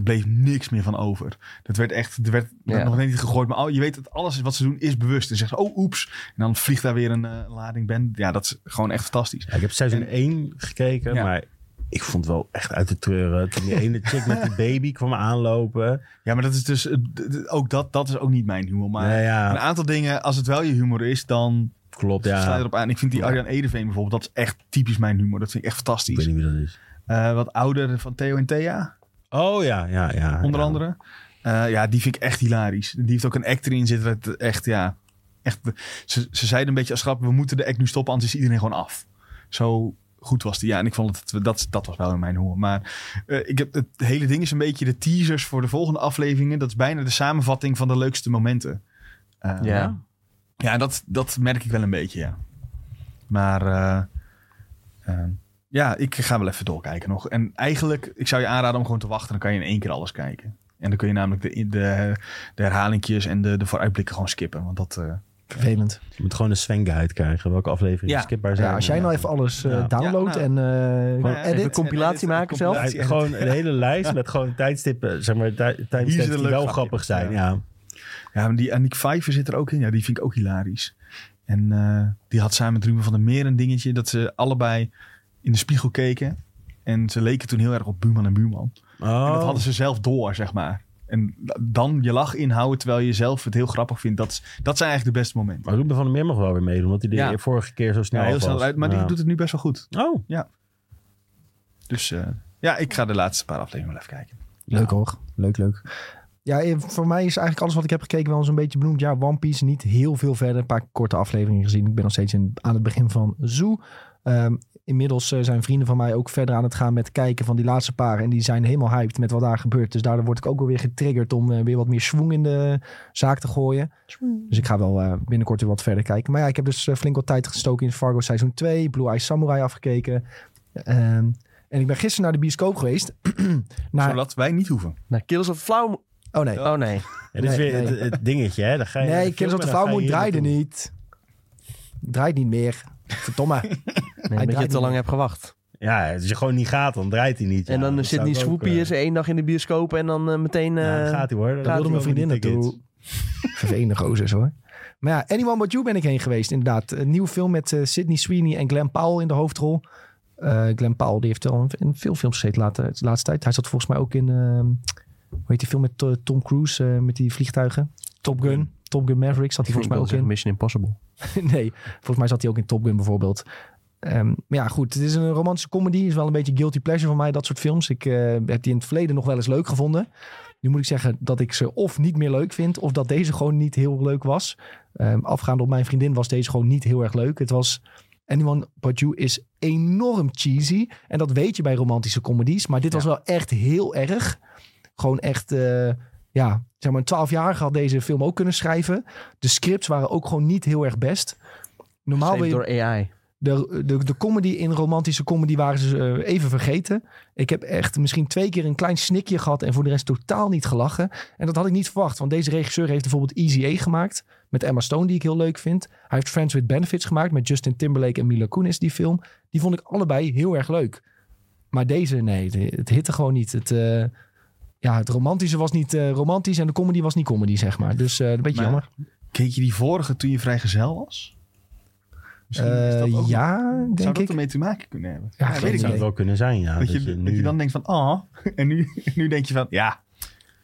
S2: bleef niks meer van over. Dat werd echt, er werd
S3: Ja.
S2: werd nog net niet gegooid, maar al- je weet dat alles wat ze doen is bewust. En zeggen ze, oh oeps, en dan vliegt daar weer een eh, lading band. Ja, dat is gewoon echt fantastisch.
S4: Ja, ik heb seizoen 1 gekeken,
S2: Ja.
S4: maar ik vond het wel echt uit de treuren. Toen die ene chick met die baby kwam aanlopen.
S2: Ja, maar dat is dus eh, d- d- ook dat, dat is ook niet mijn humor. Maar
S4: ja,
S2: een
S4: ja,
S2: aantal dingen, als het wel je humor is, dan
S4: klopt.
S2: sla
S4: Ja.
S2: je erop aan. Ik vind die Arjan Edeveen bijvoorbeeld, dat is echt typisch mijn humor. Dat vind ik echt
S4: Ik weet
S2: fantastisch.
S4: niet wie dat is.
S2: Eh, wat ouder van Theo en Thea.
S4: Oh ja, ja, ja.
S2: onder
S4: ja.
S2: andere. Eh, ja, die vind ik echt hilarisch. Die heeft ook een act erin zitten. Dat echt, ja, echt, ze, ze zeiden een beetje als grap, we moeten de act nu stoppen, anders is iedereen gewoon af. Zo goed was die. Ja, en ik vond het, dat, dat was wel in mijn honger. Maar eh, ik heb, het hele ding is een beetje de teasers voor de volgende afleveringen. Dat is bijna de samenvatting van de leukste momenten. Eh,
S3: Ja.
S2: Ja, dat, dat merk ik wel een beetje, ja. Maar eh, eh, ja, ik ga wel even doorkijken nog. En eigenlijk, ik zou je aanraden om gewoon te wachten. Dan kan je in één keer alles kijken. En dan kun je namelijk de, de, de herhalingjes en de, de vooruitblikken gewoon skippen. Want dat... eh,
S1: Vervelend.
S4: Je moet gewoon een Sven-guide krijgen. Welke afleveringen
S2: Ja.
S4: skipbaar zijn.
S1: Ja, als jij nou even alles eh,
S4: Ja.
S1: downloadt
S2: Ja,
S1: en eh,
S2: nou,
S1: edit.
S3: even compilatie maken zelf.
S4: Ja, gewoon een hele lijst met gewoon tijdstippen, zeg maar, tij-
S2: Hier
S4: tijdstippen
S2: zit een
S4: die
S2: leuk
S4: wel
S2: grapje.
S4: grappig zijn. Ja.
S2: Ja, maar die Annick Vijver zit er ook in. Ja, die vind ik ook hilarisch. En eh, die had samen met Ruben van der Meer een dingetje dat ze allebei in de spiegel keken. En ze leken toen heel erg op buurman en buurman. En
S4: Oh.
S2: dat hadden ze zelf door, zeg maar. En da- dan je lach inhouden terwijl je zelf het heel grappig vindt. Dat, is- dat zijn eigenlijk de beste momenten.
S4: Maar Ruben van der Meer mag wel weer meedoen, want die deed
S2: Ja.
S4: vorige keer zo snel
S2: Ja, heel
S4: alvast.
S2: snel uit, maar
S4: Ja.
S2: die doet het nu best wel goed.
S4: Oh,
S2: Dus eh, ja, ik ga de laatste paar afleveringen wel even kijken.
S1: Leuk hoor. Leuk, leuk. Ja, eh, voor mij is eigenlijk alles wat ik heb gekeken wel eens een beetje benoemd. Ja, One Piece niet heel veel verder. Een paar korte afleveringen gezien. Ik ben nog steeds in- aan het begin van Zoo. Ehm, inmiddels eh, zijn vrienden van mij ook verder aan het gaan met kijken van die laatste paar. En die zijn helemaal hyped met wat daar gebeurt. Dus daardoor word ik ook wel weer getriggerd om eh, weer wat meer schwung in de zaak te gooien. Dus ik ga wel eh, binnenkort weer wat verder kijken. Maar ja, ik heb dus eh, flink wat tijd gestoken in Fargo seizoen 2. Blue Eye Samurai afgekeken. Ehm, en ik ben gisteren naar de bioscoop geweest. naar...
S2: Zodat wij niet hoeven.
S3: Nou, Kills of Flower...
S1: Oh nee.
S3: Oh nee.
S4: en dit is
S1: Nee,
S4: weer
S1: nee.
S4: het, het dingetje, hè? Dan ga je
S1: Nee, Kills of the Flower Moon draaide niet. Draait niet meer. Verdomme.
S3: nee omdat je
S1: draait
S3: te lang
S1: niet.
S3: hebt gewacht.
S4: Ja, als je gewoon niet gaat, dan draait hij niet.
S3: en dan eh, zit
S4: zit
S3: die
S4: niet
S3: swoopie eens één dag in de bioscoop en dan eh, meteen... eh,
S4: Ja, nou, dan gaat hij hoor.
S1: Dat
S4: Dan
S1: wilde
S4: gaat
S1: mijn
S4: hij
S1: vriendin
S4: over die tickets.
S1: naartoe. Vervelende gozers hoor. Maar ja, Anyone But You ben ik heen geweest inderdaad. Een nieuwe film met eh, Sydney Sweeney en Glenn Powell in de hoofdrol. Eh Glenn Powell die heeft al in- in veel films gezeten later- de laatste tijd. Hij zat volgens mij ook in, ehm hoe heet die film met eh, Tom Cruise, eh, met die vliegtuigen. Top Gun. Top Gun Maverick zat hij
S3: ik
S1: volgens mij
S3: wil
S1: ook in.
S3: zeggen Mission Impossible.
S1: nee, volgens mij zat hij ook in Top Gun bijvoorbeeld. Ehm, maar ja, goed. Het is een romantische comedy. is wel een beetje guilty pleasure van mij, dat soort films. Ik eh, heb die in het verleden nog wel eens leuk gevonden. Nu moet ik zeggen dat ik ze of niet meer leuk vind... of dat deze gewoon niet heel leuk was. Ehm, afgaande op mijn vriendin was deze gewoon niet heel erg leuk. Het was... Anyone But You is enorm cheesy. En dat weet je bij romantische comedies. Maar dit was wel echt heel erg. Gewoon echt... eh, ja, zeg maar, een twaalfjarige had deze film ook kunnen schrijven. De scripts waren ook gewoon niet heel erg best. Normaal wil
S3: Geschreven
S1: je
S3: door AI.
S1: de, de, de comedy in romantische comedy waren ze eh, even vergeten. Ik heb echt misschien twee keer een klein snikje gehad en voor de rest totaal niet gelachen. En dat had ik niet verwacht, want deze regisseur heeft bijvoorbeeld Easy A gemaakt met Emma Stone, die ik heel leuk vind. Hij heeft Friends with Benefits gemaakt met Justin Timberlake en Mila Kunis, die film. Die vond ik allebei heel erg leuk. Maar deze, nee, het, het hitte gewoon niet. Het, eh, ja, het romantische was niet eh, romantisch en de comedy was niet comedy, zeg maar. Dus eh, een beetje
S2: Maar-
S1: jammer.
S2: Keek je die vorige toen je vrijgezel was?
S1: Eh,
S2: nog-
S1: ja,
S2: Zou
S1: denk
S2: dat
S1: ik.
S2: ermee te maken kunnen hebben?
S1: Ja, geen
S2: weet ik
S4: Dat
S1: idee.
S2: niet.
S4: zou het wel kunnen zijn, ja.
S2: dat, je, dat je dan denkt van, ah. En nu, nu denk je van, ja,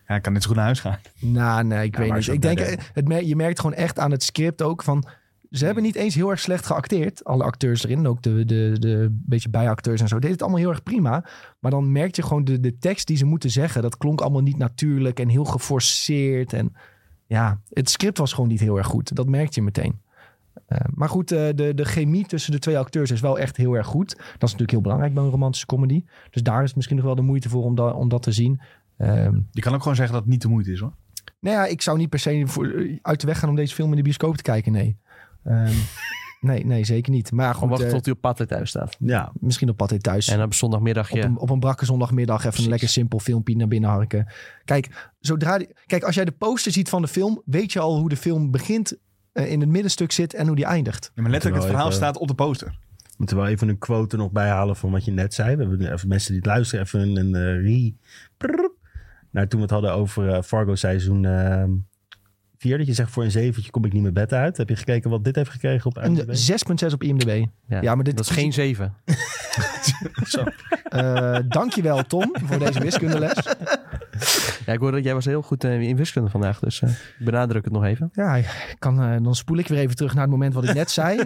S2: ja, ik kan net zo goed naar huis gaan.
S1: Nou, nee, ik
S4: Ja,
S1: weet
S4: maar
S1: niet.
S4: zo
S1: Ik denk,
S4: verder.
S1: eh, het mer- je merkt gewoon echt aan het script ook van... Ze hebben niet eens heel erg slecht geacteerd. Alle acteurs erin, ook de, de, de beetje bijacteurs en zo. Deed het allemaal heel erg prima. Maar dan merk je gewoon de, de tekst die ze moeten zeggen. Dat klonk allemaal niet natuurlijk en heel geforceerd. En ja, het script was gewoon niet heel erg goed. Dat merkte je meteen. Eh, maar goed, eh, de, de chemie tussen de twee acteurs is wel echt heel erg goed. Dat is natuurlijk heel belangrijk bij een romantische comedy. Dus daar is het misschien nog wel de moeite voor om, da- om dat te zien. Ehm
S2: Je kan ook gewoon zeggen dat het niet de moeite is hoor.
S1: nou ja, ik zou niet per se voor, eh, uit de weg gaan om deze film in de bioscoop te kijken, nee. Ehm, nee, nee, zeker niet. Maar ja,
S3: Gewoon
S1: goed,
S3: wachten
S1: eh,
S3: tot hij op Pathé thuis staat.
S4: Ja,
S1: misschien op pad in thuis.
S3: En op zondagmiddagje...
S1: Op, een, op een brakke zondagmiddag even een lekker simpel filmpje naar binnen harken. Kijk, zodra die- kijk, als jij de poster ziet van de film, weet je al hoe de film begint, eh, in het middenstuk zit en hoe die eindigt.
S2: Ja, maar letterlijk,
S4: Terwijl
S2: het verhaal
S4: even-
S2: staat op de poster.
S4: we moeten wel even een quote er nog bij halen van wat je net zei. We hebben even mensen die het luisteren even een, een eh, re... prrrp. Nou, toen we het hadden over eh, Fargo seizoen 4, dat je zegt voor een zeventje kom ik niet mijn bed uit. Heb je gekeken wat dit heeft gekregen op
S1: Een
S4: IMDb?
S1: 6.6 op IMDb.
S3: ja.
S1: ja, maar dit
S3: dat is
S1: is-
S3: geen zeven.
S1: Eh dankjewel Tom voor deze wiskundeles.
S3: Ja, ik hoorde dat jij was heel goed eh, in wiskunde vandaag. Dus eh, ik benadruk het nog even.
S1: Ja, ik kan, eh, dan spoel ik weer even terug naar het moment wat ik net zei.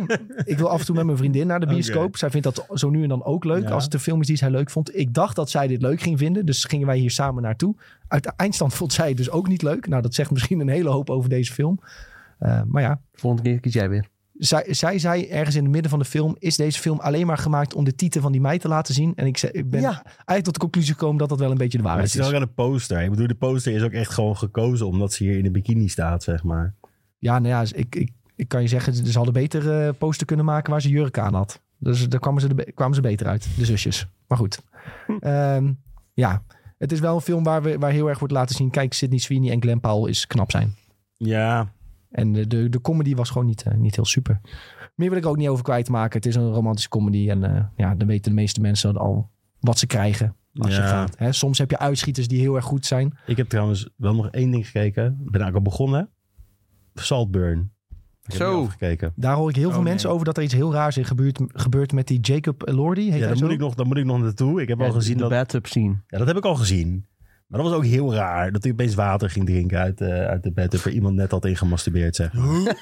S1: ik wil af en toe met mijn vriendin naar de bioscoop.
S4: Oké.
S1: Zij vindt dat zo nu en dan ook leuk.
S4: Ja.
S1: Als het een film is die zij leuk vond. Ik dacht dat zij dit leuk ging vinden. Dus gingen wij hier samen naartoe. Uit de eindstand vond zij het dus ook niet leuk. Nou, dat zegt misschien een hele hoop over deze film. Eh, maar ja,
S3: Volgende keer kies jij weer.
S1: zij, zij zei ergens in het midden van de film... is deze film alleen maar gemaakt om de titel van die meid te laten zien. En ik, ze- ik ben
S3: Ja.
S1: eigenlijk tot de conclusie gekomen dat dat wel een beetje de
S4: Maar het
S1: waarheid
S4: zit ook
S1: is.
S4: aan de poster. Ik bedoel, de poster is ook echt gewoon gekozen omdat ze hier in de bikini staat, zeg maar.
S1: Ja, nou ja, ik, ik, ik kan je zeggen, ze hadden beter eh, poster kunnen maken waar ze jurk aan had. Dus daar kwamen ze, de be- kwamen ze beter uit, de zusjes. Maar goed. Ehm, ja, het is wel een film waar, we, waar heel erg wordt laten zien... kijk, Sidney Sweeney en Glenn Powell is knap zijn.
S4: Ja,
S1: En de, de, de comedy was gewoon niet, eh, niet heel super. Meer wil ik er ook niet over kwijtmaken. Het is een romantische comedy. En eh, ja, dan weten de meeste mensen al wat ze krijgen. Als
S4: Ja.
S1: je gaat. Hè, soms heb je uitschieters die heel erg goed zijn.
S4: ik heb trouwens wel nog één ding gekeken. Ik ben eigenlijk al begonnen. Saltburn. Ik heb
S3: Zo.
S4: niet afgekeken.
S1: Daar hoor ik heel
S2: Oh,
S1: veel mensen
S2: nee.
S1: over dat er iets heel raars in gebeurt, gebeurt met die Jacob Lordy. Heet
S4: Ja,
S1: hij
S4: daar
S1: zo?
S4: moet, ik nog, daar moet ik nog naartoe. Ik heb al gezien
S3: de
S4: dat...
S3: bathtub scene.
S4: Ja, dat heb ik al gezien. Maar dat was ook heel raar. Dat hij opeens water ging drinken uit, eh, uit de bed. Of er iemand net had ingemasturbeerd, zeg. maar.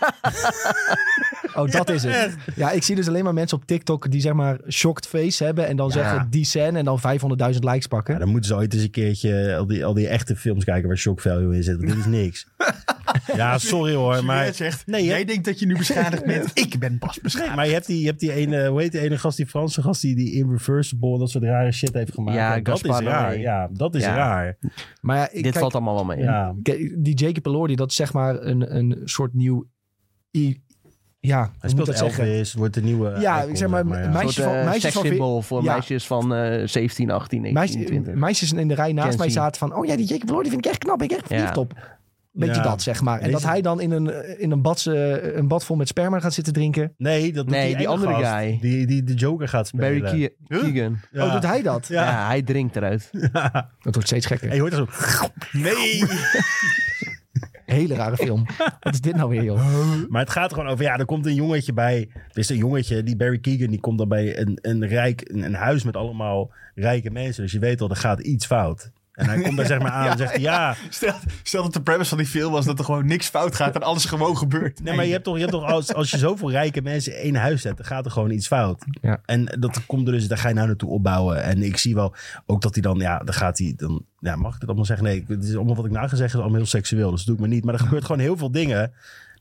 S1: Oh, dat is het. Ja, ik zie dus alleen maar mensen op TikTok die zeg maar shocked face hebben. En dan
S4: Ja.
S1: zeggen die scène en dan 500.000 likes pakken.
S4: Ja, dan moeten ze ooit eens een keertje al die, al die echte films kijken waar shock value in zit. Want dit is niks. ja, sorry hoor. Maar,
S2: zegt,
S4: nee, je-
S2: jij denkt dat je nu beschadigd bent. Ik ben pas beschadigd.
S4: maar je hebt die, je hebt die ene, hoe heet die ene gast, die Franse gast, die, die Irreversible, dat soort rare shit heeft gemaakt.
S3: Ja,
S4: En dat is
S3: Gaspar
S4: raar.
S3: Noé.
S4: Ja, dat is
S3: Ja.
S4: raar.
S1: Maar ja, ik-
S3: Dit
S1: kijk,
S3: valt allemaal wel mee.
S4: Ja.
S1: Kijk, die Jacob Elordi, dat is zeg maar een, een soort nieuw... I, ja, hoe
S4: Hij
S1: moet
S4: speelt
S1: dat zeggen?
S4: Elvis, wordt de nieuwe
S1: Ja,
S4: icon,
S1: ik zeg maar,
S4: ja.
S1: mijn-
S3: Een
S1: Meisjes
S3: soort,
S1: van-
S3: eh,
S1: meisjes van
S3: sekssymbool voor
S1: ja.
S3: meisjes van eh 17, 18, 19,
S1: Meisje,
S3: 20.
S1: meisjes in de rij naast
S3: Gen
S1: mij
S3: Z.
S1: zaten van... oh ja, die Jacob Lordy vind ik echt knap, ben ik echt verliefd
S3: Ja.
S1: op. Beetje
S4: Ja.
S1: dat, zeg maar. En
S4: Deze-
S1: dat hij dan in een, in een, bad, eh, een bad vol met sperma gaat zitten drinken.
S4: Nee, dat doet
S3: Nee,
S4: die,
S3: die
S4: ene
S3: andere
S4: gast,
S3: guy.
S4: Die, die de Joker gaat spelen.
S3: Barry Ke- Keegan.
S4: Ja.
S1: Oh, doet hij dat?
S3: Ja.
S4: Ja.
S3: hij drinkt eruit.
S1: Dat wordt steeds gekker.
S4: En je hoort er zo...
S2: Nee.
S1: Hele rare film. Wat is dit nou weer, joh?
S4: Maar het gaat er gewoon over, ja, er komt een jongetje bij. Er is een jongetje, die Barry Keegan, die komt dan bij een, een rijk, een, een huis met allemaal rijke mensen. Dus je weet al, er gaat iets fout. En hij komt daar zeg maar aan en zegt, ja,
S2: Stel, stel dat de premise van die film was dat er gewoon niks fout gaat en alles gewoon gebeurt.
S4: nee, maar je hebt toch, je hebt toch als, als je zoveel rijke mensen in één huis zet, dan gaat er gewoon iets fout.
S1: Ja.
S4: En dat komt er dus, daar ga je nou naartoe opbouwen. En ik zie wel ook dat hij dan, ja, dan gaat hij, dan, ja, mag ik dit allemaal zeggen? Nee, het is allemaal wat ik na ga zeggen, is allemaal heel seksueel, dus dat doe ik maar niet. Maar er gebeurt gewoon heel veel dingen.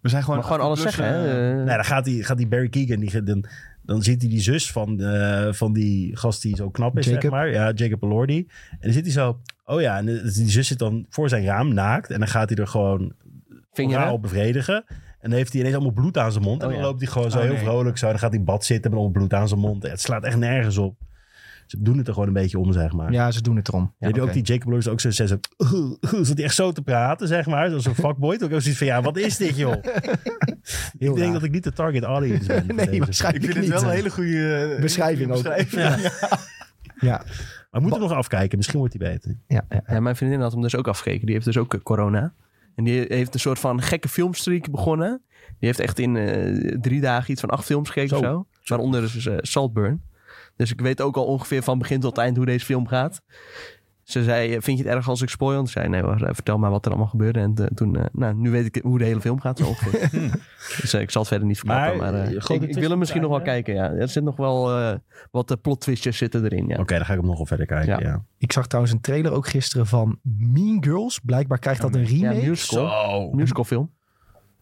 S2: We zijn gewoon...
S3: Maar gewoon alles zeggen, hè? eh.
S4: dus, Nee, dan gaat die, gaat die Barry Keegan, die, ge- dan, dan ziet hij die zus van, eh, van die gast die zo knap is, zeg
S1: Jacob.
S4: maar. Ja, Jacob Elordi. En dan zit hij zo, oh ja, en eh, die zus zit dan voor zijn raam naakt. En dan gaat hij er gewoon
S3: Vinger, hè?
S4: raal bevredigen. En dan heeft hij ineens allemaal bloed aan zijn mond. en
S3: Oh
S4: dan
S3: ja.
S4: loopt hij gewoon zo
S2: Oh,
S4: heel
S2: nee.
S4: vrolijk zo. En dan gaat hij in bad zitten met allemaal bloed aan zijn mond. Het slaat echt nergens op. Ze doen het er gewoon een beetje om, zeg maar.
S1: Ja, ze doen het erom. Ja,
S4: Weet je
S1: oké.
S4: ook die Jacob Elordi is ook zo, zo, zo zat hij echt zo te praten, zeg maar. Zoals een fuckboy. Toen ook zoiets van, ja, wat is dit, joh?
S1: Heel
S4: Ik denk
S1: raar.
S4: dat ik niet de target audience ben. voor
S1: Nee,
S4: deze.
S2: Ik
S1: waarschijnlijk
S2: vind het
S1: niet.
S2: wel een hele goede eh,
S1: Beschrijving ook.
S2: beschrijving.
S1: Ja,
S4: Maar we moeten nog afkijken. Misschien wordt hij beter.
S1: ja, ja.
S3: Ja, mijn vriendin had hem dus ook afgekeken. Die heeft dus ook eh, corona. En die heeft een soort van gekke filmstreak begonnen. Die heeft echt in eh, drie dagen iets van acht films gekeken
S4: Zo.
S3: of zo. Waaronder dus eh, Saltburn. Dus ik weet ook al ongeveer van begin tot eind hoe deze film gaat. Ze zei, eh, vind je het erg als ik spoil? En ik zei, nee hoor, eh, vertel maar wat er allemaal gebeurde. En eh, toen, eh, nou, nu weet ik hoe de hele film gaat zo ongeveer. dus eh, ik zal het verder niet verklappen.
S4: Hmm. Maar,
S3: Maar, eh,
S4: eh,
S3: ik,
S4: grote
S3: ik wil
S4: twist
S3: hem misschien nog wel
S4: eigenlijk,
S3: kijken, ja. Er zit nog wel eh, wat eh, plot twistjes zitten erin, ja.
S4: Oké, dan ga ik hem nog wel verder kijken. Ja.
S3: Ja.
S1: Ik zag trouwens een trailer ook gisteren van Mean Girls. Blijkbaar krijgt dat een
S3: Ja,
S1: remake.
S3: musical. Musical film.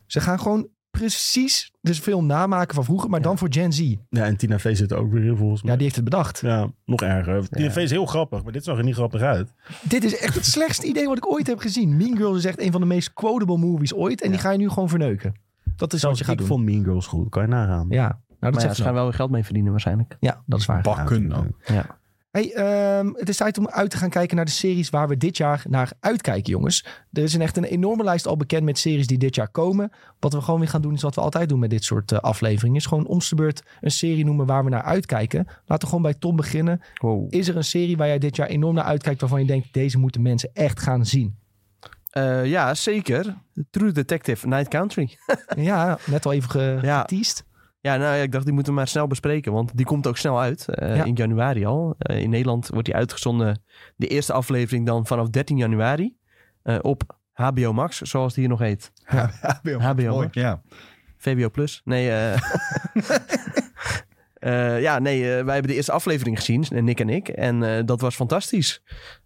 S1: Ze gaan gewoon precies de film namaken van vroeger, maar dan voor Gen Z. Ja,
S4: Ja, en Tina Fey zit er ook weer in volgens mij.
S1: die heeft het bedacht.
S4: Ja, nog erger. Tina Fey is heel grappig, maar dit zag er niet grappig uit.
S1: Dit is echt het slechtste idee wat ik ooit heb gezien. Mean Girls is echt een van de meest quotable movies ooit. En die ga je nu gewoon verneuken. Dat is wat je
S4: ik
S1: gaat doen.
S4: vond Mean Girls goed. Kan je nagaan.
S1: Ja, nou, dat
S3: Maar ja,
S1: zegt ze
S3: ze gaan
S1: wel.
S3: wel weer geld mee verdienen waarschijnlijk.
S1: ja, dat is waar.
S2: Bakken ook.
S3: Ja.
S1: Hey, ehm, het is tijd om uit te gaan kijken naar de series waar we dit jaar naar uitkijken, jongens. Er is een echt een enorme lijst al bekend met series die dit jaar komen. Wat we gewoon weer gaan doen, is wat we altijd doen met dit soort eh, afleveringen. Is gewoon om de beurt een serie noemen waar we naar uitkijken. Laten we gewoon bij Tom beginnen.
S3: Wow.
S1: Is er een serie waar jij dit jaar enorm naar uitkijkt, waarvan je denkt, deze moeten mensen echt gaan zien?
S3: Eh, ja, zeker. True Detective, Night Country.
S1: ja, net al even ge
S3: Ja.
S1: geteased.
S3: Ja, nou ja, ik dacht die moeten we maar snel bespreken, want die komt ook snel uit. eh,
S1: Ja.
S3: In januari al. Eh, in Nederland wordt die uitgezonden, de eerste aflevering dan vanaf 13 januari. eh, op HBO Max, zoals die hier nog heet. HBO
S2: Mooi.
S3: Max.
S2: Ja.
S3: VBO Plus. Nee, eh eh, ja, nee, eh, wij hebben de eerste aflevering gezien, eh, Nick en ik. En eh, dat was fantastisch.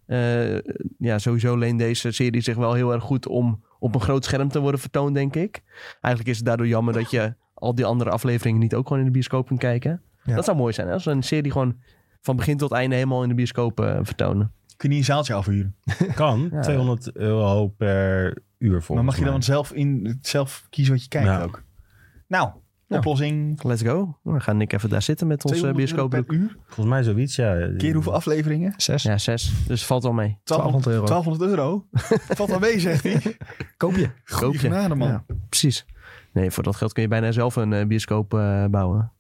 S3: Eh, ja, sowieso leent deze serie zich wel heel erg goed om op een groot scherm te worden vertoond, denk ik. Eigenlijk is het daardoor jammer dat je al die andere afleveringen niet ook gewoon in de bioscoop kunnen kijken.
S1: Ja.
S3: Dat zou mooi zijn hè, als we een serie gewoon van begin tot einde helemaal in de bioscoop eh, vertonen.
S2: Kun je niet een zaaltje overhuren.
S4: Kan.
S3: Ja.
S4: 200 euro per uur voor.
S2: Maar mag je dan zelf, in, zelf kiezen wat je kijkt
S4: Ja.
S2: ook? Nou, oplossing.
S3: Let's go. We gaan Nick even daar zitten met ons eh,
S2: 200 euro
S3: bioscoopbroek.
S2: per uur.
S4: Volgens mij zoiets, ja.
S2: Keer hoeveel afleveringen?
S1: Zes.
S3: Ja, zes. Dus valt wel mee.
S1: 1200 euro.
S2: 1200 euro. Valt wel mee, zegt hij.
S1: Koop je.
S3: Koop
S2: Goeie
S3: je.
S2: genade, man.
S1: Ja.
S3: Precies. Nee, voor dat geld kun je bijna zelf een eh, bioscoop eh, bouwen.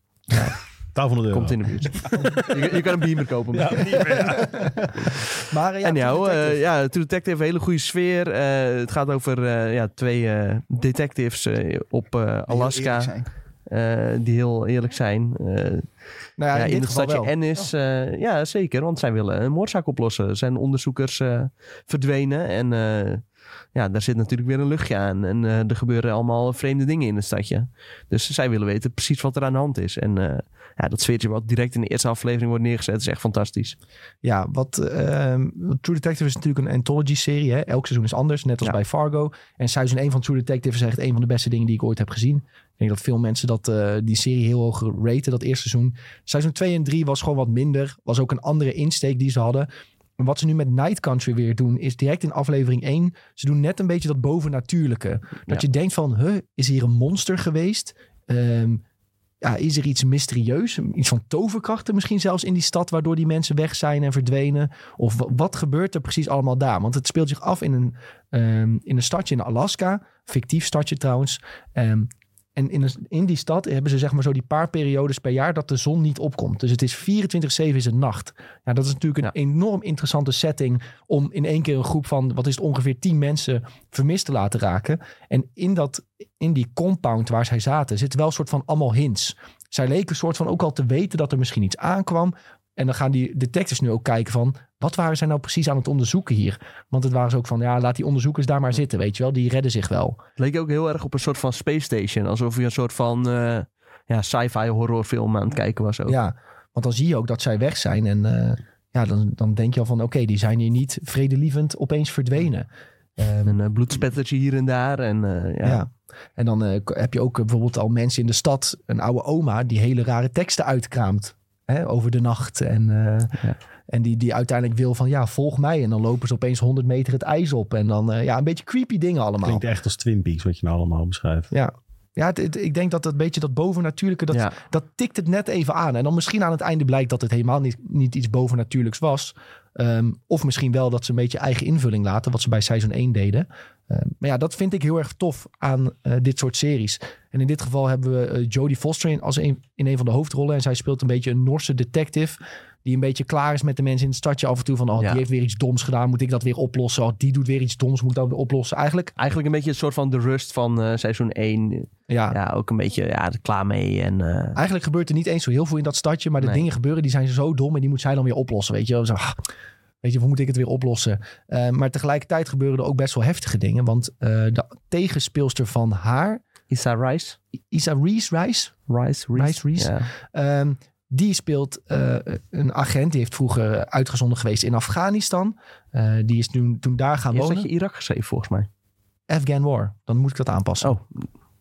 S4: 1200 euro.
S3: Komt in de buurt. je, je kan een beamer kopen.
S1: Maar eh, ja,
S3: en jou,
S1: True
S3: eh
S1: Detective.
S3: ja, True Detective, hele goede sfeer. Eh, het gaat over eh, ja, twee eh, detectives eh, op eh, Alaska
S2: Eerlijk zijn.
S3: eh, die heel eerlijk zijn. Eh,
S1: nou ja, in,
S3: ja, in
S1: dit
S3: het
S1: geval
S3: stadje
S1: wel. Oh.
S3: Ennis, eh, ja zeker, want zij willen een moordzaak oplossen. Er zijn onderzoekers eh, verdwenen en eh, ja, daar zit natuurlijk weer een luchtje aan. En eh, er gebeuren allemaal vreemde dingen in het stadje. Dus zij willen weten precies wat er aan de hand is. En eh, ja, dat sfeertje wat direct in de eerste aflevering wordt neergezet is echt fantastisch.
S1: Ja, wat ehm, True Detective is natuurlijk een anthology-serie. hè. Elk seizoen is anders, net als
S3: Ja.
S1: bij Fargo. En seizoen 1 van True Detective is echt een van de beste dingen die ik ooit heb gezien. Ik denk dat veel mensen dat, eh, die serie heel hoog raten, dat eerste seizoen. Seizoen 2 en 3 was gewoon wat minder. Was ook een andere insteek die ze hadden. En wat ze nu met Night Country weer doen, is direct in aflevering 1... ze doen net een beetje dat bovennatuurlijke. Dat je denkt van, huh, is hier een monster geweest? Ehm, ja, is er iets mysterieus? Iets van toverkrachten misschien zelfs in die stad... waardoor die mensen weg zijn en verdwenen? Of wa- wat gebeurt er precies allemaal daar? Want het speelt zich af in een, ehm, in een stadje in Alaska. Fictief stadje trouwens. Ehm, en in, een- in die stad hebben ze zeg maar zo die paar periodes per jaar... dat de zon niet opkomt. Dus het is 24-7 is het nacht. Ja, dat is natuurlijk een enorm interessante setting... om in één keer een groep van, wat is het, ongeveer 10 mensen... vermist te laten raken. En in, dat, in die compound waar zij zaten... zitten wel een soort van allemaal hints. Zij leken soort van ook al te weten dat er misschien iets aankwam... En dan gaan die detectives nu ook kijken van... wat waren zij nou precies aan het onderzoeken hier? Want het waren ze ook van, ja, laat die onderzoekers daar maar zitten, weet je wel. Die redden zich wel.
S3: Het leek ook heel erg op een soort van space station. Alsof je een soort van eh, ja, sci-fi horrorfilm aan het kijken was ook.
S1: Ja, want dan zie je ook dat zij weg zijn. En eh, ja, dan, dan denk je al van, oké, die zijn hier niet vredelievend opeens verdwenen. Ehm,
S3: Een eh, bloedspettertje hier en daar. En, eh,
S1: ja.
S3: ja.
S1: En dan eh, k- heb je ook eh, bijvoorbeeld al mensen in de stad, een oude oma, die hele rare teksten uitkraamt. Hè, over de nacht. En, eh,
S3: Ja.
S1: en die, die uiteindelijk wil van, ja, volg mij. En dan lopen ze opeens 100 meter het ijs op. En dan, eh, ja, een beetje creepy dingen allemaal.
S4: Klinkt echt als Twin Peaks, wat je nou allemaal beschrijft.
S1: Ja, ja het- het- ik denk dat dat beetje dat bovennatuurlijke, dat,
S3: Ja.
S1: dat tikt het net even aan. En dan misschien aan het einde blijkt dat het helemaal niet, niet iets bovennatuurlijks was. Ehm, of misschien wel dat ze een beetje eigen invulling laten, wat ze bij seizoen 1 deden. Ehm, maar ja, dat vind ik heel erg tof aan eh, dit soort series. En in dit geval hebben we eh, Jodie Foster in, als een, in een van de hoofdrollen. En zij speelt een beetje een Norse detective. Die een beetje klaar is met de mensen in het stadje af en toe. Van, oh,
S3: Ja.
S1: die heeft weer iets doms gedaan. Moet ik dat weer oplossen? Oh, die doet weer iets doms. Moet ik dat weer oplossen? Eigenlijk,
S3: Eigenlijk een beetje een soort van de rust van eh, seizoen 1.
S1: ja,
S3: Ja, ook een beetje ja, er klaar mee. En, eh,
S1: Eigenlijk gebeurt er niet eens zo heel veel in dat stadje. Maar de
S3: Nee.
S1: dingen gebeuren, die zijn zo dom. En die moet zij dan weer oplossen. Weet je, wel. zo, ah, weet je hoe moet ik het weer oplossen? Eh, maar tegelijkertijd gebeuren er ook best wel heftige dingen. Want eh, de tegenspeelster van haar,
S3: Issa Rice.
S1: Isa Reese Rice.
S3: Rice,
S1: Rice, Reese.
S3: Ja.
S1: Ehm, die speelt eh, een agent. Die heeft vroeger uitgezonden geweest in Afghanistan. Eh, die is nu, toen daar gaan
S3: Eerst
S1: wonen.
S3: had je Irak geschreven volgens mij.
S1: Afghan War. Dan moet ik dat aanpassen.
S3: Oh,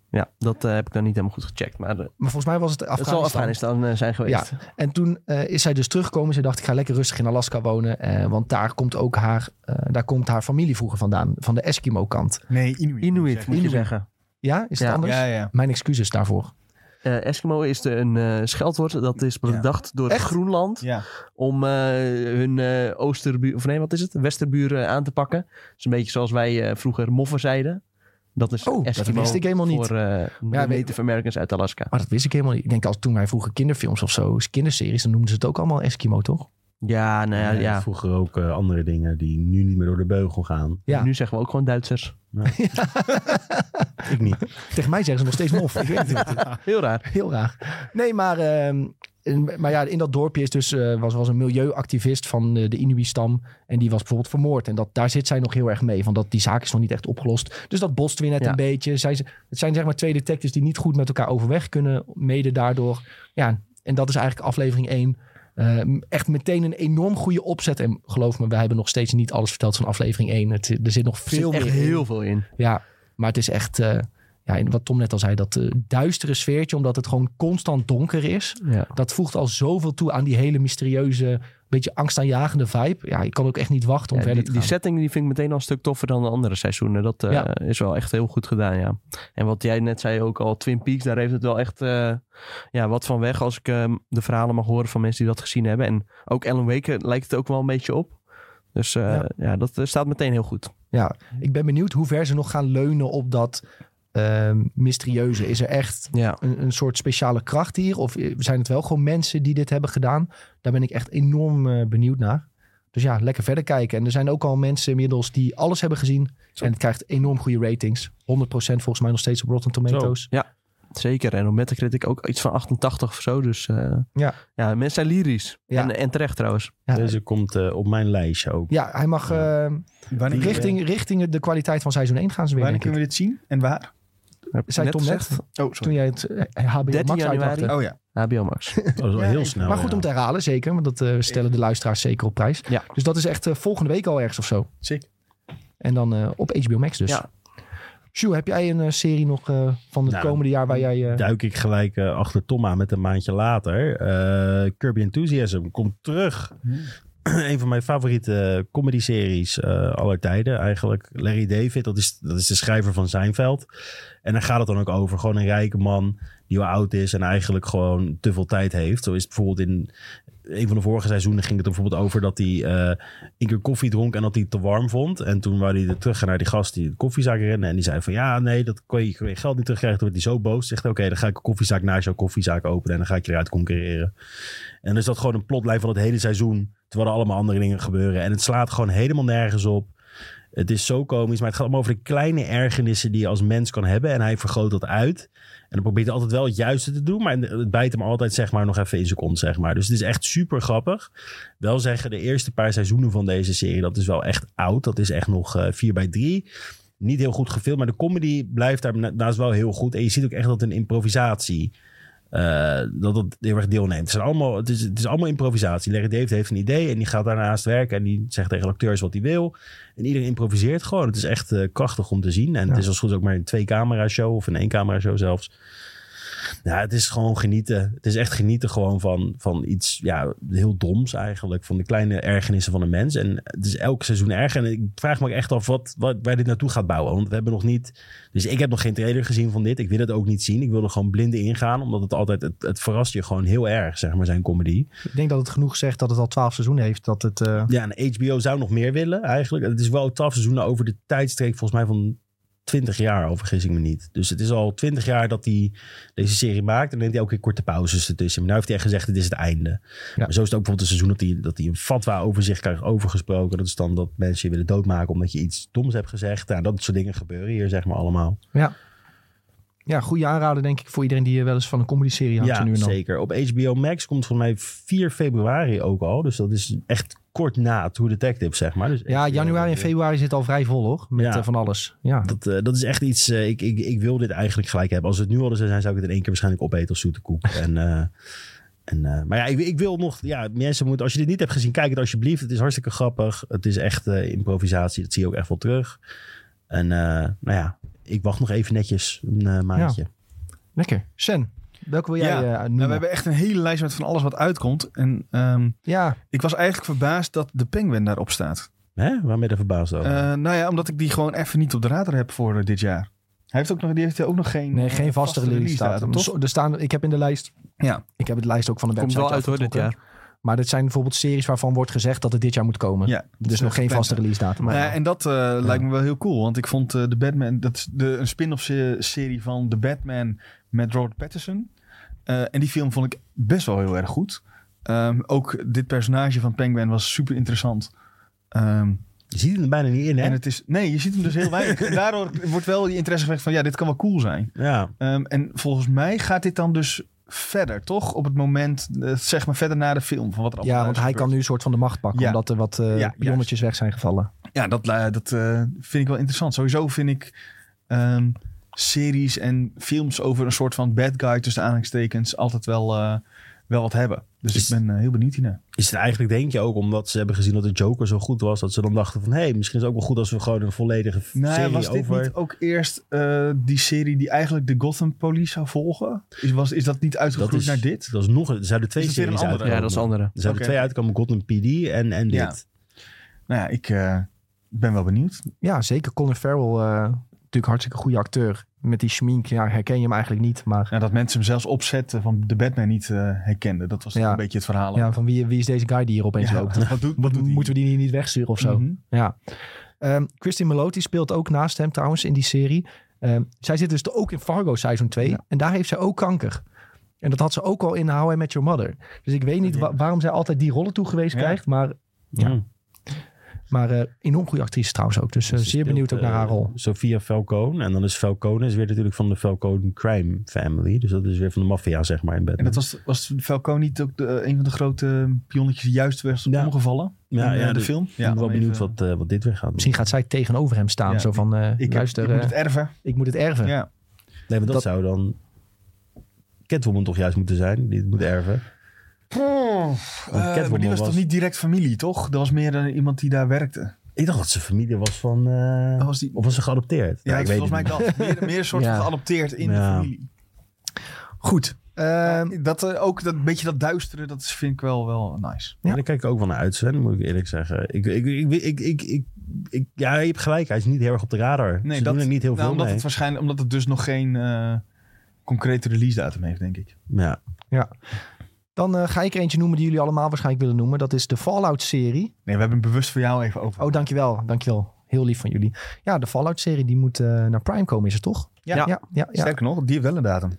S3: ja, dat eh, heb ik dan niet helemaal goed gecheckt. Maar eh,
S1: Maar volgens mij was het
S3: het zal Afghanistan eh, zijn geweest.
S1: En toen eh, is zij dus teruggekomen. Ze dacht, ik ga lekker rustig in Alaska wonen. eh, want daar komt ook haar, eh, daar komt haar familie vroeger vandaan. Van de Eskimo-kant.
S2: Nee, Inuit.
S3: Inuit, moet je
S1: Inuit.
S3: zeggen.
S1: Ja, is dat
S3: Ja.
S1: anders?
S2: Ja, ja.
S1: Mijn excuses daarvoor.
S3: Eh, Eskimo is de- een eh, scheldwoord dat is bedacht door
S1: Echt?
S3: Groenland.
S2: ja.
S3: om eh, hun eh oosterbuur, of nee, wat is het? Westerburen aan te pakken. Dus een beetje zoals wij eh, vroeger moffen zeiden. Dat is
S1: Oh, dat
S3: Eskimo
S1: wist ik helemaal niet.
S3: voor eh
S1: Ja, we-
S3: Native Americans uit Alaska.
S1: Maar dat wist ik helemaal niet. Ik denk als toen wij vroeger kinderfilms of zo, kinderseries, dan noemden ze het ook allemaal Eskimo, toch?
S3: Ja, nou ja,
S4: En
S3: ja.
S4: Vroeger ook eh, andere dingen die nu niet meer door de beugel gaan.
S1: Ja.
S3: Nu zeggen we ook gewoon Duitsers.
S4: Ik niet.
S1: Tegen mij zeggen ze nog steeds mof. Ik weet het niet.
S3: Ah, Heel raar.
S1: Heel raar. Nee, maar, ehm, in- maar ja, in dat dorpje is dus, eh, was, was een milieuactivist van eh, de Inuit-stam. En die was bijvoorbeeld vermoord. En dat, daar zit zij nog heel erg mee. Van dat, die zaak is nog niet echt opgelost. Dus dat botst weer net
S3: Ja.
S1: een beetje. Zij, het zijn zeg maar twee detectives die niet goed met elkaar overweg kunnen. Mede daardoor. Ja, en dat is eigenlijk aflevering 1. echt meteen een enorm goede opzet. En geloof me, wij hebben nog steeds niet alles verteld van aflevering 1. Het, er zit nog
S3: Er zit
S1: veel
S3: echt
S1: meer in.
S3: heel veel in.
S1: Ja, maar het is echt... eh, ja, en wat Tom net al zei, dat eh, duistere sfeertje, omdat het gewoon constant donker is.
S3: Ja.
S1: Dat voegt al zoveel toe aan die hele mysterieuze, beetje angstaanjagende vibe. Ja, ik kan ook echt niet wachten om
S3: Ja,
S1: verder
S3: die,
S1: te
S3: die
S1: gaan.
S3: setting die vind ik meteen al een stuk toffer dan de andere seizoenen. Dat eh,
S1: Ja.
S3: is wel echt heel goed gedaan, ja. En wat jij net zei ook al, Twin Peaks, daar heeft het wel echt eh, ja, wat van weg. Als ik eh, de verhalen mag horen van mensen die dat gezien hebben. En ook Alan Wake eh, lijkt het ook wel een beetje op. Dus eh,
S1: Ja.
S3: ja. dat eh, staat meteen heel goed.
S1: Ja, ik ben benieuwd hoe ver ze nog gaan leunen op dat ehm, mysterieuze. Is er echt
S3: Ja.
S1: een, een soort speciale kracht hier? Of eh, zijn het wel gewoon mensen die dit hebben gedaan? Daar ben ik echt enorm eh, benieuwd naar. Dus ja, lekker verder kijken. En er zijn ook al mensen inmiddels die alles hebben gezien. En het krijgt enorm goede ratings. 100% volgens mij nog steeds op Rotten Tomatoes.
S3: Zeker. En op Metacritic ook iets van 88 of zo. Dus eh,
S1: Ja.
S3: ja, mensen zijn lyrisch.
S1: Ja.
S3: En, en terecht trouwens.
S1: Ja,
S4: Deze komt eh, op mijn lijstje ook.
S1: ja, hij mag eh,
S2: Wanneer,
S1: richting, richting de kwaliteit van seizoen 1 gaan ze weer,
S2: wanneer
S1: denk ik.
S2: kunnen we dit zien en waar?
S3: Heb ik
S1: Zei Tom net?
S3: gezegd?
S2: Oh,
S1: Toen jij het eh, HBO
S3: 13
S1: Max
S3: januari.
S1: uitdachte.
S2: Oh ja.
S3: HBO Max.
S4: Oh, dat is wel
S2: Ja,
S4: heel
S2: ik-
S4: snel.
S1: maar goed
S4: ja.
S1: om te herhalen, zeker. Want dat eh, stellen de luisteraars zeker op prijs.
S3: Ja.
S1: Dus dat is echt eh, volgende week al ergens of zo.
S2: Zeker.
S1: En dan eh, op HBO Max dus.
S3: Ja.
S1: Sjoe, heb jij een eh, serie nog eh, van het
S4: Nou,
S1: komende jaar waar jij... eh,
S4: duik ik gelijk eh, achter Tom aan met een maandje later. Eh Kirby Enthusiasm komt terug.
S2: Nou,
S4: een van mijn favoriete comedy-series eh, aller tijden eigenlijk. Larry David, dat is, dat is de schrijver van Seinfeld. En daar gaat het dan ook over. Gewoon een rijke man die wel oud is en eigenlijk gewoon te veel tijd heeft. Zo is het bijvoorbeeld in een van de vorige seizoenen ging het er bijvoorbeeld over dat hij eh, een keer koffie dronk en dat hij het te warm vond. En toen wou hij er terug gaan naar die gast die de koffiezaak rende. En die zei van ja, nee, dat kon je, kon je geld niet terugkrijgen. Toen werd hij zo boos. Zegt oké, dan ga ik een koffiezaak naast jouw koffiezaak openen en dan ga ik je eruit concurreren. En dus dat gewoon een plotlijn van het hele seizoen. Terwijl er allemaal andere dingen gebeuren. En het slaat gewoon helemaal nergens op. Het is zo komisch, maar het gaat allemaal over de kleine ergernissen die je als mens kan hebben. En hij vergroot dat uit. En dan probeert hij altijd wel het juiste te doen. Maar het bijt hem altijd zeg maar, nog even in zijn kont. Zeg maar. Dus het is echt super grappig. Wel zeggen, de eerste paar seizoenen van deze serie... dat is wel echt oud. Dat is echt nog eh, 4 bij 3. Niet heel goed gefilmd. Maar de comedy blijft daarnaast wel heel goed. En je ziet ook echt dat een improvisatie... eh, dat dat heel erg deelneemt. Het, zijn allemaal, het, is, het is allemaal improvisatie. Larry David heeft een idee en die gaat daarnaast werken. En die zegt tegen de acteurs wat hij wil. En iedereen improviseert gewoon. Het is echt eh, krachtig om te zien. En het is als het goed is ook maar een twee-camera show of een één-camera show zelfs. Ja, het is gewoon genieten. Het is echt genieten gewoon van, van iets ja, heel doms eigenlijk. Van de kleine ergernissen van een mens. En het is elk seizoen erger. En ik vraag me ook echt af wat, wat, waar dit naartoe gaat bouwen. Want we hebben nog niet... Dus ik heb nog geen trailer gezien van dit. Ik wil het ook niet zien. Ik wil er gewoon blind ingaan. Omdat het altijd... Het, het verrast je gewoon heel erg, zeg maar, zijn comedy.
S1: Ik denk dat het genoeg zegt dat het al twaalf seizoenen heeft. Dat het, eh,
S4: Ja, en HBO zou nog meer willen eigenlijk. Het is wel twaalf seizoenen over de tijdstreek volgens mij van 20 jaar, al vergis ik me niet. Dus het is al 20 jaar dat hij deze serie maakt. En dan neemt hij elke keer korte pauzes ertussen. Maar nu heeft hij echt gezegd, dit is het einde. Maar zo is het ook bijvoorbeeld een seizoen dat hij, dat hij een fatwa over zich krijgt overgesproken. Dat is dan dat mensen je willen doodmaken omdat je iets doms hebt gezegd. Nou, dat soort dingen gebeuren hier zeg maar allemaal.
S1: ja, goede aanrader denk ik voor iedereen die eh, wel eens van een comedy serie houdt. zo nu en dan.
S4: zeker. Op HBO Max komt volgens mij 4 februari ook al. Dus dat is echt kort na True Detective, zeg maar. Dus
S1: Ja,
S4: HBO
S1: januari en
S4: weer.
S1: februari zit al vrij vol hoor. Met
S4: Ja.
S1: eh, van alles. Ja.
S4: Dat, eh, dat is echt iets. eh, ik, ik, ik wil dit eigenlijk gelijk hebben. Als we het nu hadden zou zijn, zou ik het in één keer waarschijnlijk opeten als zoete koek. En, eh, en, eh, maar ja, ik, ik wil nog. Ja, mensen moeten. Als je dit niet hebt gezien, kijk het alsjeblieft. Het is hartstikke grappig. Het is echt eh, improvisatie. Dat zie je ook echt wel terug. En eh, nou ja, ik wacht nog even netjes een eh, maandje.
S1: Lekker. Sen, welke wil jij
S2: Ja.
S1: eh,
S2: Nou,
S1: noemen?
S2: we hebben echt een hele lijst met van alles wat uitkomt. En ehm,
S1: Ja,
S2: ik was eigenlijk verbaasd dat de Penguin daarop staat.
S4: Hè? Waar ben je er verbaasd over?
S2: Eh, nou ja, omdat ik die gewoon even niet op de radar heb voor eh, dit jaar. Hij heeft ook nog, die heeft ook nog geen,
S1: nee,
S2: eh,
S1: geen vaste release datum.
S2: toch?
S1: Zo- Er staan, ik heb in de lijst,
S2: Ja.
S1: ik heb het lijst ook van de
S3: Komt
S1: website
S3: wel uit hoor dit
S1: afgetrokken.
S3: jaar.
S1: Maar dit zijn bijvoorbeeld series waarvan wordt gezegd dat het dit jaar moet komen.
S2: ja.
S1: Dus nog geen vaste release datum.
S2: Nou ja, en dat eh, lijkt me wel heel cool. Want ik vond eh, de Batman, dat is de, een spin-off se- serie van The Batman met Robert Pattinson. Eh, en die film vond ik best wel heel erg goed. Ehm, ook dit personage van Penguin was super interessant. Ehm,
S4: je ziet het er bijna niet in, hè?
S2: En het is, nee, je ziet hem dus heel weinig. En daardoor wordt wel die interesse gewekt van ja, dit kan wel cool zijn.
S4: ja.
S2: Ehm, en volgens mij gaat dit dan dus verder, toch? Op het moment, eh, zeg maar verder na de film. Van wat er
S1: ja,
S2: allemaal
S1: want
S2: is
S1: hij
S2: gebeurd.
S1: kan nu een soort van de macht pakken.
S2: Ja.
S1: Omdat er wat eh,
S2: Ja,
S1: pionnetjes weg zijn gevallen.
S2: Ja, dat, eh, dat eh, vind ik wel interessant. Sowieso vind ik ehm, series en films over een soort van bad guy tussen aanhalingstekens altijd wel eh, wel wat hebben. Dus
S4: Is-
S2: ik ben eh, heel benieuwd hiernaar.
S4: Is het eigenlijk, denk je, ook omdat ze hebben gezien dat de Joker zo goed was, dat ze dan dachten van, hé, hey, misschien is het ook wel goed als we gewoon een volledige
S2: Nou,
S4: serie
S2: was dit
S4: over...
S2: niet ook eerst eh, die serie die eigenlijk de Gotham Police zou volgen? Is, was, is dat niet uitgegroeid
S4: is-
S2: naar dit?
S4: Dat is nog, er zouden twee
S2: Is dat weer een
S4: series
S2: andere?
S3: Ja, dat is andere.
S4: Er zouden
S2: Oké.
S4: twee uitkomen, Gotham PD en, en dit.
S2: Ja. Nou ja, ik eh, ben wel benieuwd.
S1: Ja, zeker. Colin Farrell, eh, natuurlijk hartstikke goede acteur. Met die schmink, ja, herken je hem eigenlijk niet. Maar
S2: Ja, Nou, dat mensen hem zelfs opzetten van de Batman niet eh, herkenden. Dat was
S1: Ja.
S2: een beetje het verhaal.
S1: ja, van wie, wie is deze guy die hier opeens
S2: Ja,
S1: loopt?
S2: Wat doet, wat doet hij?
S1: Moeten we die hier niet wegsturen of zo?
S2: Mhm.
S1: Ja. Ehm Christine Melotti speelt ook naast hem trouwens in die serie. Ehm, zij zit dus ook in Fargo seizoen 2. En daar heeft zij ook kanker. En dat had ze ook al in How I Met Your Mother. Dus ik weet niet wa- waarom zij altijd die rollen toegewezen
S2: Ja.
S1: krijgt. Maar, Ja.
S4: Hm.
S1: maar eh, enorm goede actrice trouwens ook. Dus eh,
S4: Ze
S1: zeer
S4: speelt,
S1: benieuwd ook naar
S4: eh,
S1: haar rol.
S4: Sophia Falcone. En dan is Falcone is weer natuurlijk van de Falcone crime family. Dus dat is weer van de maffia, zeg maar, in bed.
S2: En dat was, was Falcone niet ook de, eh, een van de grote pionnetjes die juist werd
S4: Ja.
S2: omgevallen?
S4: ja,
S2: in, eh,
S4: ja,
S2: de
S4: dus
S2: film.
S4: ik ben wel
S2: om
S4: benieuwd
S2: even-
S4: wat, eh, wat dit weer gaat doen.
S1: Misschien gaat zij tegenover hem staan.
S2: Ja,
S1: zo van, eh,
S2: Ik,
S1: luister,
S2: ik
S1: eh,
S2: moet het erven.
S1: erven.
S2: Ja.
S4: Nee, want dat,
S1: dat-
S4: zou dan Catwoman toch juist moeten zijn. Die het moet erven.
S2: Eh, maar
S4: Catwoman
S2: die was,
S4: was-
S2: toch niet direct familie, toch? Dat was meer eh, iemand die daar werkte.
S4: Ik dacht dat ze familie was van... eh,
S2: Dat was die...
S4: Of was ze geadopteerd?
S2: Ja,
S4: Nou,
S2: ik
S4: weet
S2: volgens mij
S4: het niet.
S2: dat. Meer, meer een soort
S1: Ja.
S2: van geadopteerd in
S4: Ja.
S2: de familie.
S1: Goed. Ehm,
S2: dat eh, ook dat beetje dat duisteren, dat is- vind ik wel, wel nice.
S1: Ja.
S4: En daar kijk ik ook wel naar uit, Sven, moet ik eerlijk zeggen. Ik, ik, ik, ik, ik, ik- ik- ja, je hebt gelijk. Hij is niet heel erg op de radar. Nee, ze doen er niet heel
S2: nou,
S4: veel
S2: omdat
S4: mee.
S2: het waarschijnlijk Omdat het dus nog geen eh, concrete release datum heeft, denk ik.
S4: Ja.
S1: dan eh, ga ik er eentje noemen die jullie allemaal waarschijnlijk willen noemen. Dat is de Fallout-serie.
S2: Nee, we hebben hem bewust voor jou even over.
S1: Oh, dankjewel. Dankjewel. Heel lief van jullie. Ja, de Fallout-serie die moet eh, naar Prime komen, is het toch?
S2: Ja.
S1: ja, ja, ja.
S2: Sterker nog, die heeft wel een datum.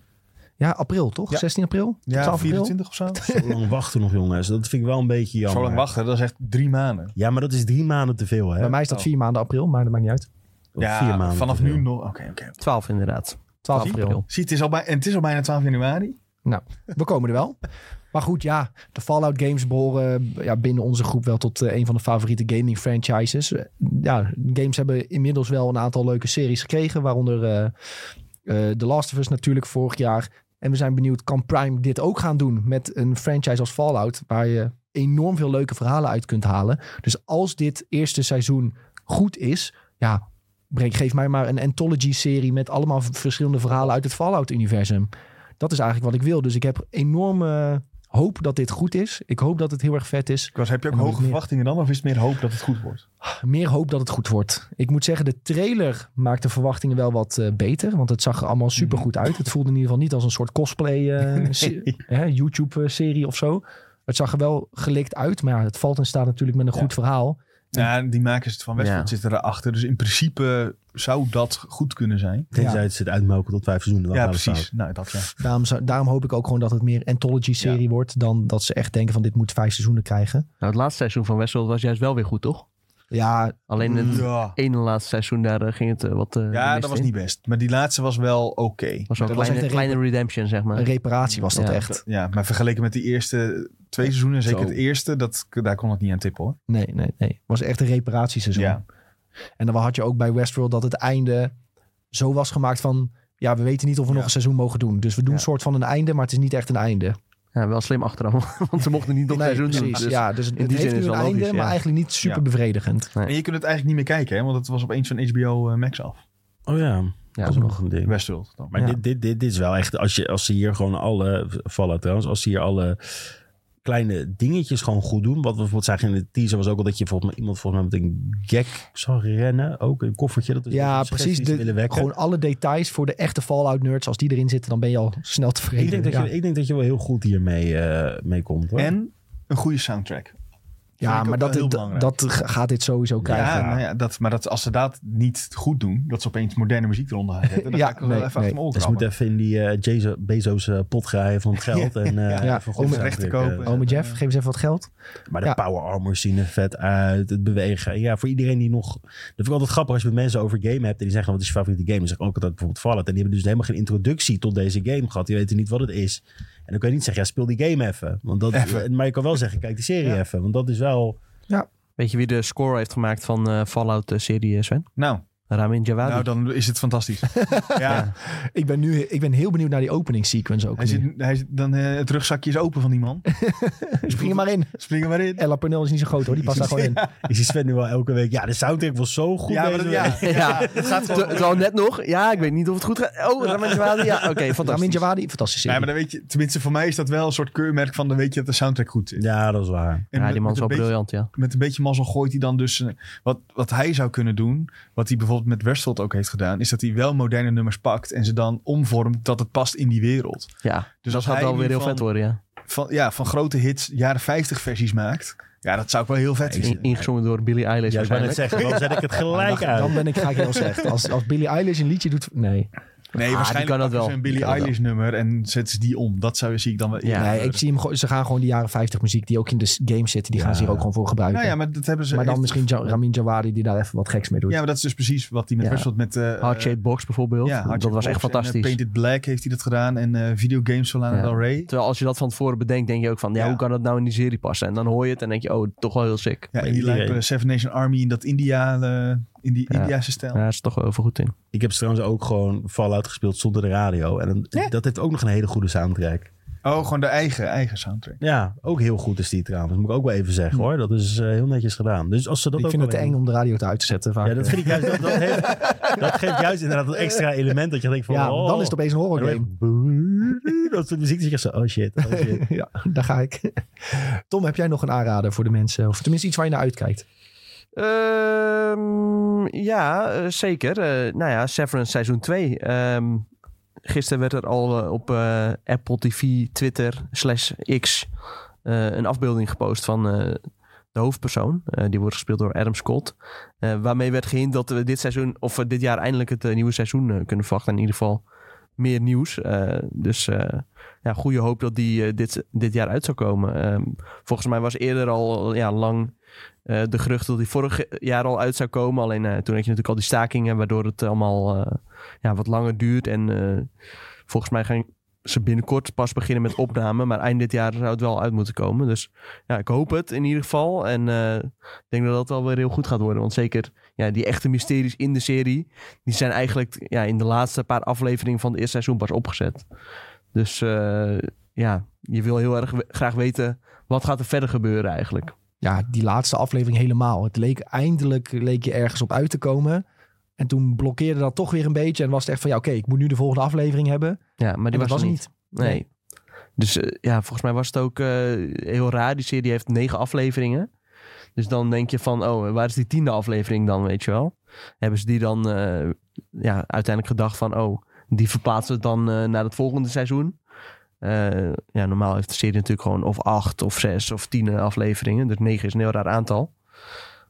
S1: Ja, april toch?
S2: Ja.
S1: 16 april?
S2: Ja,
S1: 12
S2: 24 of zo.
S4: Zo lang wachten nog, jongens. Dat vind ik wel een beetje jammer.
S2: Zo lang wachten, dat is echt drie maanden.
S4: Ja, maar dat is drie maanden te veel, hè?
S1: April? Bij mij is dat
S2: Oh.
S1: vier maanden april, maar dat maakt niet uit.
S4: Of vier maanden
S2: vanaf
S4: te veel.
S2: nu nog. Oké, oké.
S3: 12 inderdaad.
S1: 12
S2: Zie je?
S1: april.
S2: Zie, het is, al bij, en het is al bijna 12 januari.
S1: We komen er wel. Maar goed, ja, de Fallout games behoren ja, binnen onze groep wel tot eh, een van de favoriete gaming franchises. Eh, Ja, games hebben inmiddels wel een aantal leuke series gekregen, waaronder eh, eh, The Last of Us natuurlijk vorig jaar. En we zijn benieuwd, kan Prime dit ook gaan doen met een franchise als Fallout, waar je enorm veel leuke verhalen uit kunt halen. Dus als dit eerste seizoen goed is, ja, breng, geef mij maar een anthology-serie met allemaal v- verschillende verhalen uit het Fallout-universum dat is eigenlijk wat ik wil. Dus ik heb enorme hoop dat dit goed is. Ik hoop dat het heel erg vet is.
S2: Ik was, heb je ook
S1: En dan
S2: hoge
S1: meer.
S2: verwachtingen dan? Of is het meer hoop dat het goed wordt?
S1: Meer hoop dat het goed wordt. Ik moet zeggen, de trailer maakt de verwachtingen wel wat eh, beter. Want het zag er allemaal supergoed uit. Het voelde in ieder geval niet als een soort cosplay eh, se- hè, YouTube-serie of zo. Het zag er wel gelikt uit. Maar ja, het valt en staat natuurlijk met een
S2: Ja.
S1: goed verhaal.
S2: Ja, die makers van Westwood
S3: Ja.
S2: zitten erachter. Dus in principe zou dat goed kunnen zijn.
S4: Tenzij
S1: Ja.
S4: het zit uitmelken tot vijf seizoenen. dan
S2: ja,
S4: gaat het
S2: precies. Nou, dat ja.
S1: Daarom, zou- daarom hoop ik ook gewoon dat het meer anthology-serie wordt. Dan dat ze echt denken van dit moet vijf seizoenen krijgen.
S3: Nou, het laatste seizoen van Westworld was juist wel weer goed, toch?
S1: Ja,
S3: Alleen het
S2: Ja,
S3: ene laatste seizoen, daar eh, ging het eh, wat eh, de
S2: ja
S3: mist
S2: dat was
S3: in.
S2: niet best. Maar die laatste was wel oké.
S3: was wel
S1: dat was
S3: kleine,
S1: echt een
S3: kleine redemption, zeg maar.
S1: een reparatie was dat
S3: Ja.
S1: echt.
S2: Ja, maar vergeleken met die eerste twee seizoenen, zeker
S4: Zo.
S2: het eerste, dat, daar kon het niet aan tippen hoor.
S1: Nee, nee, nee. Het was echt een reparatieseizoen.
S2: Ja.
S1: En dan had je ook bij Westworld dat het einde zo was gemaakt van... ja, we weten niet of we nog een seizoen mogen doen. Dus we doen
S2: Ja.
S1: een soort van een einde, maar het is niet echt een einde.
S3: Ja, wel slim achteraf, want ze mochten niet nog
S1: Nee,
S3: seizoen doen.
S1: precies.
S3: dus-
S1: ja, dus het
S3: die zin
S1: heeft
S3: is
S1: nu een
S3: wel
S1: einde,
S3: logisch, ja.
S1: maar eigenlijk niet super
S2: Ja. Dus
S1: bevredigend.
S2: En je kunt het eigenlijk niet meer kijken, hè? want het was opeens van HBO eh, Max af.
S4: Oh ja,
S3: Ja,
S4: dat is ook nog een ding.
S2: Westworld dan.
S4: Maar
S1: Ja.
S4: dit, dit, dit, dit is wel echt, als, je, als ze hier gewoon alle, vallen trouwens, als ze hier alle kleine dingetjes gewoon goed doen. Wat we bijvoorbeeld zagen in de teaser was ook al dat je volgens mij, iemand volgens mij met een gek zag rennen. Ook een koffertje. Dat is
S1: ja,
S4: dus suggesties
S1: precies.
S4: te
S1: De-
S4: willen wekken.
S1: gewoon alle details voor de echte Fallout-nerds. Als die erin zitten, dan ben je al snel tevreden.
S4: ik, denk dat
S1: ja.
S4: je, ik denk dat je wel heel goed hiermee eh, mee komt. Hoor.
S2: En een goede soundtrack.
S1: ja,
S2: ook
S1: maar
S2: wel
S1: dat,
S2: heel
S1: dat,
S2: belangrijk.
S1: dat gaat dit sowieso krijgen.
S2: Ja, nou ja, dat, maar dat, als ze dat niet goed doen, dat ze opeens moderne muziek eronder gaan zetten, dan
S1: Ja,
S2: ga ik wel
S1: nee,
S2: even
S1: nee.
S2: achter mijn oren
S4: Dus ze moeten
S2: krabben.
S4: even in die eh, Jezo- Bezos eh, pot graaien van het geld. En, eh,
S1: Ja,
S4: even
S1: om
S4: goed
S1: het
S2: recht te
S4: aandrukken.
S2: kopen.
S1: Ome Jeff, geef eens even wat geld.
S4: Maar de
S1: Ja.
S4: power armors zien er vet uit. Het bewegen. En ja, voor iedereen die nog... Dat vind ik altijd grappig als je met mensen over game hebt. En die zeggen, wat is je favoriete game? Dan zeg ik ook altijd bijvoorbeeld Fallout. En die hebben dus helemaal geen introductie tot deze game gehad. Die weten niet wat het is. En dan kun je niet zeggen, ja, speel die game even. Want dat, Eh,
S2: Even.
S4: Maar je kan wel zeggen, kijk die serie
S1: Ja.
S4: even. Want dat is wel...
S3: Weet je wie de score heeft gemaakt van eh, Fallout-serie, Sven?
S2: Nou,
S3: Eh, Ramin Djawadi.
S2: Nou,
S1: dus-
S2: dan is het fantastisch. ja.
S1: Ik ben, nu, ik ben heel benieuwd naar die opening sequence ook.
S2: Hij
S1: nu.
S2: zit, hij zit, dan, eh, het rugzakje is open van die man.
S1: Spring er maar in.
S2: Spring er maar in.
S1: Ella Pernel is niet zo groot hoor, die past daar gewoon in.
S4: Ik zie Sven nu al elke week. Ja, de soundtrack was zo goed.
S2: Ja, maar
S4: deze
S2: dat-
S4: week.
S2: ja,
S3: Ja.
S2: ja, dat gaat
S3: Ter-
S2: gewoon.
S3: Terwijl net nog, ja, ik weet niet of het goed gaat. Oh, Ramin Djawadi, ja, oké,
S1: Ramin
S3: fantastisch.
S1: Djawadi, fantastische
S2: Ja, maar
S1: serie.
S2: dan weet je, tenminste voor mij is dat wel een soort keurmerk van dan weet je dat de soundtrack goed is.
S4: Ja, dat is waar.
S3: ja,
S2: En met-
S3: die man
S2: met
S3: is
S2: een
S3: wel
S2: beetje-
S3: briljant, ja.
S2: Met een beetje mazzel gooit hij dan dus... eh, Wat, wat hij zou kunnen doen, wat hij bijvoorbeeld met Westworld ook heeft gedaan... is dat hij wel moderne nummers pakt en ze dan omvormt dat het past in die wereld.
S3: Ja, dus dat
S2: als
S3: gaat
S2: hij
S3: wel
S2: nu
S3: weer heel
S2: van-
S3: vet worden, ja.
S2: Van, ja, van grote hits, jaren 50 versies maakt. Ja, dat zou ik wel heel vet
S3: In-
S2: vinden.
S3: ingezongen door Billie Eilish
S4: Ja, ik wou net
S3: waarschijnlijk.
S4: zeggen, dan zet ik het
S1: Dan,
S4: gelijk
S1: dan
S4: uit.
S1: ben ik, ga ik heel slecht. Als, als Billie Eilish een liedje doet... Nee.
S2: Nee,
S3: Ah, die
S2: waarschijnlijk
S3: kan dat
S2: pakken ze
S3: wel. Die
S2: een Billie
S3: kan dat
S2: Eilish nummer en zetten ze die om. Dat zou zie ik dan wel...
S3: Ja.
S1: nee, ik zie hem gewoon... Ze gaan gewoon die jaren 50 muziek die ook in de s- games zitten... die gaan ze hier ook gewoon voor gebruiken.
S2: Nou ja, maar dat hebben ze...
S1: maar, dan
S2: heeft-
S1: misschien Ja- Ramin Djawadi die daar even wat geks mee doet.
S2: Ja, maar dat is dus precies wat hij met
S1: Ja.
S2: Westworld met... eh,
S3: Heart-Shaped Box bijvoorbeeld,
S2: ja, Hard
S3: dat was echt
S2: Shaped Box en, eh,
S3: fantastisch.
S2: Painted Black heeft hij dat gedaan en eh, videogames van Lana
S3: Ja.
S2: Del Rey.
S3: Terwijl als je dat van tevoren bedenkt, denk je ook van, ja,
S2: Ja.
S3: hoe kan dat nou in die serie passen? En dan hoor je het en denk je, oh, toch wel heel sick.
S2: Ja,
S4: Bij
S2: en die
S4: iedereen.
S2: lijken Seven Nation Army in dat India, eh, in die
S3: Ja.
S2: Indiase stijl.
S3: Ja, daar is toch wel even goed in.
S4: Ik heb trouwens ook gewoon Fallout gespeeld zonder de radio. En een-
S2: Ja.
S4: dat heeft ook nog een hele goede soundtrack.
S2: Oh, gewoon de eigen, eigen soundtrack.
S4: Ja, ook heel goed is die trouwens. Moet ik ook wel even zeggen hoor. Dat is eh, heel netjes gedaan. Dus als ze dat
S1: ik
S4: ook
S1: vind het te
S4: alleen-
S1: eng om de radio te uit te zetten vaak.
S4: Ja, dat vind ik juist. Dat, dat, heeft, dat geeft juist inderdaad een extra element dat je denkt van.
S1: Ja,
S4: oh.
S1: dan is het opeens een
S4: En dan
S1: horrorgame.
S4: echt- Dat soort muziek. Dat je echt zo, oh shit, oh shit.
S1: ja, daar ga ik. Tom, heb jij nog een aanrader voor de mensen? Of tenminste iets waar je naar uitkijkt?
S3: Ehm, ja, eh, zeker. Eh, nou ja, Severance seizoen 2. Ehm, gisteren werd er al eh, op eh, Apple TV, Twitter, slash X... eh, een afbeelding gepost van eh, de hoofdpersoon. Eh, die wordt gespeeld door Adam Scott. Eh, waarmee werd gehind dat we dit seizoen... of we dit jaar eindelijk het eh, nieuwe seizoen eh, kunnen verwachten. In ieder geval meer nieuws. Eh, dus... eh, ja, goede hoop dat die eh, dit, dit jaar uit zou komen. Ehm, volgens mij was eerder al ja, lang eh, de gerucht dat hij vorig jaar al uit zou komen. Alleen eh, toen had je natuurlijk al die stakingen, waardoor het allemaal eh, ja, wat langer duurt. En eh, volgens mij gaan ze binnenkort pas beginnen met opname. Maar eind dit jaar zou het wel uit moeten komen. Dus ja, ik hoop het in ieder geval. En eh, ik denk dat dat wel weer heel goed gaat worden. Want zeker ja, die echte mysteries in de serie, die zijn eigenlijk ja, in de laatste paar afleveringen van het eerste seizoen pas opgezet. Dus eh, ja, je wil heel erg we- graag weten wat gaat er verder gebeuren eigenlijk.
S1: Ja, die laatste aflevering helemaal. Het leek eindelijk leek je ergens op uit te komen. En toen blokkeerde dat toch weer een beetje. En was het echt van, ja oké, ik moet nu de volgende aflevering hebben.
S3: Ja, maar die
S1: En
S3: was,
S1: dat was
S3: er niet. Nee.
S1: Nee.
S3: Dus eh, ja, volgens mij was het ook eh, heel raar. Die serie heeft negen afleveringen. Dus dan denk je van, oh, waar is die tiende aflevering dan, weet je wel? Hebben ze die dan eh, ja, uiteindelijk gedacht van, oh, die verplaatsen we dan eh, naar het volgende seizoen? Eh, ja, normaal heeft de serie natuurlijk gewoon of acht of zes of tien afleveringen. Dus negen is een heel raar aantal.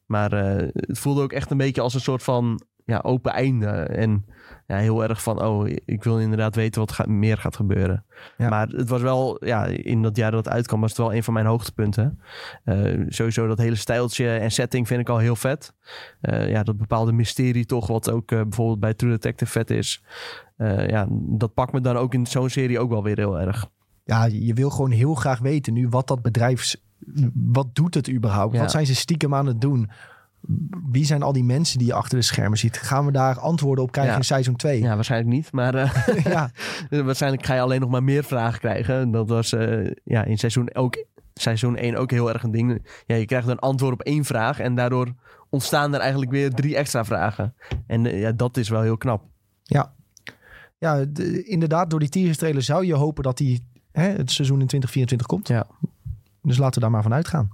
S3: Maar eh, het voelde ook echt een beetje als een soort van ja, open einde. En ja, heel erg van, oh, ik wil inderdaad weten wat ga- meer gaat gebeuren.
S1: Ja.
S3: Maar het was wel, ja, in dat jaar dat het uitkwam, was het wel een van mijn hoogtepunten. Eh, sowieso dat hele stijltje en setting vind ik al heel vet. Eh, ja, dat bepaalde mysterie toch, wat ook eh, bijvoorbeeld bij True Detective vet is. Eh, ja, dat pakt me dan ook in zo'n serie ook wel weer heel erg.
S1: Ja, je wil gewoon heel graag weten nu wat dat bedrijf... Wat doet het überhaupt?
S3: Ja.
S1: Wat zijn ze stiekem aan het doen? Wie zijn al die mensen die je achter de schermen ziet? Gaan we daar antwoorden op krijgen
S3: Ja.
S1: in seizoen 2?
S3: Ja, waarschijnlijk niet, maar... eh,
S1: ja.
S3: Dus Waarschijnlijk ga je alleen nog maar meer vragen krijgen. Dat was eh, ja, in seizoen, ook, seizoen 1 ook heel erg een ding. Ja, je krijgt een antwoord op één vraag en daardoor ontstaan er eigenlijk weer drie extra vragen. En eh, ja, dat is wel heel knap.
S1: Ja, de- inderdaad, door die teaser trailer zou je hopen dat die hè, het seizoen in 2024 komt.
S3: Ja.
S1: Dus laten we daar maar van uitgaan.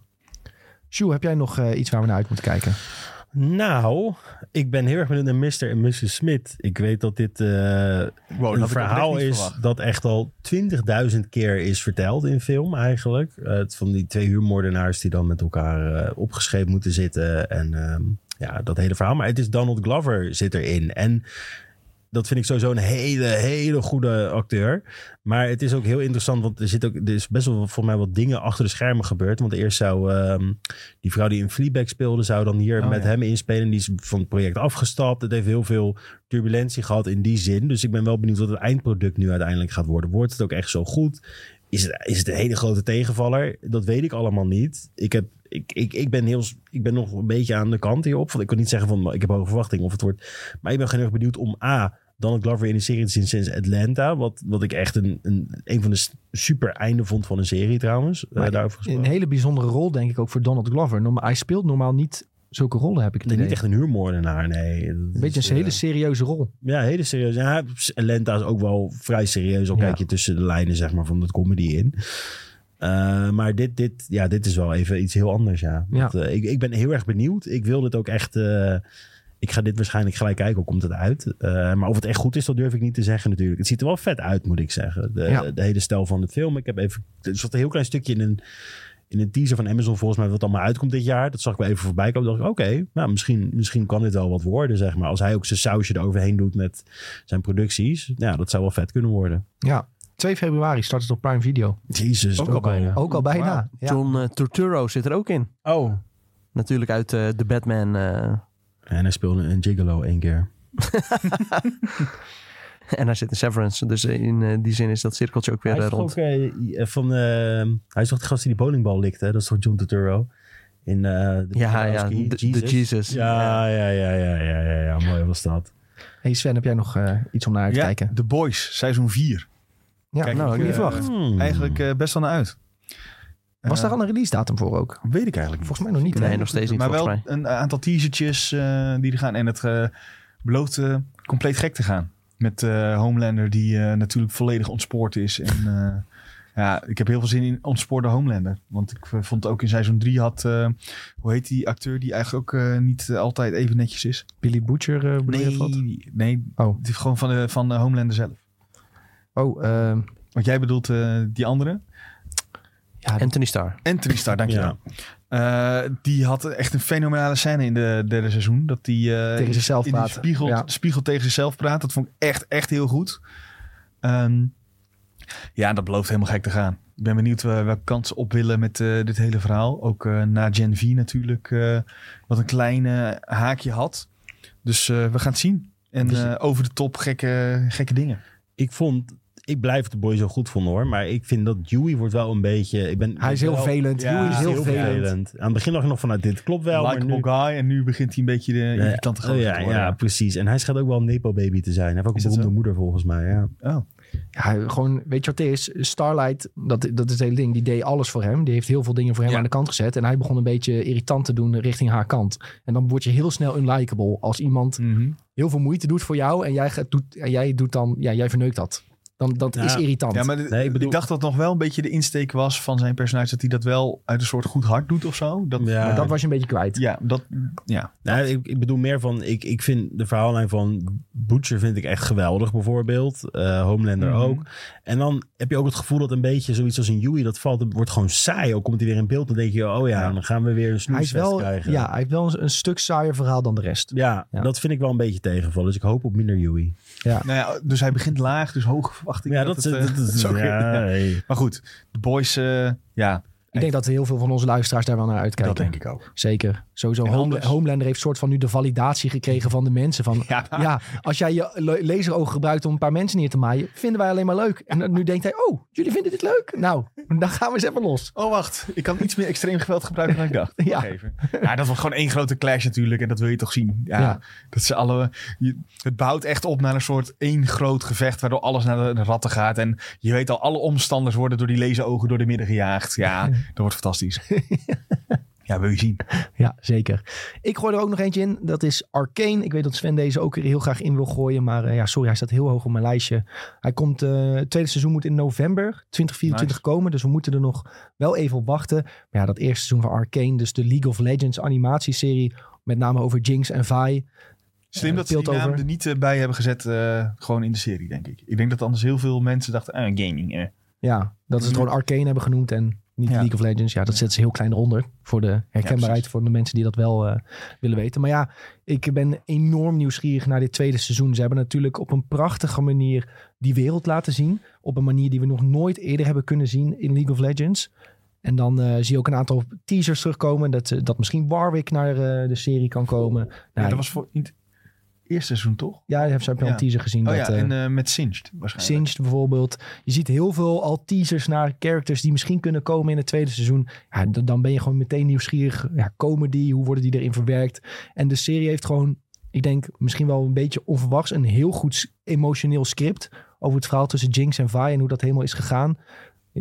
S1: Sjoe, heb jij nog eh, iets waar we naar uit moeten kijken?
S4: Nou, ik ben heel erg benieuwd naar Mr. en Mrs. Smith. Ik weet dat dit eh, een
S2: oprecht
S4: verhaal
S2: niet
S4: is
S2: verwacht.
S4: dat echt al 20.000 keer is verteld in film eigenlijk. Eh, het van die twee huurmoordenaars die dan met elkaar eh, opgeschreven moeten zitten. En ehm, ja, dat hele verhaal. Maar het is Donald Glover zit erin. En dat vind ik sowieso een hele, hele goede acteur. Maar het is ook heel interessant, want er, zit ook, er is best wel voor mij wat dingen achter de schermen gebeurd. Want eerst zou ehm, die vrouw die in Fleabag speelde, zou dan hier
S2: Oh,
S4: met
S2: ja.
S4: hem inspelen. Die is van het project afgestapt. Het heeft heel veel turbulentie gehad in die zin. Dus ik ben wel benieuwd wat het eindproduct nu uiteindelijk gaat worden. Wordt het ook echt zo goed? Is het, is het een hele grote tegenvaller? Dat weet ik allemaal niet. Ik heb ik, ik, ik, ben heel, s- ik ben nog een beetje aan de kant hierop. Want ik kan niet zeggen van ik heb hoge verwachtingen of het wordt. Maar ik ben heel erg benieuwd om A. Dan Glover in een serie te zien sinds Atlanta. Wat, wat ik echt een, een, een van de s- super einden vond van een serie trouwens. Eh,
S1: Maar
S4: daarover gesproken.
S1: Een hele bijzondere rol, denk ik, ook voor Donald Glover. Norma- hij speelt normaal niet zulke rollen, heb ik het
S4: Nee,
S1: idee.
S4: niet echt een huurmoordenaar, nee. eh,
S1: Een beetje een hele serieuze rol.
S4: Ja, hele serieus. Ja, Lenta is ook wel vrij serieus. Al
S1: Ja.
S4: kijk je tussen de lijnen zeg maar, van dat comedy in. Eh, maar dit, dit, ja, dit is wel even iets heel anders, ja.
S1: Ja.
S4: Want, eh, ik, ik ben heel erg benieuwd. Ik wil dit ook echt... eh, ik ga dit waarschijnlijk gelijk kijken, hoe komt het uit? Eh, maar of het echt goed is, dat durf ik niet te zeggen natuurlijk. Het ziet er wel vet uit, moet ik zeggen. De,
S1: Ja.
S4: de hele stijl van de film. Ik heb even... Er zat een heel klein stukje in een, in een teaser van Amazon, volgens mij, wat allemaal uitkomt dit jaar. Dat zag ik wel even voorbij komen. dacht ik, oké, nou, misschien, misschien kan dit wel wat worden, zeg maar. Als hij ook zijn sausje eroverheen doet met zijn producties. Ja, dat zou wel vet kunnen worden.
S1: Ja. 2 februari start het op Prime Video. Dus
S4: Jezus,
S2: Ook al bijna.
S1: Ook al bijna. Ja.
S3: John eh, Turturro zit er ook in.
S4: Oh.
S3: Natuurlijk uit eh The Batman. eh,
S4: En hij speelde een gigolo één keer.
S3: en hij zit in Severance. Dus in eh, die zin is dat cirkeltje ook weer
S4: hij
S3: eh,
S4: is toch
S3: rond.
S4: ook eh, van... eh, hij is toch de gast die die bowlingbal likte? hè? Dat is toch John Turturro? In eh de
S3: Ja, ja,
S4: Lebowski,
S3: de- de Jesus.
S4: Ja, ja, ja, ja, ja, ja, ja, mooi was dat.
S1: Hey Sven, heb jij nog eh, iets om naar uit te
S2: Ja,
S1: kijken?
S2: The Boys, seizoen 4.
S1: Ja,
S2: Kijk,
S1: nou,
S2: ik,
S1: ik niet
S2: eh,
S1: verwacht.
S4: Hmm.
S2: Eigenlijk eh, best wel naar uit.
S1: Was
S2: Eh,
S1: daar al een release datum voor ook?
S2: Weet ik eigenlijk niet.
S1: Volgens mij nog niet. hè?
S3: Nee, nog steeds niet
S2: maar wel
S3: volgens mij.
S2: een aantal teasertjes eh, die er gaan. En het eh, belooft eh, compleet gek te gaan. Met eh, Homelander die eh, natuurlijk volledig ontspoord is. En eh, ja, ik heb heel veel zin in ontspoorde Homelander. Want ik eh, vond ook in seizoen 3 had... eh, hoe heet die acteur die eigenlijk ook eh, niet eh, altijd even netjes is?
S1: Billy Butcher eh bedoel je of wat?
S2: die- nee.
S1: Oh.
S2: Oh. Gewoon van, de van eh, Homelander zelf.
S1: Oh, ehm,
S2: Want jij bedoelt eh, die andere?
S1: ja,
S3: Anthony Starr.
S2: Anthony Starr, dankjewel.
S4: Ja.
S2: Eh, die had echt een fenomenale scène in de derde seizoen. Dat die eh,
S1: Tegen zichzelf
S2: in de
S1: praten,
S2: Spiegel,
S1: ja.
S2: spiegel tegen zichzelf praat. Dat vond ik echt, echt heel goed. Ehm, ja, dat belooft helemaal gek te gaan. Ik ben benieuwd eh, welke kant ze op willen met eh, dit hele verhaal. Ook eh, na Gen V natuurlijk. eh, wat een klein eh, haakje had. Dus eh, we gaan het zien. En
S4: Precies.
S2: eh, over de top gekke, gekke dingen.
S4: Ik vond... Ik blijf de boy zo goed vonden hoor. Maar ik vind dat Dewey wordt wel een beetje... Ik ben,
S1: hij is heel
S4: wel-
S1: velend.
S2: Ja,
S1: Joey is heel,
S4: heel
S1: velend.
S4: vervelend. Aan het begin dacht ik nog vanuit dit klopt wel. maar
S2: Likeable
S4: nu,
S2: guy. En nu begint hij een beetje de
S4: Nee,
S2: irritante gozer
S4: oh ja,
S2: te worden.
S4: ja, precies. En hij schijnt ook wel een Nepo-baby te zijn. Hij heeft ook
S2: Is
S4: een
S2: dat
S4: beroemde
S2: zo?
S4: moeder volgens mij. Ja.
S2: Oh.
S1: Ja, gewoon, weet je wat het is? Starlight, dat, dat is het hele ding. Die deed alles voor hem. Die heeft heel veel dingen voor hem
S2: Ja.
S1: aan de kant gezet. En hij begon een beetje irritant te doen richting haar kant. En dan word je heel snel unlikable. Als iemand
S2: Mhm.
S1: heel veel moeite doet voor jou en jij, gaat- doet, en jij doet dan, ja, jij verneukt dat. Dan, dat
S4: Ja.
S1: is irritant.
S2: Ja, maar de-
S4: Nee, ik
S2: ik,
S4: bedoel-
S2: dacht dat nog wel een beetje de insteek was van zijn personage. Dat hij dat wel uit een soort goed hart doet of zo. Dat,
S4: Ja.
S1: Maar dat was je een beetje kwijt.
S2: ja, dat, ja.
S4: Nou, ik, ik bedoel meer van, ik, ik vind de verhaallijn van Butcher vind ik echt geweldig bijvoorbeeld. Eh, Homelander
S2: Mhm.
S4: ook. En dan heb je ook het gevoel dat een beetje zoiets als een Yui, dat valt, wordt gewoon saai. Ook komt hij weer in beeld, dan denk je, oh ja,
S2: Ja.
S4: dan gaan we weer een
S1: Hij, is
S4: snoesfest
S1: wel,
S4: krijgen.
S1: ja, hij heeft wel een, een stuk saaier verhaal dan de rest.
S4: Ja,
S1: Ja.
S4: dat vind ik wel een beetje tegenvallen. Dus ik hoop op minder Yui.
S2: Nou ja, dus hij begint laag, dus hoge verwachtingen.
S4: Ja, dat, is
S2: het, eh,
S4: dat is-
S2: zo weer-
S4: ja,
S2: ja.
S4: hey.
S2: Maar goed, de boys, eh, ja,
S1: Ik denk dat heel veel van onze luisteraars daar wel naar uitkijken.
S2: dat denk ik ook.
S1: Zeker. Sowieso.
S2: En
S1: Home-
S2: anders-
S1: Homelander heeft soort van nu de validatie gekregen van de mensen. Van,
S2: Ja,
S1: ja. als jij je le- laseroog gebruikt om een paar mensen neer te maaien, vinden wij alleen maar leuk. En dan- nu denkt hij, oh, jullie vinden dit leuk? Nou, dan gaan we eens even los.
S2: Oh, wacht. Ik kan iets meer extreem geweld gebruiken dan ik dacht.
S1: Ja.
S2: Wacht even. ja, dat wordt gewoon één grote clash natuurlijk. En dat wil je toch zien. Ja,
S1: Ja.
S2: Dat ze alle, je- het bouwt echt op naar een soort één groot gevecht... waardoor alles naar de, de ratten gaat. En je weet al, alle omstanders worden door die laserogen door de midden gejaagd. Ja, dat wordt fantastisch. ja, wil je zien.
S1: Ja, zeker. Ik gooi er ook nog eentje in. Dat is Arcane. Ik weet dat Sven deze ook er heel graag in wil gooien. Maar eh, ja, sorry, hij staat heel hoog op mijn lijstje. Hij komt, eh, het tweede seizoen moet in november 2024 komen. Dus we moeten er nog wel even op wachten. Maar ja, dat eerste seizoen van Arcane, dus de League of Legends animatieserie. Met name over Jinx en Vi.
S2: Slim
S1: Eh,
S2: dat ze die
S1: Piltover.
S2: naam er niet eh, bij hebben gezet eh, gewoon in de serie, denk ik. Ik denk dat anders heel veel mensen dachten, ah, gaming. eh.
S1: Ja, dat ze het gewoon Arcane hebben genoemd en niet
S2: Mhm. Ja.
S1: League of Legends. Ja, dat zetten ze heel klein eronder voor de herkenbaarheid
S2: precies.
S1: voor de mensen die dat wel eh, willen weten. Maar ja, ik ben enorm nieuwsgierig naar dit tweede seizoen. Ze hebben natuurlijk op een prachtige manier die wereld laten zien. Op een manier die we nog nooit eerder hebben kunnen zien in League of Legends. En dan eh, zie je ook een aantal teasers terugkomen. Dat, eh, dat misschien Warwick naar eh, de serie kan komen.
S2: ja,
S1: Nou,
S2: dat was voor... niet- eerste seizoen, toch?
S1: Ja, heb je al
S2: Ja.
S1: een teaser gezien.
S2: Oh
S1: dat,
S2: ja,
S1: eh,
S2: en eh, met Singed waarschijnlijk.
S1: Singed bijvoorbeeld. Je ziet heel veel al teasers naar characters die misschien kunnen komen in het tweede seizoen. Ja, d- dan ben je gewoon meteen nieuwsgierig. Ja, komen die? Hoe worden die erin verwerkt? En de serie heeft gewoon, ik denk misschien wel een beetje onverwachts, een heel goed s- emotioneel script over het verhaal tussen Jinx en Vi en hoe dat helemaal is gegaan.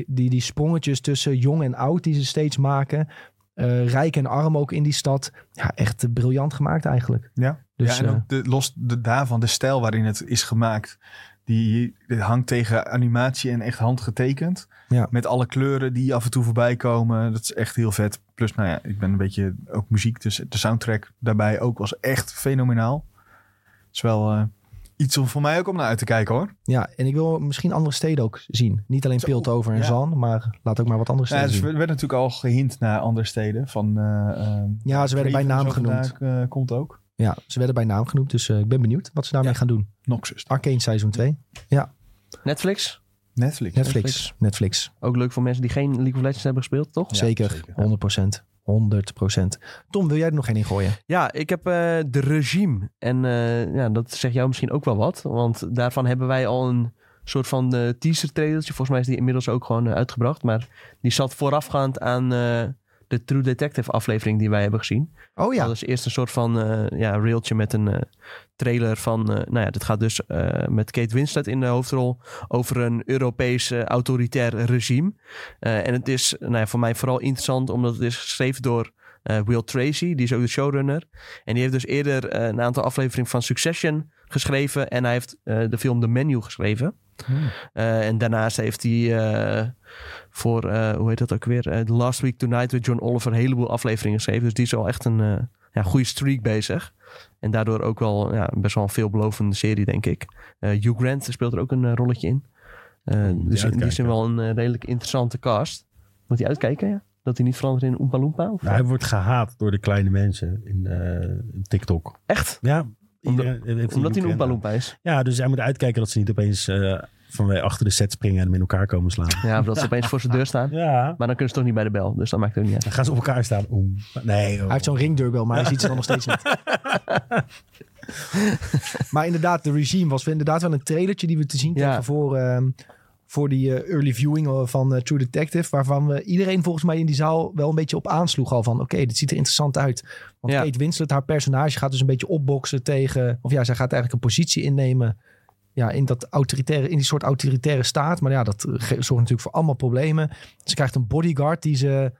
S1: Die, die sprongetjes tussen jong en oud die ze steeds maken. Eh, rijk en arm ook in die stad. Ja, echt eh, briljant gemaakt eigenlijk.
S2: Ja.
S1: Dus,
S2: ja, en
S1: eh,
S2: ook de, los de, daarvan, de stijl waarin het is gemaakt, die, die hangt tegen animatie en echt handgetekend.
S1: Ja.
S2: Met alle kleuren die af en toe voorbij komen. Dat is echt heel vet. Plus, nou ja, ik ben een beetje ook muziek, dus de soundtrack daarbij ook was echt fenomenaal. Het is wel eh, iets om voor mij ook om naar uit te kijken hoor.
S1: Ja, en ik wil misschien andere steden ook zien. Niet alleen
S2: Zo,
S1: Piltover en
S2: ja.
S1: Zan, maar laat ook maar wat andere
S2: Ja,
S1: steden
S2: dus er
S1: zien.
S2: werd natuurlijk al gehint naar andere steden. Van, eh, ehm,
S1: Ja, ze werden bij
S2: Craven
S1: naam
S2: zo
S1: genoemd.
S2: vandaag, eh, komt ook.
S1: Ja, ze werden bij naam genoemd, dus eh, ik ben benieuwd wat ze daarmee gaan doen.
S2: Noxus.
S1: Arcane seizoen 2,
S3: Netflix?
S2: Netflix.
S1: Netflix, Netflix.
S3: Ook leuk voor mensen die geen League of Legends hebben gespeeld, toch?
S2: Ja,
S1: zeker,
S2: zeker.
S1: 100%. 100%. Tom, wil jij er nog één in gooien?
S3: Ja, ik heb eh, de regime. En eh, ja, dat zegt jou misschien ook wel wat. Want daarvan hebben wij al een soort van eh, teaser trailertje. Volgens mij is die inmiddels ook gewoon eh, uitgebracht. Maar die zat voorafgaand aan eh, de True Detective aflevering die wij hebben gezien.
S1: Oh ja,
S3: Dat is eerst een soort van eh ja, reeltje met een eh, trailer van... eh, nou ja, dit gaat dus eh, met Kate Winslet in de hoofdrol... over een Europees eh, autoritair regime. Eh, en het is nou ja, voor mij vooral interessant... omdat het is geschreven door eh, Will Tracy. Die is ook de showrunner. En die heeft dus eerder eh, een aantal afleveringen van Succession geschreven. En hij heeft eh, de film The Menu geschreven.
S2: Hmm.
S3: Eh, en daarnaast heeft hij eh, voor, eh, hoe heet dat ook weer? Eh, The Last Week Tonight with John Oliver een heleboel afleveringen geschreven. Dus die is al echt een eh, ja, goede streak bezig. En daardoor ook wel ja, best wel een veelbelovende serie, denk ik. Eh Hugh Grant speelt er ook een eh, rolletje in. Eh,
S4: moet
S3: dus
S4: je
S3: in die zin
S4: uitkijken.
S3: wel een eh, redelijk interessante cast. Moet hij uitkijken, ja? Dat hij niet verandert in Oompa Loompa? Of?
S4: Nou, hij wordt gehaat door de kleine mensen in eh, TikTok.
S3: Echt?
S4: Ja.
S3: Omdat-
S4: iedereen heeft die
S3: Omdat hij een
S4: boeken.
S3: Oompa Loompa is.
S4: Ja, dus hij moet uitkijken dat ze niet opeens eh, van wij achter de set springen en hem in elkaar komen slaan.
S3: Ja, of dat ze opeens voor zijn deur staan.
S4: Ja.
S3: Maar dan kunnen ze toch niet bij de bel, dus dat maakt het ook niet uit.
S4: Dan gaan ze op elkaar staan. Oem. Nee, oh. joh.
S1: hij heeft zo'n ringdeurbel, maar hij ziet ze dan nog steeds niet. maar inderdaad, de regime was inderdaad wel een trailertje die we te zien
S3: Ja.
S1: kregen voor, ehm, voor die eh, early viewing eh, van eh, True Detective. Waarvan we iedereen volgens mij in die zaal wel een beetje op aansloeg al van oké, dit ziet er interessant uit. Want
S3: Ja.
S1: Kate Winslet, haar personage, gaat dus een beetje opboksen tegen... Of ja, zij gaat eigenlijk een positie innemen ja, in, dat autoritaire, in die soort autoritaire staat. Maar ja, dat eh, ge- zorgt natuurlijk voor allemaal problemen. Ze krijgt een bodyguard die ze...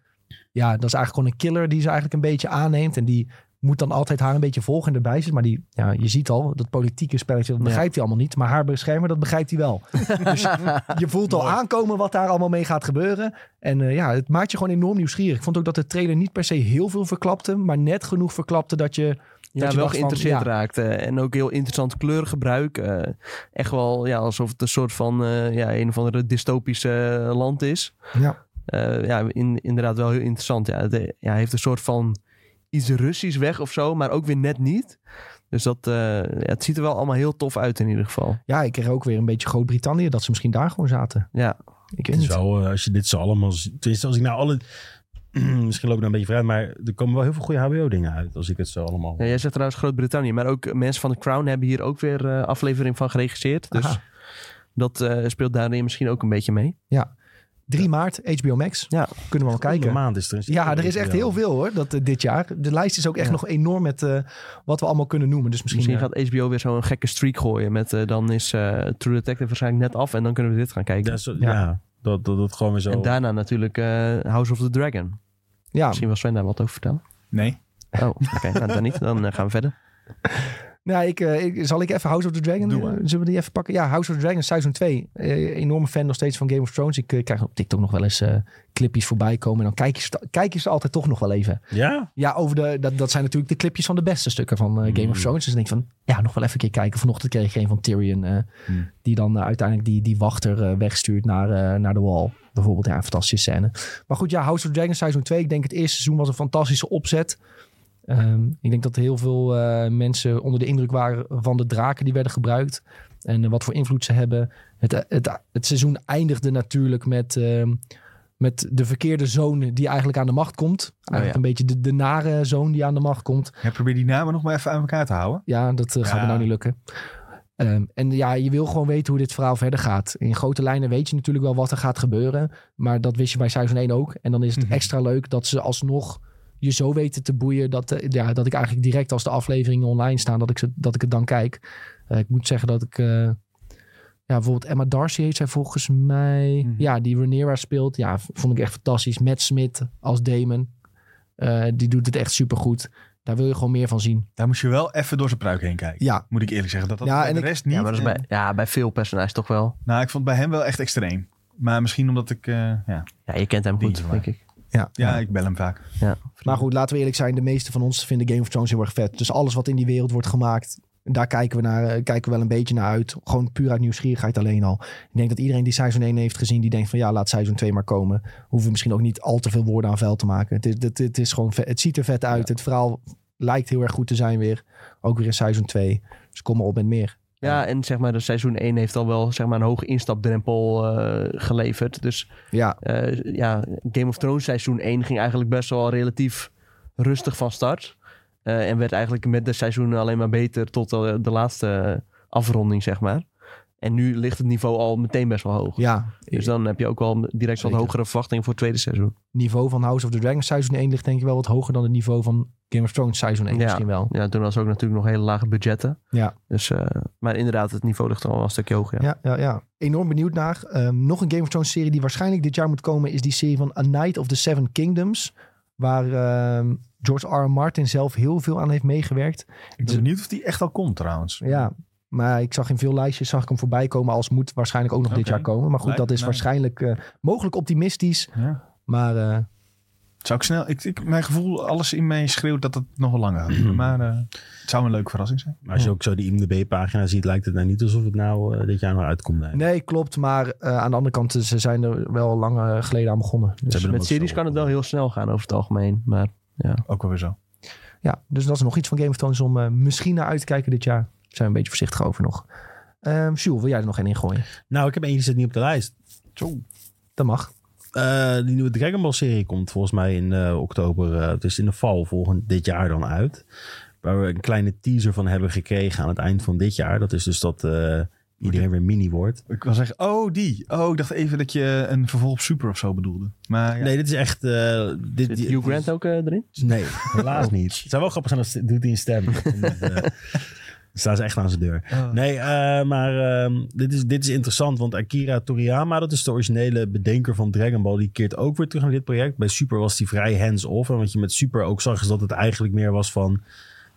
S1: Ja, dat is eigenlijk gewoon een killer die ze eigenlijk een beetje aanneemt. En die moet dan altijd haar een beetje volgen en erbij zit. Maar die, ja, je ziet al, dat politieke spelletje, dat
S3: Ja.
S1: begrijpt hij allemaal niet. Maar haar beschermer, dat begrijpt hij wel. dus je voelt al aankomen wat daar allemaal mee gaat gebeuren. En eh, ja, het maakt je gewoon enorm nieuwsgierig. Ik vond ook dat de trailer niet per se heel veel verklapte. Maar net genoeg verklapte dat je...
S3: Ja,
S1: dat je
S3: wel
S1: dacht van,
S3: geïnteresseerd
S1: ja.
S3: raakt. eh, en ook heel interessant kleurgebruik. eh, echt wel ja, alsof het een soort van eh, ja, een of andere dystopische eh, land is.
S1: Ja.
S3: Eh, ja, in, inderdaad wel heel interessant. Ja, het, eh, ja, heeft een soort van iets Russisch weg of zo, maar ook weer net niet. Dus dat, eh, ja, het ziet er wel allemaal heel tof uit in ieder geval.
S1: Ja, ik kreeg ook weer een beetje Groot-Brittannië. Dat ze misschien daar gewoon zaten.
S3: Ja,
S1: Ik
S4: Het
S1: weet
S4: is
S1: niet.
S4: wel, eh, als je dit zo allemaal... z- Tenminste, als ik nou alle... Misschien loop ik nou een beetje vooruit, maar er komen wel heel veel goede HBO-dingen uit. Als ik het zo allemaal...
S3: Ja, jij zegt trouwens Groot-Brittannië, maar ook mensen van The Crown hebben hier ook weer eh, aflevering van geregisseerd. Dus
S1: Aha.
S3: dat eh, speelt daarin misschien ook een beetje mee.
S1: 3 maart, HBO Max.
S3: Ja.
S1: Kunnen we wel
S4: Volgende
S1: kijken.
S4: maand is er een-
S1: Ja, er is echt heel veel hoor, dat, eh, dit jaar. De lijst is ook echt
S3: Ja.
S1: nog enorm met eh, wat we allemaal kunnen noemen. Dus misschien,
S3: Misschien gaat HBO weer zo'n gekke streak gooien met eh, dan is eh, True Detective waarschijnlijk net af en dan kunnen we dit gaan kijken.
S4: Ja, zo-
S1: Ja.
S4: ja. dat, dat, dat gewoon weer zo...
S3: En daarna natuurlijk eh, House of the Dragon.
S1: eh, ja.
S3: Misschien wil Sven daar wat over vertellen.
S2: Nee.
S3: Oh, oké. nou, dan niet. Dan eh, gaan we verder.
S1: Nou, ik, eh, ik- zal ik even House of the Dragon...
S2: Doe
S1: eh,
S2: maar.
S1: zullen we die even pakken? Ja, House of the Dragon seizoen 2. Eh, enorme fan nog steeds van Game of Thrones. Ik eh, krijg op TikTok nog wel eens eh, clipjes voorbij komen. En dan kijk je, ze- kijk je ze altijd toch nog wel even.
S4: Ja?
S1: Ja, over de, dat, dat zijn natuurlijk de clipjes van de beste stukken van eh, Game of
S4: Mm.
S1: Thrones. Dus dan denk ik van, ja, nog wel even een keer kijken. Vanochtend kreeg ik een van Tyrion. eh,
S2: Mm.
S1: Die dan eh, uiteindelijk die, die wachter eh, wegstuurt naar, eh, naar de wall. Bijvoorbeeld, ja, een fantastische scène. Maar goed, ja, House of Dragon seizoen 2. Ik denk het eerste seizoen was een fantastische opzet. Ehm, ik denk dat heel veel eh, mensen onder de indruk waren van de draken die werden gebruikt. En eh, wat voor invloed ze hebben. Het, eh, het, het seizoen eindigde natuurlijk met... ehm, met de verkeerde zoon die eigenlijk aan de macht komt. Eigenlijk
S3: ja.
S1: een beetje de, de nare zoon die aan de macht komt.
S2: Ja, probeer die namen nog maar even aan elkaar te houden.
S1: Ja, dat eh, gaat
S2: Ja.
S1: me nou niet lukken. Ehm, en ja, je wil gewoon weten hoe dit verhaal verder gaat. In grote lijnen weet je natuurlijk wel wat er gaat gebeuren. Maar dat wist je bij seizoen 1 ook. En dan is het
S2: Mhm.
S1: extra leuk dat ze alsnog je zo weten te boeien... dat, eh, ja, dat ik eigenlijk direct als de afleveringen online staan... dat ik, ze, dat ik het dan kijk. Eh, ik moet zeggen dat ik... eh, ja, bijvoorbeeld Emma Darcy heet zij volgens mij.
S2: Mhm.
S1: Ja, die Rhaenyra speelt. Ja, v- vond ik echt fantastisch. Matt Smith als Damon. Eh, die doet het echt supergoed. Daar wil je gewoon meer van zien.
S2: Daar moest je wel even door zijn pruik heen kijken.
S1: Ja,
S2: Moet ik eerlijk zeggen. Dat, dat
S1: Ja,
S2: bij
S1: en
S2: de
S1: ik-
S2: rest niet.
S3: Ja, maar dat is bij, ja, bij veel personages toch wel.
S2: Nou, ik vond het bij hem wel echt extreem. Maar misschien omdat ik... eh, ja.
S3: Ja, je kent hem
S2: Die
S3: goed,
S2: is waar.
S3: denk ik.
S1: Ja.
S2: ja, ik bel hem vaak.
S3: Ja,
S1: Maar goed, laten we eerlijk zijn. De meeste van ons vinden Game of Thrones heel erg vet. Dus alles wat in die wereld wordt gemaakt, daar kijken we, naar, eh, kijken we wel een beetje naar uit. Gewoon puur uit nieuwsgierigheid alleen al. Ik denk dat iedereen die seizoen 1 heeft gezien, die denkt van ja, laat seizoen 2 maar komen. Hoeven we misschien ook niet al te veel woorden aan vuil te maken. Het, is, het, het is gewoon, ve- het ziet er vet uit. Het verhaal lijkt heel erg goed te zijn weer. Ook weer in seizoen 2. Dus kom maar op met meer.
S3: Ja, en zeg maar, de seizoen 1 heeft al wel zeg maar, een hoge instapdrempel eh, geleverd. Dus
S1: Ja,
S3: eh, ja, Game of Thrones seizoen 1 ging eigenlijk best wel relatief rustig van start. Eh, en werd eigenlijk met de seizoenen alleen maar beter tot eh, de laatste afronding, zeg maar. En nu ligt het niveau al meteen best wel hoog.
S1: ja.
S3: Dus dan heb je ook wel direct wat
S1: Zeker.
S3: hogere verwachtingen voor het tweede seizoen.
S1: niveau van House of the Dragon seizoen 1 ligt denk ik wel wat hoger dan het niveau van Game of Thrones seizoen 1
S3: Ja.
S1: misschien wel.
S3: Ja, toen was er ook natuurlijk nog hele lage budgetten.
S1: Ja.
S3: Dus, eh, maar inderdaad, het niveau ligt al wel een stukje hoger. Ja.
S1: Ja, ja, ja. Enorm benieuwd naar. Ehm, nog een Game of Thrones serie die waarschijnlijk dit jaar moet komen... is die serie van A Night of the Seven Kingdoms. Waar ehm, George R. R. Martin zelf heel veel aan heeft meegewerkt.
S2: Ik ben benieuwd of die echt al komt trouwens.
S1: Ja, maar ik zag in veel lijstjes zag ik hem voorbij komen... als moet waarschijnlijk ook nog dit
S2: Oké.
S1: jaar komen. Maar goed,
S2: Lijkt
S1: dat is
S2: me nice.
S1: waarschijnlijk eh, mogelijk optimistisch.
S2: Ja.
S1: Maar eh,
S2: Zou ik snel... Ik, ik, mijn gevoel, alles in mij schreeuwt dat het nog wel langer gaat duren. Maar eh, het zou een leuke verrassing zijn.
S4: Maar als je ook zo die IMDb-pagina ziet, lijkt het nou niet alsof het nou eh, dit jaar nog uitkomt. Nee.
S1: nee, klopt. Maar eh, aan de andere kant, ze zijn er wel lang eh, geleden aan begonnen. Dus,
S4: hebben hem
S3: Met
S4: ook
S3: series
S4: zo
S3: kan het wel heel snel gaan over het algemeen. Maar
S2: Ook wel weer zo.
S1: Ja, dus dat is nog iets van Game of Thrones om eh, misschien naar uit te kijken dit jaar. Daar zijn we een beetje voorzichtig over nog. Ehm Jules, wil jij er nog één in gooien?
S4: Nou, ik heb eentje die zit niet op de lijst.
S1: Dat mag.
S4: Eh, die nieuwe Dragon Ball serie komt volgens mij in eh, oktober, eh, dus in de val volgend dit jaar dan uit. Waar we een kleine teaser van hebben gekregen aan het eind van dit jaar. Dat is dus dat eh, iedereen weer mini wordt.
S2: Ik wil zeggen, oh die. Oh, ik dacht even dat je een vervolg op super of zo bedoelde. Maar ja.
S4: Nee, dit is echt... eh, dit,
S3: Zit
S4: dit-
S3: Hugh Grant ook eh, erin?
S4: Nee, helaas niet. Het zou wel grappig zijn als doet hij een stem. En, eh, Staan ze echt aan zijn deur.
S2: Oh.
S4: Nee, eh, maar ehm, dit, is, dit is interessant. Want Akira Toriyama, dat is de originele bedenker van Dragon Ball. Die keert ook weer terug naar dit project. Bij Super was hij vrij hands-off. En wat je met Super ook zag, is dat het eigenlijk meer was van...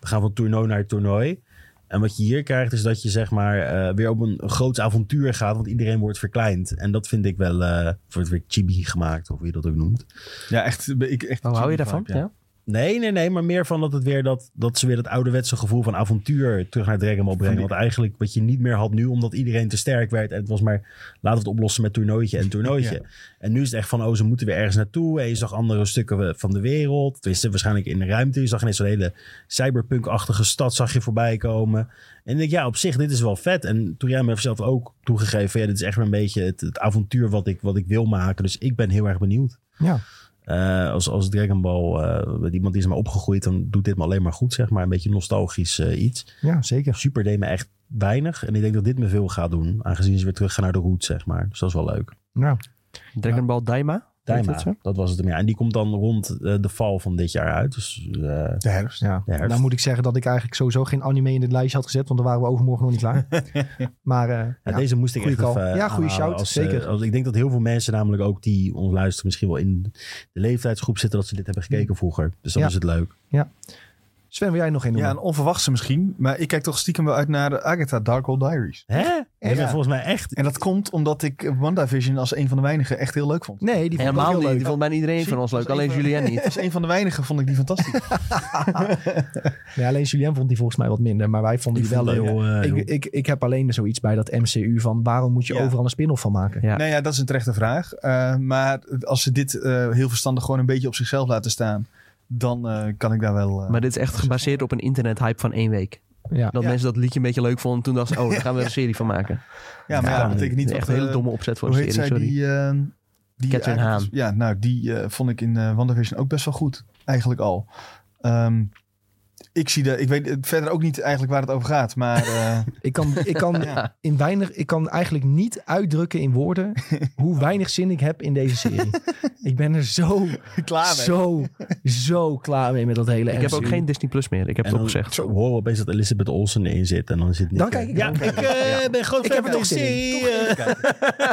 S4: We gaan van toernooi naar toernooi. En wat je hier krijgt, is dat je zeg maar eh, weer op een groots avontuur gaat. Want iedereen wordt verkleind. En dat vind ik wel... eh wordt weer chibi gemaakt, of hoe je dat ook noemt.
S2: Ja, echt. Ik, echt
S3: Oh, hou je daarvan?
S2: Ja.
S3: Ja.
S4: Nee, nee, nee, maar meer van dat het weer dat, dat ze weer dat ouderwetse gevoel van avontuur terug naar Dragon Ball brengen.
S2: die-
S4: Want eigenlijk wat je niet meer had nu, omdat iedereen te sterk werd. En het was maar laten we het oplossen met toernooitje en toernooitje.
S2: Ja.
S4: En nu is het echt van, oh, ze moeten weer ergens naartoe. En je zag andere stukken van de wereld. Tenminste, waarschijnlijk in de ruimte. Je zag ineens zo'n hele cyberpunk-achtige stad zag je voorbij komen. En ik denk, ja, op zich, dit is wel vet. En Toriyama heeft zelf ook toegegeven, van, ja, dit is echt wel een beetje het, het avontuur wat ik, wat ik wil maken. Dus ik ben heel erg benieuwd.
S1: Ja.
S4: Eh, als, als Dragon Ball, eh, met iemand die is maar opgegroeid, dan doet dit me alleen maar goed, zeg maar. Een beetje nostalgisch eh, iets.
S1: Ja, zeker.
S4: Super deed me echt weinig. En ik denk dat dit me veel gaat doen, aangezien ze weer terug gaan naar de roots, zeg maar. Dus dat is wel leuk.
S1: Nou,
S3: Dragon Ball Daima? Heet
S4: Daima,
S3: dat zo?
S4: dat, was het hem, ja. En die komt dan rond eh, de val van dit jaar uit. Dus eh,
S2: De herfst.
S1: ja.
S4: herfst.
S1: Nou moet ik zeggen dat ik eigenlijk sowieso geen anime in dit lijstje had gezet, want dan waren we overmorgen nog niet klaar. maar eh,
S4: Ja,
S1: ja.
S4: Deze moest ik
S1: goeie
S4: echt
S1: call.
S4: even eh,
S1: Ja, goeie
S4: aanhalen
S1: shout,
S4: als,
S1: zeker.
S4: eh, als, ik denk dat heel veel mensen namelijk ook die ons luisteren... misschien wel in de leeftijdsgroep zitten dat ze dit hebben gekeken vroeger. Dus dan
S1: Hm. Ja.
S4: is het leuk.
S1: Sven, wil jij nog één
S2: Ja,
S1: noemen?
S2: een onverwachte misschien. Maar ik kijk toch stiekem wel uit naar de Agatha Darkhold Diaries.
S4: Hè? Ja.
S1: Ja.
S4: volgens mij echt...
S2: En dat komt omdat ik WandaVision als een van de weinigen echt heel leuk vond.
S1: Nee, die vond ik ook
S3: Helemaal
S1: heel
S3: niet.
S1: leuk.
S3: Die vond bijna iedereen van ons leuk. Alleen Julien niet.
S2: Als een van de weinigen vond ik die fantastisch.
S1: Nee, alleen Julien vond die volgens mij wat minder, maar wij vonden
S4: Ik
S1: die, wel
S4: vond
S1: leuk.
S4: het heel, eh, heel-
S1: Ik, ik, ik heb alleen zoiets bij dat MCU van waarom moet je
S2: Ja.
S1: overal een spin-off van maken?
S3: Ja.
S2: Nou ja, dat is een terechte vraag. Eh, maar als ze dit eh, heel verstandig gewoon een beetje op zichzelf laten staan, dan eh, kan ik daar wel. eh,
S3: Maar dit is echt gebaseerd op een internethype van één week.
S1: Ja.
S3: Dat
S2: Ja.
S3: mensen dat liedje een beetje leuk vonden. Toen dachten ze, oh, daar gaan we er een serie van maken.
S2: ja, maar ja,
S4: Ja,
S2: dat betekent niet
S3: Echt
S2: dat,
S3: een
S2: eh,
S3: hele domme opzet voor
S2: Hoe
S3: een
S2: heet
S3: serie,
S2: zij
S3: sorry.
S2: die? eh, Die
S3: Catherine
S2: eigenlijk- Ja, nou, die eh, vond ik in eh WandaVision ook best wel goed. Eigenlijk al. Ehm, ik zie de, ik weet eh, verder ook niet eigenlijk waar het over gaat, maar eh,
S1: Ik kan, ik kan
S2: Ja.
S1: in weinig, ik kan eigenlijk niet uitdrukken in woorden hoe weinig zin ik heb in deze serie. ik ben er zo,
S2: klaar mee.
S1: zo, zo klaar mee met dat hele.
S3: Ik heb ook
S1: MCU.
S3: geen Disney Plus meer. Ik heb
S4: En
S3: het
S4: dan
S3: opgezegd.
S4: zo horen we opeens dat Elizabeth Olsen erin zit. En dan zit Nick
S1: Dan
S4: eh,
S1: kijk ik
S4: Ja,
S1: wel.
S4: ik eh, ben groot
S1: Ik heb
S4: fan
S1: er
S4: van
S1: nog zin in.
S4: DC, eh.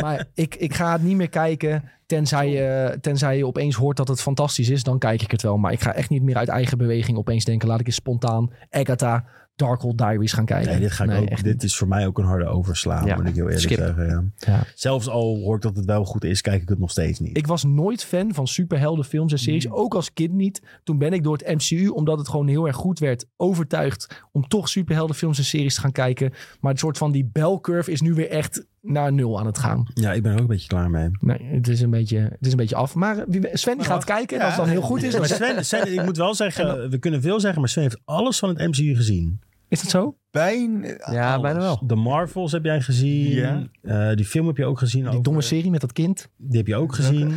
S1: Maar ik, ik ga het niet meer kijken. Tenzij je, tenzij je opeens hoort dat het fantastisch is, dan kijk ik het wel. Maar ik ga echt niet meer uit eigen beweging opeens denken. Laat ik eens spontaan Agatha Darkhold Diaries gaan kijken.
S4: Nee, dit, ga ik ook,
S1: echt
S4: dit is voor mij ook een harde overslaan,
S3: Ja.
S4: moet ik heel eerlijk
S3: Skip.
S4: zeggen. Ja.
S1: Ja.
S4: Zelfs al hoor ik dat het wel goed is, kijk ik het nog steeds niet.
S1: Ik was nooit fan van superheldenfilms en series.
S4: Hmm.
S1: Ook als kind niet. Toen ben ik door het MCU, omdat het gewoon heel erg goed werd, overtuigd om toch superheldenfilms en series te gaan kijken. Maar het soort van die belcurve is nu weer echt naar nul aan het gaan.
S4: Ja, ik ben er ook een beetje klaar mee.
S1: Nee, het is een beetje, het is een beetje af. Maar eh, wie we- Sven die gaat kijken. En als het dan heel goed is, dan
S4: Maar Sven, Sven, ik moet wel zeggen, we kunnen veel zeggen, maar Sven heeft alles van het MCU gezien.
S1: is dat zo?
S2: Bijna.
S3: Ja,
S2: alles.
S3: bijna wel.
S4: De Marvels heb jij gezien.
S2: Ja.
S4: Eh, die film heb je ook gezien.
S1: Die
S4: over-
S1: domme serie met dat kind.
S4: die heb je ook gezien.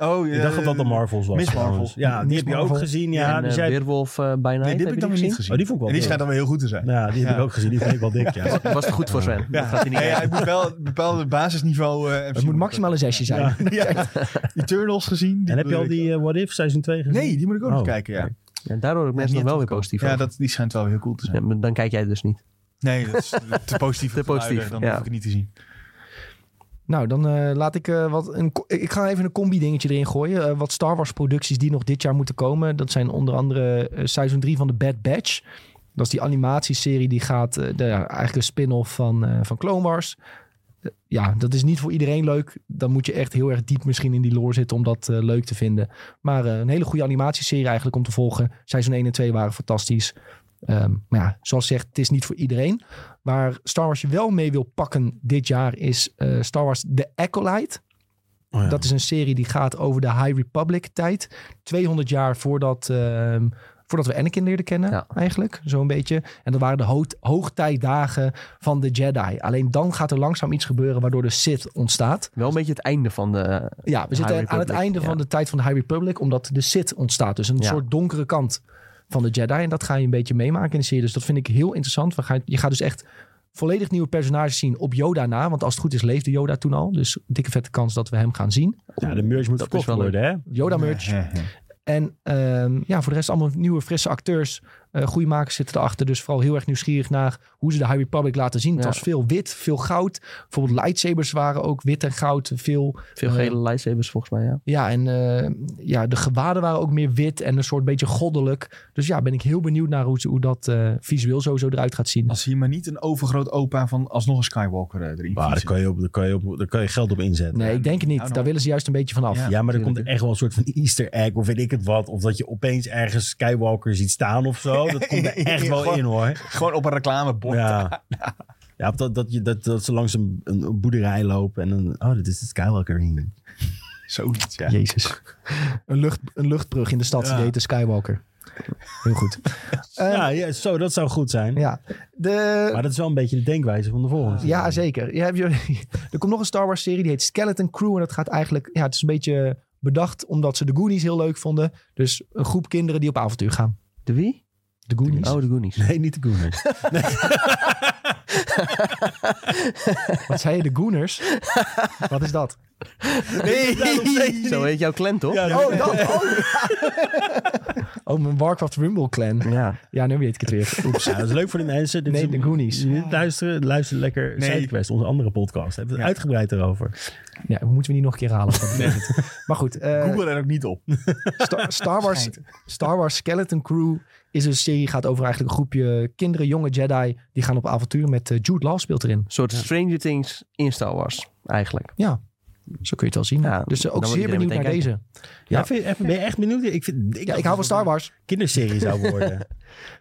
S2: Oh, ja.
S4: Ik dacht dat dat de Marvels was.
S2: Miss
S4: trouwens.
S2: Marvel.
S4: Ja, die
S1: Miss
S4: heb je
S1: Marvel.
S4: ook gezien.
S3: Ja,
S4: Ja,
S3: en
S4: die
S3: eh,
S4: zei-
S3: Weerwolf eh, by Night.
S2: Nee, die heb ik dan weer niet gezien.
S4: Oh, die vond ik
S2: en die
S4: wel dik.
S2: schijnt dan weer heel goed te zijn.
S4: ja, die heb
S2: Ja.
S4: ik ook gezien. Die vond ik wel dik, ja.
S3: Dat was het goed voor Sven. Dat gaat hij niet
S2: Nee,
S3: weten.
S2: hij moet wel een bepaalde basisniveau. eh
S1: Het moet maximaal een zesje zijn.
S4: Ja.
S2: Ja. Eternals gezien. die
S4: En heb je al
S2: bedoel ik
S4: die eh, What If seizoen 2 gezien?
S2: wel. Nee, die moet ik ook
S4: Oh.
S2: nog kijken, ja.
S3: En daardoor heb ik mensen nog wel weer positief
S2: Ja,
S3: over.
S2: dat, die schijnt wel weer heel cool te zijn.
S3: Ja, maar Dan kijk jij het dus niet.
S2: Nee, dat is te positief.
S3: Te positief,
S2: Dan
S3: ja.
S2: hoef ik het niet te zien.
S1: Nou, dan eh, laat ik eh, wat. Een, co- ik ga even een combi-dingetje erin gooien. Eh, wat Star Wars-producties die nog dit jaar moeten komen. Dat zijn onder andere eh, seizoen 3 van The Bad Batch. Dat is die animatieserie die gaat. eh, de, ja, eigenlijk een spin-off van, eh, van Clone Wars. Eh, ja, dat is niet voor iedereen leuk. Dan moet je echt heel erg diep misschien in die lore zitten om dat eh, leuk te vinden. Maar eh, een hele goede animatieserie eigenlijk om te volgen. Seizoen 1 en 2 waren fantastisch. Ehm, maar ja, zoals gezegd, het is niet voor iedereen. Waar Star Wars je wel mee wil pakken dit jaar is eh, Star Wars The Acolyte.
S4: Oh, ja.
S1: Dat is een serie die gaat over de High Republic tijd. 200 jaar voordat, ehm, voordat we Anakin leerden kennen
S3: Ja.
S1: eigenlijk. Zo'n beetje. En dat waren de ho- hoogtijdagen van de Jedi. Alleen dan gaat er langzaam iets gebeuren waardoor de Sith ontstaat.
S3: Wel een beetje het einde van de...
S1: Ja, we
S3: High
S1: zitten aan het
S3: Republic,
S1: einde van
S3: ja.
S1: de tijd van de High Republic, omdat de Sith ontstaat. Dus een
S3: Ja.
S1: soort donkere kant van de Jedi. En dat ga je een beetje meemaken in de serie. Dus dat vind ik heel interessant. We gaan, je gaat dus echt volledig nieuwe personages zien op Yoda na. Want als het goed is, leefde Yoda toen al. Dus dikke vette kans dat we hem gaan zien.
S4: Ja, de merch moet
S3: Dat
S4: verkocht
S3: is wel
S4: worden, hè?
S1: Yoda merch. En ehm, ja, voor de rest allemaal nieuwe, frisse acteurs. Eh goede makers zitten erachter. Dus vooral heel erg nieuwsgierig naar hoe ze de High Republic laten zien. Het
S3: Ja.
S1: was veel wit, veel goud. Bijvoorbeeld lightsabers waren ook wit en goud. Veel
S3: Veel
S1: Ja.
S3: gele lightsabers volgens mij, ja.
S1: Ja, en eh, ja, de gewaden waren ook meer wit en een soort beetje goddelijk. Dus ja, ben ik heel benieuwd naar hoe, ze- hoe dat eh, visueel sowieso eruit gaat zien.
S2: Als hier maar niet een overgroot opa van alsnog een Skywalker eh, erin
S4: Maar daar
S2: fietsen.
S4: kan, je op, daar, kan je op, daar kan je geld op inzetten.
S1: Nee, ik denk het niet.
S2: Nou, nou.
S1: Daar willen ze juist een beetje van af.
S2: Ja.
S4: Ja, maar er
S3: tuurlijk.
S4: komt er echt wel een soort van easter egg of weet ik het wat. Of dat je opeens ergens Skywalker ziet staan of zo. Dat komt er echt wel in hoor.
S2: Gewoon op een reclamebord.
S4: Ja, ja of dat, dat, je, dat, dat ze langs een, een, een boerderij lopen en dan... Oh, dit is de Skywalker ring.
S2: Zoiets, ja.
S1: Jezus. een, lucht, een luchtbrug in de stad, die
S4: Ja.
S1: heet de Skywalker. Heel goed. Eh,
S4: ja, ja, zo, dat zou goed zijn.
S1: ja, de...
S4: Maar dat is wel een beetje de denkwijze van de volgende.
S1: Ja, zeker. Ja, heb je, er komt nog een Star Wars serie, die heet Skeleton Crew. En dat gaat eigenlijk, ja, het is een beetje bedacht omdat ze de Goonies heel leuk vonden. Dus een groep kinderen die op avontuur gaan.
S3: De wie?
S1: De Goonies.
S3: Oh, de Goonies.
S4: Nee, niet de Gooners.
S1: Wat zei je, de Gooners? Wat is dat?
S4: Nee,
S3: Zo heet jouw clan, toch?
S4: Ja,
S1: Oh, dat. Oh, oh mijn Warcraft Rumble clan.
S3: Ja.
S1: Ja, nu weet ik het weer. Oeps.
S4: Ja, Nou, dat is leuk voor de mensen. Dit
S1: Nee,
S4: is-
S1: de Goonies.
S4: die dit luisteren, luister lekker
S2: Nee.
S4: Sidequest, onze andere podcast. Hebben we het
S2: Ja.
S4: uitgebreid erover.
S1: Ja, we moeten we die nog een keer halen. dat betekent het. Maar goed, eh,
S2: Google er ook niet op.
S1: Star, Star Wars, Star Wars Skeleton Crew is een serie. Gaat over eigenlijk een groepje kinderen, jonge Jedi. Die gaan op avontuur met eh, Jude Law speelt erin.
S3: Een soort Stranger Things in Star Wars, eigenlijk.
S1: Zo kun je het wel zien.
S3: Ja,
S1: dus eh, ook
S3: dan wil
S1: zeer
S3: iedereen
S1: benieuwd naar
S3: meteen
S1: deze. Ja.
S4: Ja. vind- even- ben je echt benieuwd? Ik, vind,
S1: Ja, ik hou van Star Wars.
S4: kinderserie zou worden.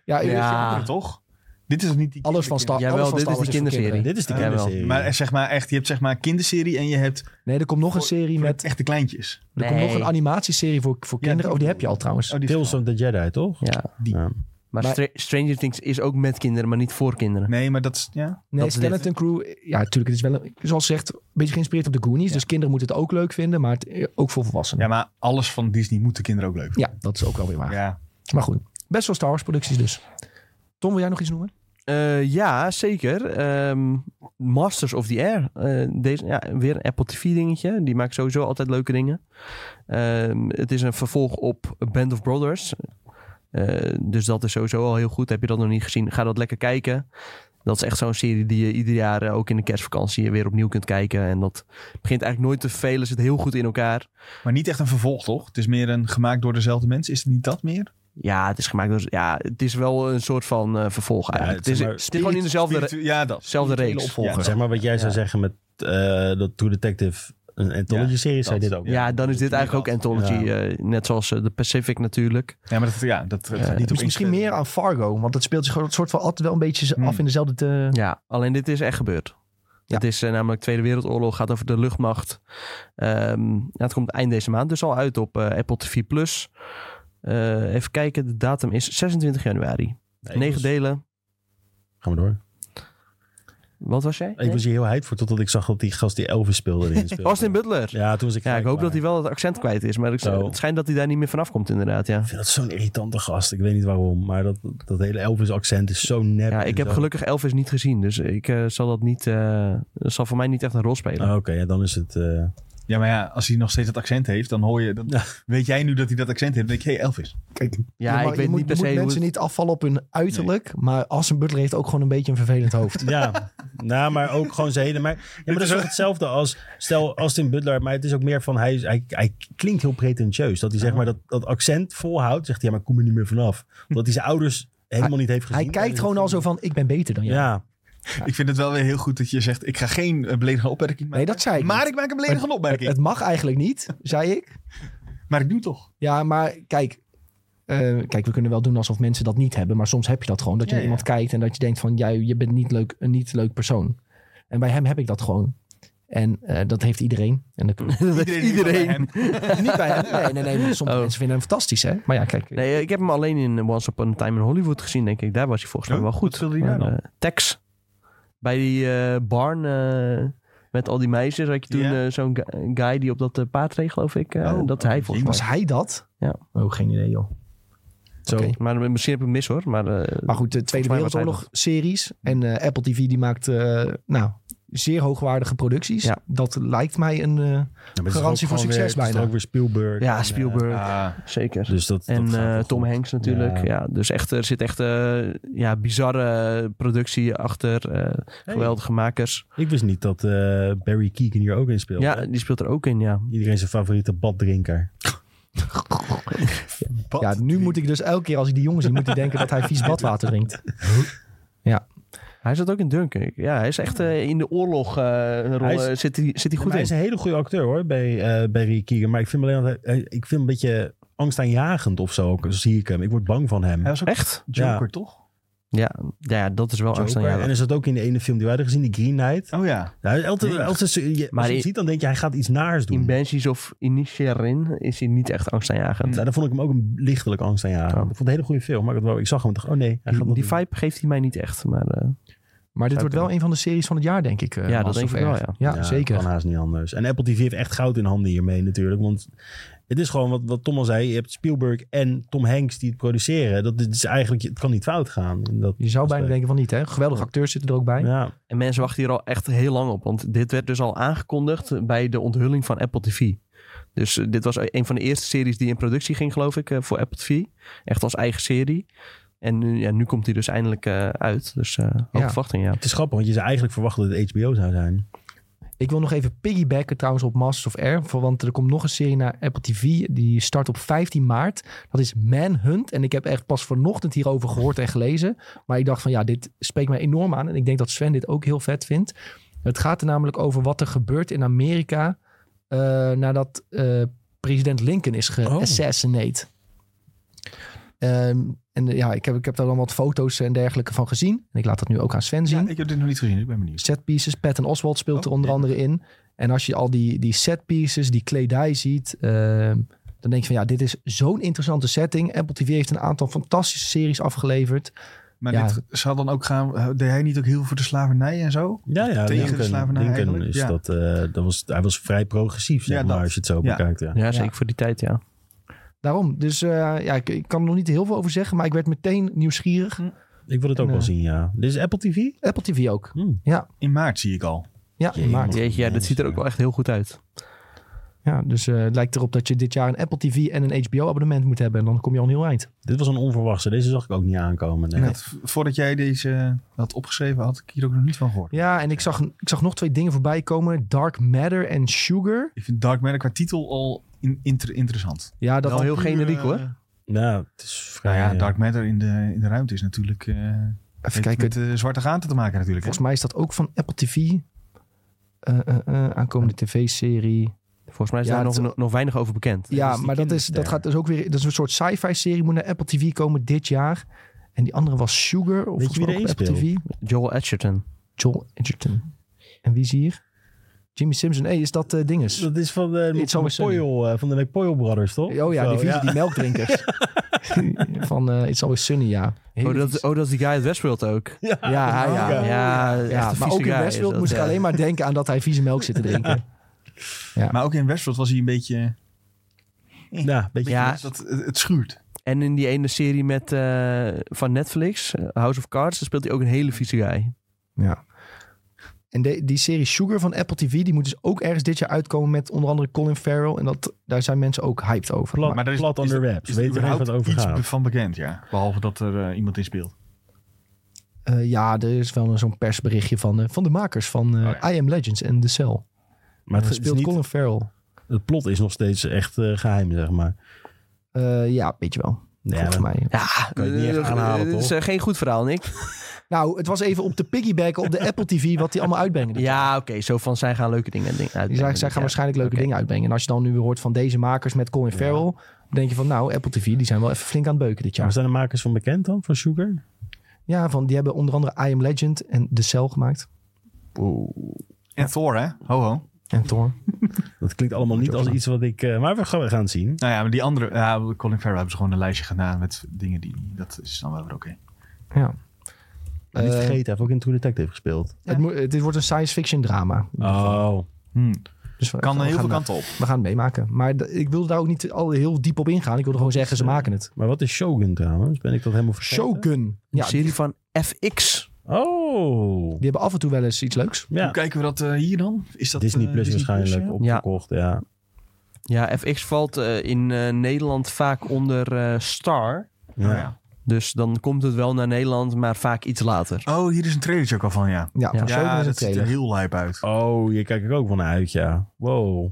S1: Ja,
S3: Ja.
S2: Toch? Dit is niet die
S1: Alles van Star,
S3: Jawel,
S1: alles van
S3: dit
S1: Star
S3: is
S1: Wars
S3: die
S1: voor
S3: kinderserie.
S1: kinderen.
S4: Dit is de
S2: Ah,
S4: kinderserie.
S2: Maar er- zeg maar echt, je hebt zeg maar kinderserie en je hebt
S1: Nee, er komt nog een
S2: Voor-
S1: serie
S2: voor de
S1: met... Er
S2: echte kleintjes.
S1: komt
S3: Nee.
S1: nog een animatieserie voor, voor
S2: Ja,
S1: kinderen.
S2: die-
S1: Oh, die heb je al trouwens.
S2: Oh, die
S4: Tales of the Jedi, toch?
S3: Ja.
S2: Die.
S4: Ja.
S3: Maar,
S1: Maar-
S3: Stra- Stranger Things is ook met kinderen, maar niet voor kinderen.
S2: Nee, maar dat is... Ja.
S1: Nee,
S3: Dat is
S1: Skeleton Crew, ja, natuurlijk, het is wel, een- zoals gezegd, een beetje geïnspireerd op de Goonies.
S2: Ja.
S1: Dus kinderen moeten het ook leuk vinden, maar het, eh, ook voor volwassenen.
S2: ja, maar alles van Disney moeten kinderen ook leuk vinden.
S1: Ja, dat is ook wel weer waar.
S2: Ja.
S1: Maar goed, best wel Star Wars producties dus. Tom, wil jij nog iets noemen?
S3: Eh, ja, zeker. Ehm, Masters of the Air. Eh, deze, ja, weer een Apple TV dingetje. Die maakt sowieso altijd leuke dingen. Ehm, het is een vervolg op Band of Brothers. Eh, dus dat is sowieso al heel goed. Heb je dat nog niet gezien? Ga dat lekker kijken. Dat is echt zo'n serie die je ieder jaar eh, ook in de kerstvakantie weer opnieuw kunt kijken. En dat begint eigenlijk nooit te vervelen. Zit heel goed in elkaar.
S2: Maar niet echt een vervolg, toch? Het is meer een gemaakt door dezelfde mensen. Is het niet dat meer?
S3: Ja, het is gemaakt door. Ja, het is wel een soort van eh, vervolg eigenlijk.
S4: het
S3: het,
S4: is
S3: is,
S4: maar
S3: het is gewoon in dezelfde. re-
S2: Spiritu- Ja, dat.
S3: dezelfde
S2: Spirituele
S3: reeks.
S2: opvolger.
S4: Zeg maar wat jij zou
S3: Ja.
S4: zeggen met eh, dat True Detective, een anthology-serie, zou je
S2: dat.
S4: dit ook.
S3: Ja, dan is dit eigenlijk ook
S2: inderdaad.
S3: Anthology. eh, net zoals eh, de Pacific natuurlijk.
S2: Ja, maar dat, ja, dat dat
S3: Eh,
S2: gaat niet op
S1: Dus misschien
S2: één
S1: meer aan Fargo, want dat speelt zich gewoon een soort van altijd wel een beetje
S2: Hmm.
S1: af in dezelfde... eh, te-
S3: Ja, alleen dit is echt gebeurd.
S1: Ja.
S3: Het is eh, namelijk Tweede Wereldoorlog, gaat over de luchtmacht. Ehm, ja, het komt eind deze maand dus al uit op eh, Apple TV+. Plus. Eh, even kijken, de datum is 26 januari.
S4: Nee,
S3: Negen
S4: dus-
S3: delen.
S4: Ga maar door.
S3: Wat was jij?
S4: Ik was hier heel heid voor totdat ik zag dat die gast die Elvis speelde erin speelde.
S3: Austin Butler. Ja,
S4: Ja, toen was ik
S3: ik
S4: gelijk
S3: hoop dat hij
S4: klaar.
S3: wel het accent kwijt is. Maar ik,
S4: Zo.
S3: het schijnt dat hij daar niet meer vanaf komt inderdaad, ja.
S4: Ik vind dat zo'n irritante gast. Ik weet niet waarom, maar dat, dat hele Elvis-accent is zo nep.
S3: Ja,
S4: en
S3: ik heb
S4: zo-
S3: gelukkig Elvis niet gezien. Dus ik eh, zal dat niet... eh, dat zal voor mij niet echt een rol spelen.
S4: Ah, Oké, ja, dan is het... eh,
S2: Ja, maar ja, als hij nog steeds dat accent heeft, dan hoor je... Dan
S4: Ja.
S2: Weet jij nu dat hij dat accent heeft? Dan denk je, hey Elvis.
S1: Kijk,
S3: ja,
S1: je
S3: ik
S1: mag-
S3: weet
S1: je moet,
S3: niet per
S1: je
S3: se
S1: moet
S3: hoe
S1: mensen
S3: het-
S1: niet afvallen op hun uiterlijk, maar Austin Butler heeft ook gewoon een beetje een vervelend hoofd.
S4: Ja, nou, maar ook gewoon zijn hele... Maar, ja, maar dat is ook hetzelfde als... Stel, Austin Butler, maar het is ook meer van... Hij, hij, hij klinkt heel pretentieus. Dat hij zeg maar dat, dat accent volhoudt. Zegt hij, ja, maar ik kom er niet meer vanaf. Omdat hij zijn ouders helemaal niet heeft gezien.
S1: Hij kijkt gewoon al zo van, ik ben beter dan
S4: Ja,
S1: jij.
S4: ja.
S2: Ik vind het wel weer heel goed dat je zegt, ik ga geen eh, beledigende opmerking maken.
S1: Nee, dat zei ik
S2: Maar
S1: niet.
S2: ik maak een beledigende opmerking.
S1: Het mag eigenlijk niet, zei ik.
S2: maar ik doe het toch.
S1: Ja, maar kijk. eh, kijk, we kunnen wel doen alsof mensen dat niet hebben. Maar soms heb je dat gewoon. Dat je
S2: Ja,
S1: naar iemand kijkt en dat je denkt van... jij je bent niet leuk, een niet leuk persoon. En bij hem heb ik dat gewoon. En eh, dat heeft iedereen. En dat kunnen
S2: Iedereen. die
S3: Iedereen.
S2: van hem-
S1: we- niet bij hem. Nee, nee, nee. maar Sommige
S3: Oh.
S1: mensen vinden hem fantastisch, hè? Maar ja, kijk.
S3: Nee, eh, ik heb hem alleen in Once Upon a Time in Hollywood gezien, denk ik. Daar was hij volgens mij
S2: Oh,
S3: wel goed.
S2: wat speelde hij daar
S3: Maar, eh, Tex. Bij die eh, barn eh, met al die meisjes had je toen
S2: Ja.
S3: eh, zo'n gu- guy die op dat eh, paard reed, geloof ik. eh,
S2: Oh,
S3: dat hij volgens
S1: Was
S3: mij.
S1: hij dat?
S3: Ja.
S1: Oh, geen idee, joh.
S4: Zo.
S1: Oké.
S3: Maar misschien heb ik hem mis hoor. Maar, eh,
S1: Maar goed, de Tweede
S3: Volgens mij was hij
S1: Wereldoorlog-series. En eh, Apple TV die maakt... eh, nou, zeer hoogwaardige producties.
S3: Ja.
S1: Dat lijkt mij een... eh,
S4: Ja, maar het is
S1: Garantie
S4: ook
S1: voor
S4: gewoon
S1: succes
S4: weer, het is
S1: bijna.
S4: toch ook weer Spielberg.
S3: ja,
S4: en,
S3: Spielberg.
S2: Ah,
S3: zeker.
S4: eh, dus dat, dat
S3: en
S4: gaat wel
S3: eh, Tom
S4: goed.
S3: Hanks natuurlijk.
S4: Ja.
S3: Ja. dus echt, er zit echt eh, ja, bizarre productie achter. eh, Geweldige makers.
S4: Ik wist niet dat eh, Barry Keegan hier ook in speelde.
S3: Ja, die speelt er ook in, ja.
S4: Iedereen zijn favoriete baddrinker.
S2: wat?
S1: Ja, nu moet ik dus elke keer als ik die jongen zie, moet ik denken dat hij vies badwater drinkt.
S3: Hij zat ook in Dunkirk. Ja, hij is echt eh, in de oorlog eh, een rol,
S4: Hij is-
S3: eh, zit, hij, zit hij goed
S4: hij
S3: in.
S4: is een hele goede acteur hoor, bij, eh Barry Keegan. Maar ik vind hem alleen dat hij- hij- ik vind hem een beetje angstaanjagend of zo. ook. Zo zie ik hem. Ik word bang van hem.
S2: Hij was ook
S3: Echt?
S2: Joker,
S4: Ja.
S2: toch?
S3: Ja, ja, dat is wel
S4: Joker. En
S3: angstaanjagend.
S4: is dat ook in de ene film die wij hadden gezien, die Green Knight?
S2: Oh ja.
S4: Ja, hij is altijd,
S2: Ja.
S4: altijd zo- je,
S3: Maar
S4: als je hem
S3: in-
S4: ziet, dan denk je, hij gaat iets naars doen.
S3: In Banshees of Inisherin is hij niet echt angstaanjagend.
S4: Nou, dan vond ik hem ook een lichtelijk angstaanjagend.
S3: Ja.
S4: Ik vond het een hele goede film. Maar ik, had wel, ik zag hem en dacht, oh nee, hij gaat
S3: Die,
S4: dat
S3: die
S4: doen.
S3: vibe geeft hij mij niet echt. Maar eh,
S1: Maar dit
S3: Zou
S1: wordt wel
S3: kunnen.
S1: een van de series van het jaar, denk ik. eh,
S3: Ja, dat
S1: Last
S3: denk
S1: of
S3: ik wel,
S1: Us.
S3: ja.
S1: Ja,
S4: Ja,
S1: zeker.
S4: Kan haast niet anders. En Apple TV heeft echt goud in handen hiermee natuurlijk. Want het is gewoon wat, wat Tom al zei. Je hebt Spielberg en Tom Hanks die het produceren. Dat is eigenlijk, het kan niet fout gaan. En dat,
S1: Je zou
S4: dat is
S1: bijna
S4: leuk.
S1: denken van niet, hè? Geweldige acteurs zitten er ook bij.
S4: Ja,
S3: en mensen wachten hier al echt heel lang op. Want dit werd dus al aangekondigd bij de onthulling van Apple TV. Dus eh, dit was een van de eerste series die in productie ging, geloof ik, eh, voor Apple TV. Echt als eigen serie. En nu, ja, nu komt hij dus eindelijk eh, uit. Dus eh hoge
S1: Ja.
S3: verwachting, ja.
S4: het is grappig, want je zou eigenlijk verwachten dat het HBO zou zijn.
S1: Ik wil nog even piggybacken trouwens op Masters of Air. voor- Want er komt nog een serie naar Apple TV. Die start op 15 maart. Dat is Manhunt. En ik heb echt pas vanochtend hierover gehoord en gelezen. Maar ik dacht van ja, dit spreekt mij enorm aan. En ik denk dat Sven dit ook heel vet vindt. Het gaat er namelijk over wat er gebeurt in Amerika. eh, nadat eh, president Lincoln is geassassinate. Ehm, en eh, ja, ik heb, ik heb daar dan wat foto's en dergelijke van gezien. En ik laat dat nu ook aan Sven zien
S2: Ja, Ik heb dit nog niet gezien, ik ben benieuwd.
S1: set pieces. Patton Oswald speelt
S2: Oh,
S1: er onder
S2: ja.
S1: andere in. En als je al die, die set pieces, die kledij ziet, ehm, Dan denk je van ja, dit is zo'n interessante setting. Apple TV heeft een aantal fantastische series afgeleverd.
S2: Maar
S1: Ja.
S2: dit zou dan ook gaan... eh, Deed hij niet ook heel veel voor de slavernij en zo?
S4: Ja, ja,
S2: Tegen de slavernij
S4: Lincoln
S2: eigenlijk,
S4: is
S2: ja.
S4: dat, eh, dat was, hij was vrij progressief, zeg
S2: Ja,
S4: maar,
S2: dat.
S4: als je het zo
S2: Ja.
S4: bekijkt. Ja.
S3: Ja, zeker voor die tijd, ja.
S1: Daarom. Dus eh, ja, ik, ik kan er nog niet heel veel over zeggen, maar ik werd meteen nieuwsgierig.
S4: Ik wil het ook
S1: En,
S4: wel
S1: eh,
S4: zien, ja. Dit is Apple TV?
S1: Apple TV ook.
S4: Hm.
S2: In maart zie ik al.
S1: Ja, in
S4: Jee,
S1: maart.
S4: man.
S3: Jeetje, ja, dat ziet er ook wel echt heel goed uit.
S1: Ja, dus eh, het lijkt erop dat je dit jaar een Apple TV en een HBO abonnement moet hebben. En dan kom je al een heel eind.
S4: Dit was een onverwachte. Deze zag ik ook niet aankomen. nee.
S1: Nee.
S2: Dat, voordat jij deze had opgeschreven, had ik hier ook nog niet van gehoord.
S1: Ja, en ik zag, ik zag nog twee dingen voorbij komen. Dark Matter en Sugar.
S2: Ik vind Dark Matter qua titel al in, inter- interessant.
S1: Ja, dat
S3: Wel heel
S2: Puur,
S3: generiek,
S2: eh,
S3: hoor.
S4: Nou, het is vrij...
S2: Nou ja,
S4: eh,
S2: Dark Matter in de, in de ruimte is natuurlijk... eh,
S1: Even
S2: heeft
S1: kijken.
S2: Met de zwarte gaten te maken natuurlijk. hè?
S1: Volgens mij is dat ook van Apple TV. Eh, eh, eh, aankomende tv-serie.
S3: Volgens mij is
S1: Ja,
S3: daar
S1: het
S3: nog, nog weinig over bekend.
S1: Ja,
S4: die
S1: maar dat, is, dat
S4: kinderster.
S1: gaat dus ook weer. Dat is een soort sci-fi serie. Moet naar Apple TV komen dit jaar. En die andere was Sugar. Of
S4: Weet je
S1: volgens mij
S4: wie
S1: ook
S4: er
S1: op Apple
S4: in
S1: TV.
S3: Joel Edgerton.
S1: Joel Edgerton. En wie is hier? Jimmy Simpson. Hé, is dat eh, dinges?
S4: Dat is van de,
S1: It's
S4: van de,
S1: always sunny.
S4: Poyle, eh, van de Week Poyle Brothers, toch?
S1: Oh ja,
S4: Zo,
S1: die vieze, die melkdrinkers. van eh It's Always Sunny, ja. Hele
S3: Oh dat,
S1: vieze-
S3: is- oh, dat is die guy uit Westworld ook.
S1: ja, ja, ja.
S4: ja.
S1: Ja, maar ook in Westworld moest
S3: eh.
S1: ik alleen maar denken aan dat hij vieze melk zit te drinken.
S2: Maar ook in Westworld was hij een beetje...
S4: Ja, beetje
S3: Ja.
S2: beetje dat, het, het schuurt.
S3: En in die ene serie met, eh, van Netflix, eh, House of Cards, daar speelt hij ook een hele vieze guy.
S1: Ja. En de- die serie Sugar van Apple TV, die moet dus ook ergens dit jaar uitkomen met onder andere Colin Farrell. En dat, daar zijn mensen ook hyped over.
S4: plat,
S1: Maar-
S2: maar er is-
S4: plat
S2: is
S4: under
S2: er-
S4: wraps.
S2: Is
S4: Weet
S2: er
S4: je even wat
S2: überhaupt
S4: over
S2: iets
S4: gaat.
S2: be- van bekend, ja. Behalve dat er eh, iemand in speelt.
S1: eh, ja, er is wel een- zo'n persberichtje van, eh, van de makers van eh,
S2: Oh ja.
S1: I Am Legends en The Cell.
S4: Maar het,
S1: Eh,
S4: is
S1: speelt
S4: niet-
S1: Colin Farrell.
S4: het plot is nog steeds echt eh, geheim, zeg maar.
S1: Eh, ja, weet je wel.
S4: Ja,
S1: Volgens
S4: dan-
S1: mij.
S3: Ja,
S4: Kan je niet echt
S3: eh,
S4: aanhalen,
S3: dit is
S4: toch?
S3: eh, geen goed verhaal, Nick.
S1: Nou, het was even om te piggybacken op de Apple TV wat die allemaal uitbrengen. dit
S3: Ja, oké, zo van zij gaan leuke dingen dus dingen uit.
S1: Die zeggen, zij gaan waarschijnlijk leuke
S3: Oké.
S1: dingen uitbrengen. En als je dan nu weer hoort van deze makers met Colin Farrell... dan denk je van, nou, Apple TV, die zijn wel even flink aan het beuken dit
S4: Maar
S1: jaar.
S4: zijn de makers van bekend dan, van Sugar?
S1: Ja, van, die hebben onder andere I Am Legend en The Cell gemaakt.
S2: En Thor, hè? Ho, ho.
S1: En Thor.
S4: Dat klinkt allemaal niet als
S1: opslaan.
S4: iets wat ik... eh, maar we gaan, we gaan het zien.
S2: Nou ja, maar die andere... Ja, Colin Farrell hebben ze gewoon een lijstje gedaan met dingen die... Dat is dan wel weer oké.
S1: Ja. Eh,
S4: En niet vergeten, hij heeft ook in True Detective gespeeld.
S1: Het moet- het- dit wordt een science fiction drama.
S4: Oh,
S2: Hmm.
S1: Dus we,
S2: Kan
S1: we
S2: heel
S1: gaan,
S2: veel kanten op.
S1: We gaan het meemaken. Maar d- ik wilde daar ook niet al heel diep op ingaan. Ik wilde gewoon zeggen, ze maken het.
S4: maar wat is Shogun trouwens? Ben ik dat helemaal vergeten?
S1: Shogun.
S3: Een
S1: Ja, die,
S3: serie van FX.
S4: Oh.
S1: die hebben af en toe wel eens iets leuks.
S4: Ja,
S2: Hoe kijken we dat eh, hier dan? Is dat
S4: Disney
S2: eh,
S4: Plus waarschijnlijk
S2: ja?
S4: opgekocht, ja.
S3: Ja, FX valt eh, in eh, Nederland vaak onder eh, Star.
S4: Ja.
S2: Oh, ja.
S3: Dus dan komt het wel naar Nederland, maar vaak iets later.
S2: Oh, hier is een trailertje ook al van, ja.
S1: Ja, van
S3: Ja,
S1: Shogun
S2: Ja,
S1: is een
S2: dat ziet er
S1: trailer.
S2: heel lijp uit.
S4: Oh, je kijkt er ook van uit, ja. Wow.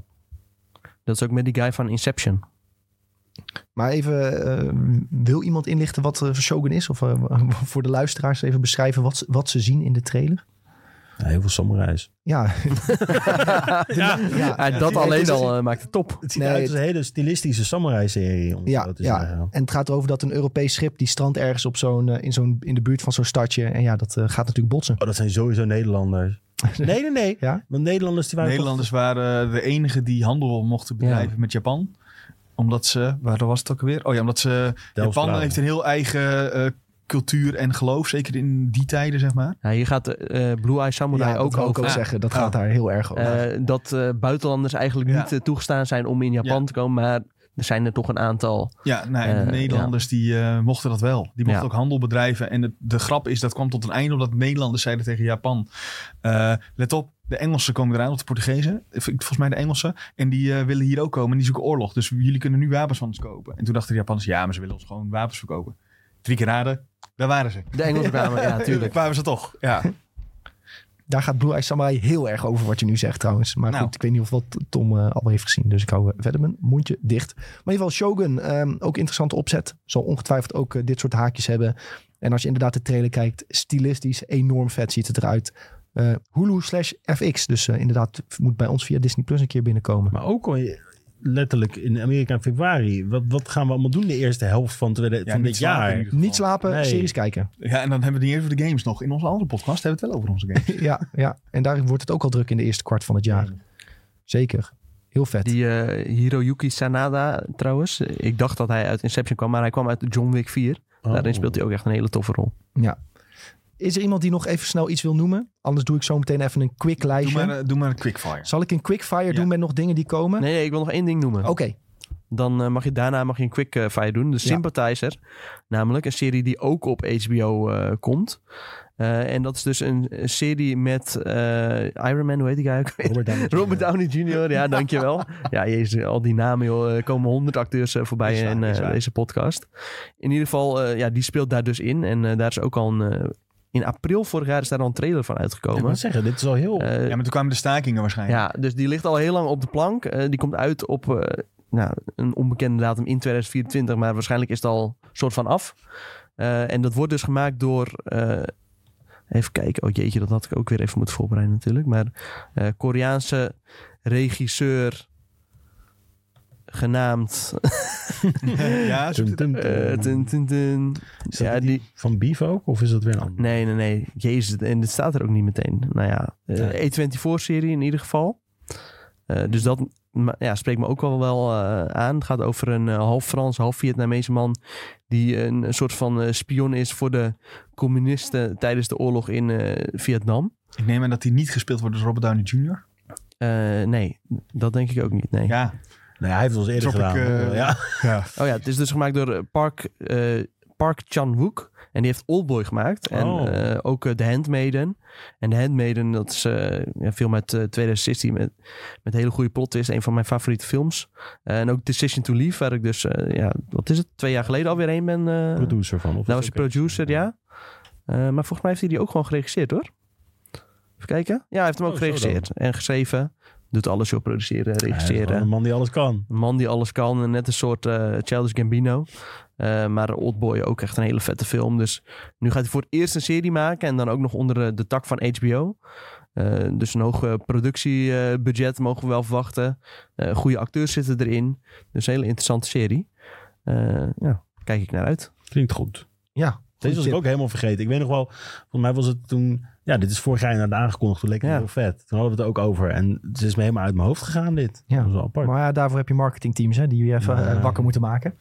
S3: Dat is ook met die guy van Inception.
S1: Maar even, eh, wil iemand inlichten wat eh, Shogun is? Of eh, voor de luisteraars even beschrijven wat, ze- wat ze zien in de trailer?
S4: Ja, heel veel samurais.
S1: Ja,
S4: Ja,
S1: ja,
S3: Ah, dat
S4: Ja, het
S3: alleen
S4: is-
S3: al eh, maakt het top.
S4: het ziet
S1: Nee,
S4: uit als een hele stilistische samurai-serie, om het
S1: ja,
S4: zo te
S1: ja.
S4: zeggen. Oh,
S1: En het gaat erover dat een Europees schip die strandt ergens op zo'n, eh, in, zo'n, in de buurt van zo'n stadje. En ja, dat eh, gaat natuurlijk botsen.
S4: Oh, dat zijn sowieso Nederlanders. Nee, nee, nee.
S1: Ja?
S4: Want Nederlanders die waren
S2: Nederlanders waren eh, de enigen die handel mochten bedrijven met Japan. Omdat ze, waar was het ook alweer? Oh ja, omdat ze. Japan
S4: blauw.
S2: heeft een heel eigen eh, cultuur en geloof, zeker in die tijden, zeg maar.
S3: Ja, hier gaat eh, eh, Blue Eye Samurai
S1: ja, dat
S3: ook
S1: wou ik
S3: over.
S1: ook
S2: Ja.
S1: zeggen. Dat
S2: Ja.
S1: gaat daar heel erg over.
S3: Eh, dat eh, buitenlanders eigenlijk
S2: Ja.
S3: niet eh, toegestaan zijn om in Japan
S2: Ja.
S3: te komen. Maar er zijn er toch een aantal.
S2: Ja, nou, en de
S3: Eh,
S2: Nederlanders die eh, mochten dat wel. Die mochten
S3: Ja.
S2: ook handel bedrijven. En het- de grap is, dat kwam tot een einde omdat Nederlanders zeiden tegen Japan... eh, let op, de Engelsen komen eraan, of de Portugezen. Ik- Volgens mij de Engelsen. En die eh, willen hier ook komen en die zoeken oorlog. Dus jullie kunnen nu wapens van ons kopen. En toen dachten de Japanners, ja, maar ze willen ons gewoon wapens verkopen. Drie keer raden, daar waren ze.
S3: De Engelsen kwamen, ja,
S2: Daar
S3: tuurlijk.
S2: kwamen ze toch, ja.
S1: Daar gaat Blue Eye Samurai heel erg over wat je nu zegt trouwens. Maar
S2: Nou.
S1: goed, ik weet niet of wat Tom eh, al heeft gezien. Dus ik hou eh, verder mijn mondje dicht. Maar in ieder geval Shogun, ehm, ook interessante opzet. Zal ongetwijfeld ook eh, dit soort haakjes hebben. En als je inderdaad de trailer kijkt, stilistisch enorm vet ziet het eruit. Eh, Hulu slash FX. Dus eh, inderdaad, moet bij ons via Disney Plus een keer binnenkomen.
S4: Maar ook al je- letterlijk in Amerika in februari. Wat, wat gaan we allemaal doen de eerste helft van, tweede,
S2: Ja,
S4: van
S2: niet
S4: dit
S2: slapen in
S4: jaar?
S2: ieder geval.
S1: Niet slapen,
S4: Nee.
S1: series kijken.
S2: Ja, en dan hebben we het niet eens over de games nog. In onze andere podcast hebben we het wel over onze games.
S1: ja, ja, en daar wordt het ook al druk in de eerste kwart van het jaar. Zeker. Heel vet.
S3: Die eh, Hiroyuki Sanada trouwens. Ik dacht dat hij uit Inception kwam, maar hij kwam uit John Wick 4.
S4: Oh.
S3: Daarin speelt hij ook echt een hele toffe rol.
S1: Is er iemand die nog even snel iets wil noemen? Anders doe ik zo meteen even een quick
S2: Doe
S1: lijstje.
S2: maar, eh, doe maar een quickfire.
S1: Zal ik een quickfire
S2: Ja.
S1: doen met nog dingen die komen?
S3: Nee, nee, ik wil nog één ding noemen.
S1: Oké,
S3: Dan eh, mag je daarna mag je een quick eh, fire doen. De
S1: Oh. Ja.
S3: Sympathizer. Namelijk een serie die ook op HBO eh, komt. Eh, en dat is dus een een serie met eh, Iron Man, hoe heet die guy ook weer?
S4: Oh, Robert Downey Jr.
S3: Robert Downey Jr., ja, dankjewel. ja, jezus, al die namen, joh. Er komen honderd acteurs eh, voorbij
S2: Is waar,
S3: in eh,
S2: is waar.
S3: deze podcast. In ieder geval, eh, ja, die speelt daar dus in. En eh, daar is ook al een... eh, in april vorig jaar is daar al een trailer van
S4: Ik
S3: uitgekomen.
S4: moet zeggen, dit is al heel...
S3: Eh,
S2: Ja, maar toen kwamen de stakingen waarschijnlijk.
S3: ja, dus die ligt al heel lang op de plank. Eh, die komt uit op eh, nou, een onbekende datum in 2024, maar waarschijnlijk is het al soort van af. Eh, en dat wordt dus gemaakt door. eh, even kijken. Oh jeetje, dat had ik ook weer even moeten voorbereiden, natuurlijk. Maar eh, Koreaanse regisseur. genaamd.
S2: ja zo-
S4: Tum, tum, tum.
S3: eh, tun, tun, tun.
S4: Is dat
S3: ja,
S4: niet
S3: die.
S4: Van Beef ook? Of is dat weer een ander?
S3: Nee, nee, nee. Jezus, en dit staat er ook niet meteen. Nou ja, eh, E24-serie in ieder geval. Eh, dus dat ma- ja, spreekt me ook wel, wel eh, aan. Het gaat over een eh, half Frans, half Vietnamese man... die een, een soort van eh, spion is voor de communisten... tijdens de oorlog in eh, Vietnam.
S2: Ik neem aan dat die niet gespeeld wordt door Robert Downey Jr.
S3: Eh, nee, dat denk ik ook niet, nee.
S2: Ja.
S4: Nee, hij heeft het al eens eerder
S2: Tropic,
S4: gedaan.
S2: eh,
S4: ja.
S3: Oh ja, het is dus gemaakt door eh, Park, eh, Park Chan-wook. En die heeft Oldboy gemaakt. En
S4: Oh.
S3: eh, ook eh, The Handmaiden. En The Handmaiden, dat is eh, een film uit eh, 2016 met, met hele goede plot. is een van mijn favoriete films. Eh, en ook Decision to Leave, waar ik dus, eh, ja, wat is het, twee jaar geleden alweer heen ben. eh nou
S4: Producer van. Of
S3: was hij producer, ja. Eh, maar volgens mij heeft hij die ook gewoon geregisseerd, hoor. Even kijken. Ja, hij heeft hem ook
S4: Oh, zo dan.
S3: geregisseerd en geschreven. Doet alles, joh, produceren,
S4: Hij is gewoon
S3: regisseren.
S4: een man die alles kan.
S3: Een man die alles kan. en Net een soort eh, Childish Gambino. Eh, maar Oldboy ook echt een hele vette film. Dus nu gaat hij voor het eerst een serie maken. En dan ook nog onder eh, de tak van HBO. Eh, dus een hoog productiebudget mogen we wel verwachten. Eh, goede acteurs zitten erin. Dus een hele interessante serie. Eh, ja, kijk ik naar uit.
S4: Klinkt goed.
S1: ja.
S4: Deze was ik ook helemaal vergeten. Ik weet nog wel, volgens mij was het toen... Ja, dit is vorig jaar inderdaad aangekondigd. Toen leek het
S3: Ja.
S4: heel vet. Toen hadden we het ook over. En het is me helemaal uit mijn hoofd gegaan, dit.
S1: Ja.
S4: Dat was wel apart.
S1: Maar ja, daarvoor heb je marketingteams hè, die je even
S4: Ja.
S1: eh, wakker moeten maken.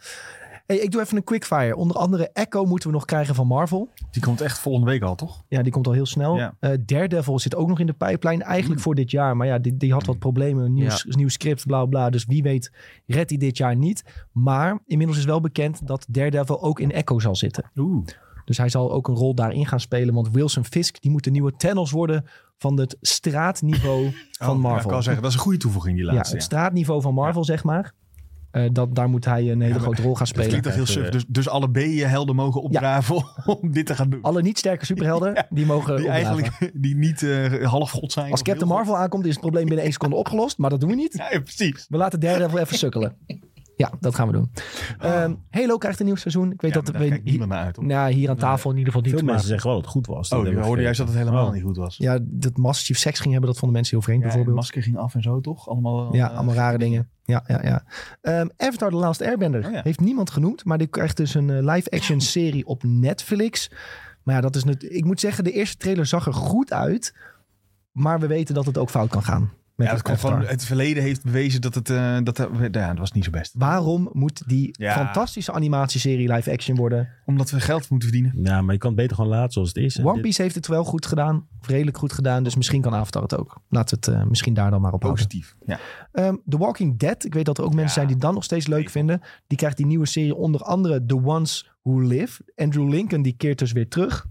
S1: Hey, ik doe even een quickfire. Onder andere Echo moeten we nog krijgen van Marvel.
S2: Die komt echt volgende week al, toch?
S1: Ja, die komt al heel snel.
S2: Ja. Hmm.
S1: Eh, Daredevil zit ook nog in de pijplijn. Eigenlijk voor dit jaar. Maar ja, die, die had wat problemen. Nieuw,
S3: Ja.
S1: nieuw script, bla bla. Dus wie weet redt hij dit jaar niet. Maar inmiddels is wel bekend dat Daredevil ook in Echo zal zitten.
S2: Oeh.
S1: Dus hij zal ook een rol daarin gaan spelen. Want Wilson Fisk, die moet de nieuwe Thanos worden van het straatniveau van
S2: Oh, Ja, ik
S1: Marvel.
S2: kan zeggen, dat is een goede toevoeging, die
S1: Ja,
S2: laatste.
S1: het
S2: Ja,
S1: straatniveau van Marvel, zeg maar. Eh, dat, daar moet hij een hele
S2: maar
S1: grote rol gaan
S2: Het
S1: spelen.
S2: klinkt toch heel suf.
S4: Eh,
S2: Dus, dus alle B-helden mogen opdraven om dit te gaan doen.
S1: Alle niet sterke superhelden, die mogen
S2: die
S1: opdraven.
S2: eigenlijk die niet eh, half god zijn.
S1: Als
S2: of
S1: Captain
S2: heel
S1: Marvel aankomt, is het probleem binnen één seconde opgelost. Maar dat doen we niet.
S2: god. Ja, ja, precies.
S1: We laten Daredevil even sukkelen. Ja, dat gaan we doen. Ehm, Halo krijgt een nieuw seizoen. Ik weet
S2: Oh. ja, maar
S1: dat
S2: daar
S1: we
S2: kijkt
S1: hier,
S2: niemand naar uit. Op.
S1: nou, hier aan tafel in ieder geval
S4: Veel
S1: niet. maar-
S4: mensen zeggen wel dat het goed was. Dat
S2: Oh, ik
S4: hebben we
S2: hoorde juist
S4: vergeten.
S2: dat het helemaal
S4: Oh.
S2: niet goed was.
S1: ja, dat Massive Chief seks ging hebben, dat vonden mensen heel vreemd
S2: Ja, en
S1: bijvoorbeeld.
S2: masker ging af en zo, toch? Allemaal,
S1: Ja,
S2: eh,
S1: allemaal rare dingen. Ja, ja, ja. Ehm, Avatar The Last Airbender
S2: Oh ja.
S1: heeft niemand genoemd. Maar die krijgt dus een eh, live-action serie op Netflix. Maar ja, dat is net, ik moet zeggen, de eerste trailer zag er goed uit. Maar we weten dat het ook fout kan gaan. Met
S2: Ja,
S1: het
S2: dat komt
S1: Avatar.
S2: van het verleden heeft bewezen dat het... eh, dat, er- ja, dat was niet zo best.
S1: Waarom moet die
S2: Ja.
S1: fantastische animatieserie live-action worden?
S2: Omdat we geld moeten verdienen.
S4: Ja, maar je kan het beter gewoon laten zoals het is. En
S1: One
S4: dit-
S1: Piece heeft het wel goed gedaan. Of redelijk goed gedaan. Dus misschien kan Avatar het ook. Laten we het eh, misschien daar dan maar op houden.
S2: Positief. Ja.
S1: Ehm, The Walking Dead. Ik weet dat er ook mensen zijn
S2: Ja.
S1: die dan nog steeds leuk
S2: Zeker.
S1: vinden. Die krijgt die nieuwe serie onder andere The Ones Who Live. Andrew Lincoln die keert dus weer terug.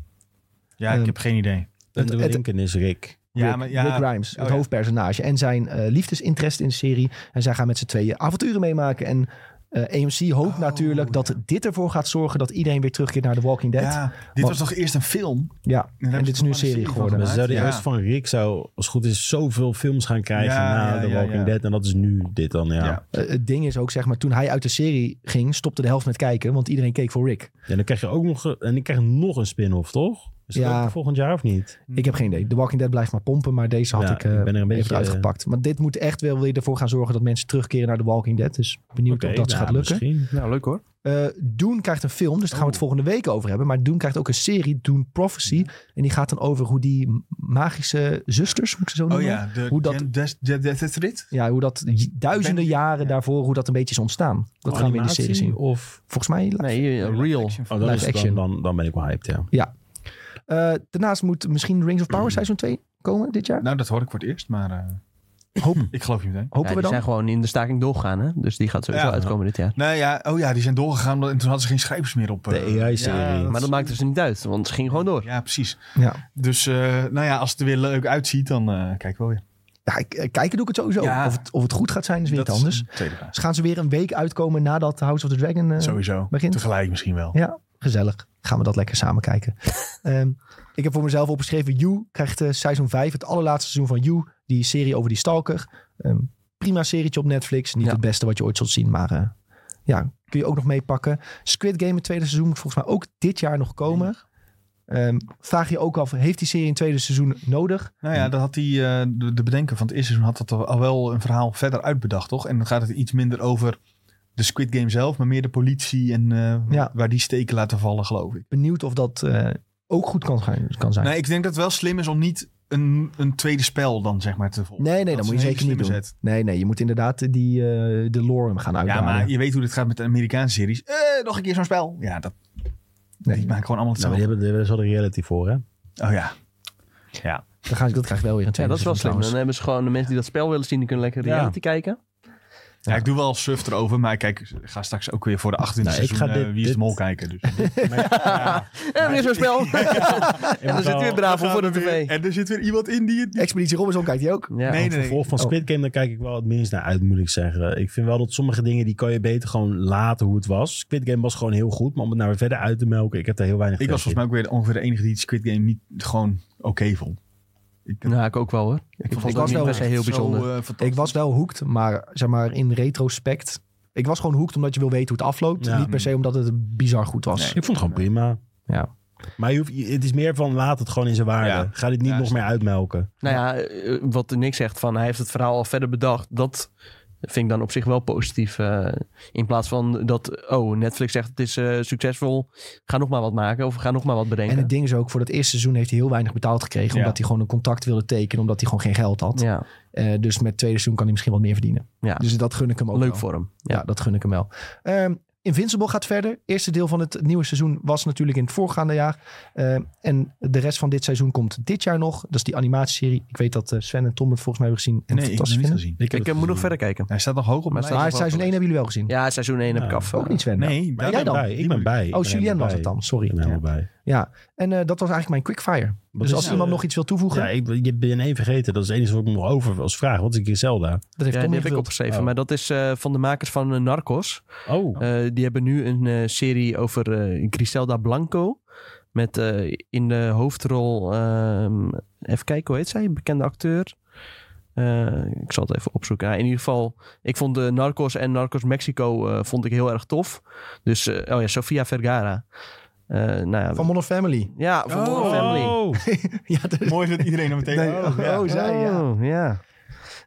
S2: ja, ik
S1: Ehm,
S2: heb geen idee.
S1: Het-
S4: Andrew
S1: het-
S4: Lincoln is Rick.
S2: Ja,
S1: Rick,
S2: maar ja, Oh
S1: Rick Grimes, het
S2: ja.
S1: hoofdpersonage. En zijn eh, liefdesinteresse in de serie. En zij gaan met z'n tweeën avonturen meemaken. En eh AMC hoopt
S2: Oh,
S1: natuurlijk dat
S2: ja.
S1: dit ervoor gaat zorgen... dat iedereen weer terugkeert naar The Walking Dead. Ja,
S2: Ja, dit was toch eerst een film? En daar
S1: en
S2: hebben
S1: dit
S2: ze
S1: is nu een
S2: toch
S1: serie
S2: van
S1: geworden.
S4: Maar ze
S2: Ja.
S4: zouden juist van Rick zou, als het goed is, zoveel films gaan krijgen
S2: Ja,
S4: na
S2: ja,
S4: The
S2: ja,
S4: Walking
S2: ja.
S4: Dead. En dat is nu dit dan, ja.
S2: Ja.
S1: Eh, het ding is ook, zeg maar, toen hij uit de serie ging... stopte de helft met kijken, want iedereen keek voor Rick.
S4: En dan krijg je ook nog, een- en dan krijg je nog een spin-off, toch? Is
S1: Ja.
S4: ja. volgend jaar of niet?
S1: Ik heb geen idee. The Walking Dead blijft maar pompen, maar deze had
S4: Hmm. Ja,
S1: ik, eh,
S4: ik ben er een
S1: even
S4: beetje,
S1: uitgepakt. Maar dit moet echt wel weer ervoor gaan zorgen dat mensen terugkeren naar The Walking Dead. Dus benieuwd
S4: Oké,
S1: of dat
S4: nou,
S1: gaat lukken.
S4: Misschien. Oh.
S3: Nou, leuk hoor.
S1: Eh Dune krijgt een film, dus daar gaan we het volgende week over hebben. Maar Dune krijgt ook een serie, Dune Prophecy. En die gaat dan over hoe die m- magische zusters, moet ik ze zo
S2: Oh
S1: noemen?
S2: ja, de
S1: Hoe dat-
S2: Gen- Des- Des- Des- Des- Des-
S1: Ja, hoe dat j- duizenden
S2: Ben-
S1: jaren
S2: ja. Oh,
S1: daarvoor, hoe dat een beetje is ontstaan. Dat gaan we in de
S4: Oh, Animatie
S1: serie zien.
S4: Of...
S1: Volgens mij.
S3: Nee, eh, real.
S4: Oh, dan,
S1: Live
S4: is het
S1: action.
S4: dan, dan, dan ben ik wel hyped, ja. Nou,
S1: Eh, daarnaast moet misschien Rings of Power seizoen 2 komen dit jaar.
S2: Nou, dat hoor ik voor het eerst, maar eh, ik geloof je meteen.
S1: Hopen
S3: Ja,
S1: we
S3: die
S1: dan.
S3: zijn gewoon in de staking doorgegaan, hè? Dus die gaat sowieso
S2: Ja.
S3: uitkomen dit jaar.
S2: Nou ja, oh ja, die zijn doorgegaan omdat- en toen hadden ze geen schrijvers meer op. eh,
S4: De AI-serie.
S2: ja,
S4: Maar
S3: Maar dat maakt dus niet uit, want ze gingen gewoon door.
S2: Ja, precies.
S1: Ja.
S2: Dus eh, nou ja, als het er weer leuk uitziet, dan eh kijk wel weer.
S1: Ja, ik- eh, kijken doe ik het sowieso.
S2: Ja.
S1: Of, het, of het goed gaat zijn is weer
S2: Dat
S1: iets anders.
S2: een Tweede vraag.
S1: Dus gaan ze weer een week uitkomen nadat House of the Dragon eh,
S2: Sowieso.
S1: begint?
S2: Tegelijk misschien wel.
S1: Ja, gezellig. Gaan we dat lekker samen kijken. Ehm, ik heb voor mezelf opgeschreven... You krijgt eh seizoen 5, het allerlaatste seizoen van You. Die serie over die stalker. Ehm, prima serietje op Netflix. Niet
S3: Ja.
S1: het beste wat je ooit zult zien, maar... eh, ja, kun je ook nog meepakken. Squid Game, het tweede seizoen, moet volgens mij ook dit jaar nog komen. Ehm, vraag je ook af, heeft die serie een tweede seizoen nodig?
S2: Nou ja, dat had die, eh, de, de bedenker van het eerste seizoen had dat al wel een verhaal verder uitbedacht, toch? En dan gaat het iets minder over de Squid Game zelf, maar meer de politie en eh,
S1: Ja.
S2: waar die steken laten vallen, geloof ik.
S1: Benieuwd of dat eh, ook goed kan, gaan, kan zijn.
S2: Nee, ik denk dat het wel slim is om niet een, een tweede spel dan zeg maar te volgen.
S1: Nee, nee, dat,
S2: is
S1: moet je
S2: een
S1: zeker
S2: hele
S1: niet doen.
S2: slimme zet.
S1: Nee, nee, je moet inderdaad die, eh, de lore gaan
S2: Ja,
S1: uitbouwen.
S2: maar je weet hoe dit gaat met de Amerikaanse series. Eh, nog een keer zo'n spel. Ja, dat die maken gewoon allemaal
S4: Nou, maar die
S2: hetzelfde.
S4: hebben, die hebben wel de reality voor, hè?
S2: Oh ja.
S1: Dan gaan ze, dat krijg je wel weer een
S3: Ja,
S1: tweede
S3: dat is wel slim.
S1: seizoen
S3: Dan hebben ze gewoon de mensen die dat spel willen zien, die kunnen lekker
S4: Ja.
S3: reality kijken.
S2: Ja, ik doe wel suf erover, maar kijk, ik ga straks ook weer voor de 28e
S4: Nou, ik
S2: seizoen
S4: ga
S2: eh,
S4: dit-
S2: Wie is
S4: dit-
S2: de Mol kijken. Dus.
S3: En er is een spel. en dan zit weer Bravo voor de tv.
S2: En er zit weer iemand in die het...
S1: trouwens. Expeditie Robinson kijkt hij ook.
S3: Ja.
S2: Nee,
S4: Het vervolg van
S1: Oh.
S4: Squid Game, daar kijk ik wel het minst naar uit, moet ik zeggen. Ik vind wel dat sommige dingen, die kan je beter gewoon laten hoe het was. Squid Game was gewoon heel goed, maar om het nou weer verder uit te melken, ik heb daar heel weinig
S2: Ik was volgens
S4: trek
S2: mij ook weer ongeveer de enige die het Squid Game niet gewoon oké vond. Ik,
S3: Nou, ik ook wel hoor. Ik,
S1: ik
S3: vond het ook
S1: was
S3: niet
S1: wel eh,
S3: per se heel bijzonder.
S2: eh,
S1: Ik was wel hoekt, maar zeg maar in retrospect. Ik was gewoon hoekt omdat je wil weten hoe het afloopt.
S4: Ja.
S1: Niet per se omdat het bizar goed was.
S4: in. Ik vond het gewoon prima.
S1: Ja.
S4: Maar je hoeft, je- het is meer van laat het gewoon in zijn waarde.
S2: Ja.
S4: Ga dit niet
S2: Ja,
S4: nog
S2: is-
S4: meer uitmelken.
S3: Nou ja, eh, wat Nick zegt van hij heeft het verhaal al verder bedacht. Dat vind ik dan op zich wel positief. eh, in plaats van dat, oh, Netflix zegt het is eh, succesvol. Ga nog maar wat maken of ga nog maar wat bedenken.
S1: En het ding is ook, voor dat eerste seizoen heeft hij heel weinig betaald gekregen.
S2: Ja.
S1: Omdat hij gewoon een contract wilde tekenen. Omdat hij gewoon geen geld had.
S3: ja,
S1: Eh, dus met het tweede seizoen kan hij misschien wat meer verdienen.
S3: Ja.
S1: Dus dat gun ik hem ook
S3: leuk
S1: wel.
S3: voor hem.
S1: Ja, dat gun ik hem wel. Ehm, Invincible gaat verder. Eerste deel van het nieuwe seizoen was natuurlijk in het voorgaande jaar. Ehm, en de rest van dit seizoen komt dit jaar nog. Dat is die animatieserie. Ik weet dat eh, Sven en Tom het volgens mij hebben gezien. En
S2: Nee, ik heb
S1: fantastisch
S2: hem niet
S1: vinden.
S2: gezien.
S3: Ik eh, moet nog verder kijken.
S2: Hij staat nog hoog op
S3: Maar
S2: mijn
S3: staat
S1: Maar
S2: lijst.
S1: seizoen 1 hebben jullie wel gezien.
S3: Ja, seizoen 1 heb
S4: Ja.
S3: ik af.
S1: Ook niet Sven.
S2: Nee,
S4: Maar
S2: daar
S4: ik
S1: jij
S4: ben
S1: dan?
S4: bij. Ik ben bij.
S1: Oh,
S4: Ik ben
S1: Julien
S4: helemaal
S1: was het
S4: bij.
S1: dan.
S4: Ik ben
S1: Sorry. Ja.
S4: helemaal bij.
S1: En eh, dat was eigenlijk mijn quickfire.
S4: Wat
S1: dus
S4: is
S1: als
S4: nou,
S1: iemand
S4: eh,
S1: nog iets wil toevoegen,
S4: Ja, ik ben- ik ben één vergeten. Dat is het enige wat ik me nog over als vraag. Wat is een Griselda?
S1: dat heeft
S3: Ja,
S1: Tom
S3: die heb ik
S1: ingevuld.
S3: opgeschreven.
S4: Oh.
S3: Maar dat is eh, van de makers van eh, Narcos.
S4: Oh,
S3: Eh, die hebben nu een eh, serie over eh, Griselda Blanco. Met eh, in de hoofdrol, ehm, even kijken hoe heet zij, bekende acteur. Eh, ik zal het even opzoeken. Ja, in ieder geval, ik vond de Narcos en Narcos Mexico eh, vond ik heel erg tof. Dus, eh, oh ja, Sofia Vergara. Eh, nou ja,
S1: Van Modern Family.
S3: ja, van
S4: Oh.
S3: Modern Family.
S1: ja, dus-
S2: Mooi dat iedereen hem meteen...
S1: Nee,
S2: oh, ja.
S1: oh, zij, ja.
S3: Oh, ja.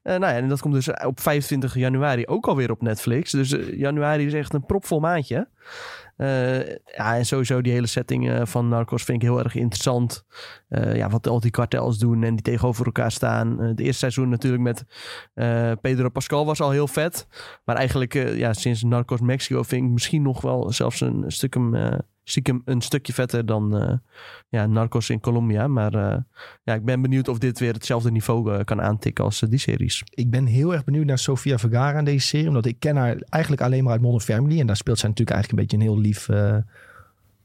S3: Eh, nou ja, en dat komt dus op 25 januari ook alweer op Netflix. Dus eh, januari is echt een propvol maandje. Eh, ja, en sowieso die hele setting eh, van Narcos vind ik heel erg interessant. Eh, ja, wat al die kartels doen en die tegenover elkaar staan. Eh, het eerste seizoen natuurlijk met eh, Pedro Pascal was al heel vet. Maar eigenlijk eh, ja, sinds Narcos Mexico vind ik misschien nog wel zelfs een stuk hem, eh, stiekem een stukje vetter dan eh, ja, Narcos in Colombia. Maar eh, ja, ik ben benieuwd of dit weer hetzelfde niveau eh, kan aantikken als eh, die series.
S1: Ik ben heel erg benieuwd naar Sofia Vergara in deze serie. Omdat ik ken haar eigenlijk alleen maar uit Modern Family. En daar speelt zij natuurlijk eigenlijk een beetje een heel lief... eh,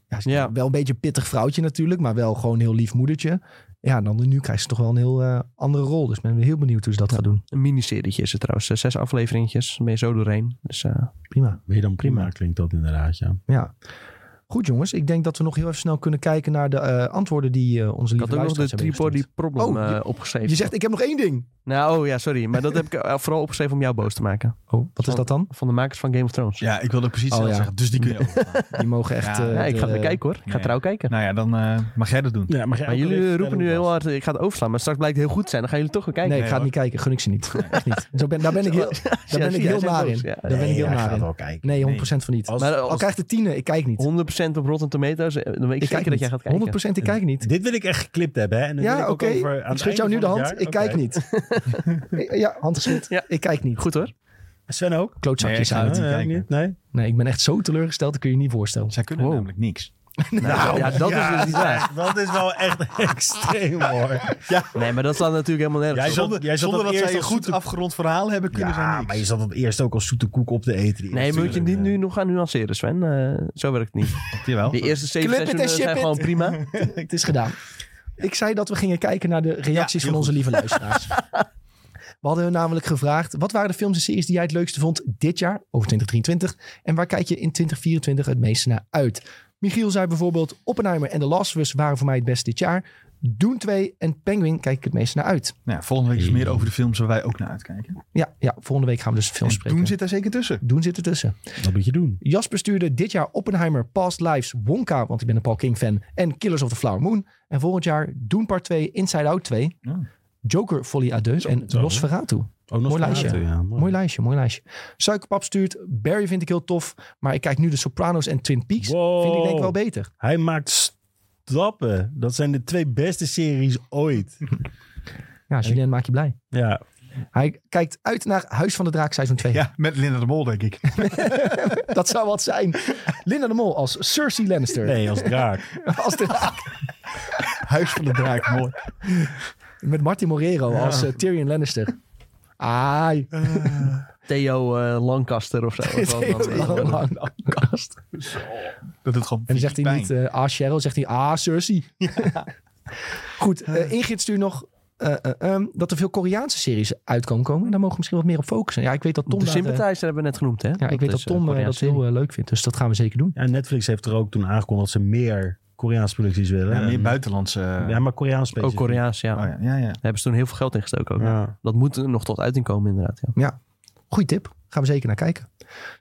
S1: ja, ze-
S3: Ja.
S1: Wel een beetje een pittig vrouwtje natuurlijk. Maar wel gewoon een heel lief moedertje. Ja, en dan nu krijgt ze toch wel een heel eh, andere rol. Dus ben heel benieuwd hoe ze dat gaat doen.
S3: Een miniserietje is het trouwens. eh, Zes afleveringetjes. Ben je zo doorheen. Dus eh,
S1: Prima.
S4: Weer dan prima klinkt dat inderdaad, ja.
S1: Ja. Goed jongens, ik denk dat we nog heel even snel kunnen kijken naar de eh, antwoorden die eh, onze
S3: Ik
S1: lieve
S3: had ook nog de
S1: luisteraars hebben
S3: Tripoli
S1: ingestuurd.
S3: problem
S1: Oh, je-
S3: eh, opgeschreven.
S1: Je zegt, ik heb nog één ding.
S3: Nou, oh ja, sorry. Maar dat heb ik eh, vooral opgeschreven om jou boos te maken.
S1: Oh, wat is
S3: Zo.
S1: dat dan?
S3: Van de makers van Game of Thrones. Ja,
S2: Ja, ik wilde precies
S1: Oh, ja.
S2: hetzelfde zeggen. Dus die kun je overslaan.
S1: Die mogen echt...
S2: Ja,
S1: eh,
S3: ik ga
S1: de-
S3: er kijken hoor. Ik ga
S2: nee.
S3: trouw kijken.
S2: nou ja, dan eh, mag jij dat doen.
S4: Ja, maar
S3: Maar jullie roepen nu heel hard, ik ga het overslaan. Maar straks blijkt het heel goed te zijn. Dan gaan jullie toch weer kijken.
S1: Nee, ik
S2: Nee,
S1: ga het
S2: hoor.
S1: niet kijken. Gun ik ze niet. Echt niet. Zo ben, daar ben ik heel, daar ben
S3: zie
S1: ik heel
S3: je, hij is
S1: naar
S3: boos,
S1: in.
S3: ja.
S1: Daar ben ik heel naar in.
S4: wel kijken.
S1: Nee, 100% van niet.
S4: Als-
S3: Maar
S1: Al
S3: als
S1: krijgt het tienen, ik kijk niet.
S3: 100% op Rotten Tomatoes, eh, dan weet ik,
S1: Ik kijk
S3: zeker dat jij gaat kijken.
S1: 100% ik kijk niet.
S4: Dit wil ik echt geklipt hebben. Hè? En dan wil
S1: Ja,
S4: ik ook
S1: oké.
S4: over- aan
S1: Ik
S4: het
S1: schud jou
S4: einde
S1: nu de
S4: van
S1: hand.
S4: het
S1: Ik
S4: jaar-
S1: kijk
S4: Oké.
S1: niet. ja, hand geschud.
S3: Ja.
S1: Ik kijk niet.
S3: Goed hoor.
S4: Sven ook?
S1: Klootzakjes
S2: Nee, ik ga
S1: uit.
S2: niet
S4: Eh,
S2: kijken.
S4: niet? Nee?
S1: Nee, ik ben echt zo teleurgesteld. Dat kun je je niet voorstellen.
S2: Zij kunnen
S3: Wow.
S2: namelijk niks.
S3: Nou, ja, dat
S4: ja.
S3: is dus niet waar.
S4: Dat is wel echt extreem hoor.
S3: Nee, maar dat slaat natuurlijk helemaal
S4: Jij
S3: nergens op.
S4: zult-
S2: Zonder,
S4: jij zult
S2: zonder dat
S4: dat eerst
S2: zij een
S4: als
S2: goed
S4: zoete-
S2: afgerond verhaal hebben, kunnen zij
S4: Ja,
S2: niks.
S4: maar je zat dat eerst ook als zoete koek op E te eten. die
S3: Nee,
S4: eerste
S3: moet je
S4: keer.
S3: dit nu nog gaan nuanceren, Sven? Eh, zo werkt het niet.
S2: Jawel.
S3: Die eerste zeven
S1: Clip it
S3: seizoenen
S1: and ship
S3: zijn
S1: it.
S3: gewoon prima.
S1: Het is gedaan. Ik zei dat we gingen kijken naar de reacties
S2: Ja, heel
S1: van onze lieve luisteraars. We hadden hun namelijk gevraagd: wat waren de films en series die jij het leukste vond dit jaar, over 2023? En waar kijk je in 2024 het meeste naar uit? Michiel zei bijvoorbeeld: Oppenheimer en The Last of Us waren voor mij het beste dit jaar. Doen 2 en Penguin kijk ik het meest naar uit.
S2: Nou, ja, volgende week is meer over de films waar wij ook naar uitkijken.
S1: Ja, ja volgende week gaan we dus films
S2: En
S1: spreken.
S2: Doen zit daar zeker tussen.
S1: Doen zit ertussen.
S4: Dat moet je doen.
S1: Jasper stuurde dit jaar Oppenheimer, Past Lives, Wonka, want ik ben een Paul King fan, en Killers of the Flower Moon. En volgend jaar Doen Part 2, Inside Out 2,
S2: Ja.
S1: Joker Folly à Deux en
S4: zo.
S1: Nosferatu.
S4: Ook nog
S1: Mooi
S4: van
S1: lijstje.
S4: Aten, Ja, mooi.
S1: Mooi lijstje, mooi lijstje. Suikerpap stuurt, Barry vind ik heel tof, maar ik kijk nu de Sopranos en Twin Peaks.
S4: Wow.
S1: Vind ik denk ik wel beter.
S4: Hij maakt stappen. Dat zijn de twee beste series ooit.
S1: Ja, Julien maak je blij.
S4: Ja,
S1: Hij kijkt uit naar Huis van de Draak seizoen 2.
S2: Ja, met Linda de Mol, denk ik.
S1: Dat zou wat zijn. Linda de Mol als Cersei Lannister.
S4: nee, als draak.
S1: Als de-
S2: Huis van de Draak, mooi.
S1: met Martin Morero als eh, Tyrion Lannister. Ai.
S3: Theo eh, Lancaster of zo. Of wat dan eh, ook.
S1: Lang, lang, lang, kast.
S2: Dat doet gewoon
S1: En dan zegt hij
S2: pijn.
S1: niet eh ah Cheryl, zegt hij ah Cersei. Goed, eh, Ingrid stuurt nog eh, eh, ehm, dat er veel Koreaanse series uitkomen komen. En daar mogen we misschien wat meer op focussen. Ja, ik weet dat Tom,
S3: de
S1: daar, eh,
S3: Sympathizer hebben we net genoemd, hè?
S1: ja, ik weet dat Tom eh, dat heel eh, leuk vindt. Dus dat gaan we zeker doen.
S4: Ja, Netflix heeft er ook toen aangekondigd dat ze meer Koreaanse producties willen.
S1: eh,
S2: Ja, meer
S4: En-
S2: buitenlandse...
S4: Ja, maar Koreaans
S3: Ook
S4: specifiek.
S3: Koreaans, ja.
S2: Oh
S3: Daar
S2: ja, ja, ja.
S3: hebben ze toen heel veel geld in gestoken ook.
S4: Ja.
S3: Dat moet er nog tot uiting komen, inderdaad. Ja.
S1: Goeie tip. Gaan we zeker naar kijken.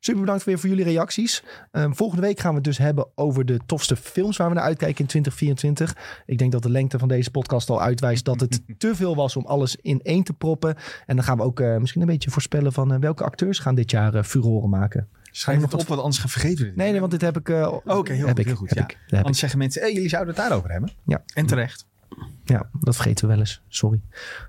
S1: Super bedankt weer voor jullie reacties. Ehm, volgende week gaan we het dus hebben over de tofste films waar we naar uitkijken in 2024. Ik denk dat de lengte van deze podcast al uitwijst dat het te veel was om alles in één te proppen. En dan gaan we ook eh, misschien een beetje voorspellen van eh, welke acteurs gaan dit jaar eh, furoren maken.
S2: Schrijf het op, want anders vergeten we dit.
S1: Nee, nee, want dit heb ik. eh,
S2: Oké, heel
S1: heb
S2: goed,
S1: ik,
S2: heel goed,
S1: heb
S2: ja.
S1: ik, dat heb ik.
S2: Anders zeggen mensen, hey, jullie zouden het daarover hebben.
S1: Ja.
S2: En terecht.
S1: Ja, dat vergeten we wel eens. Sorry.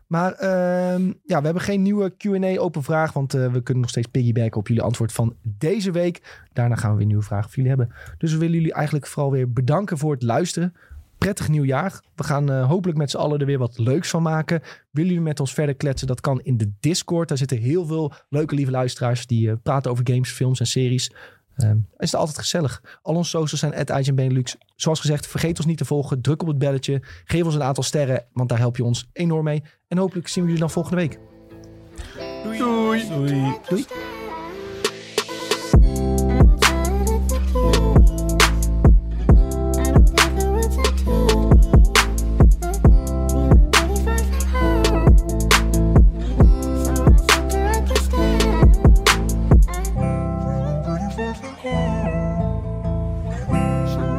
S1: Maar ehm, ja, we hebben geen nieuwe Q&A open vraag, want eh, we kunnen nog steeds piggybacken op jullie antwoord van deze week. Daarna gaan we weer nieuwe vragen voor jullie hebben. Dus we willen jullie eigenlijk vooral weer bedanken voor het luisteren. Prettig nieuwjaar. We gaan eh, hopelijk met z'n allen er weer wat leuks van maken. Willen jullie met ons verder kletsen? Dat kan in de Discord. Daar zitten heel veel leuke, lieve luisteraars die eh, praten over games, films en series. Ehm, is het altijd gezellig. Al onze socials zijn at Benelux. Zoals gezegd, vergeet ons niet te volgen. Druk op het belletje. Geef ons een aantal sterren, want daar help je ons enorm mee. En hopelijk zien we jullie dan volgende week.
S4: Doei.
S1: Doei.
S5: Doei.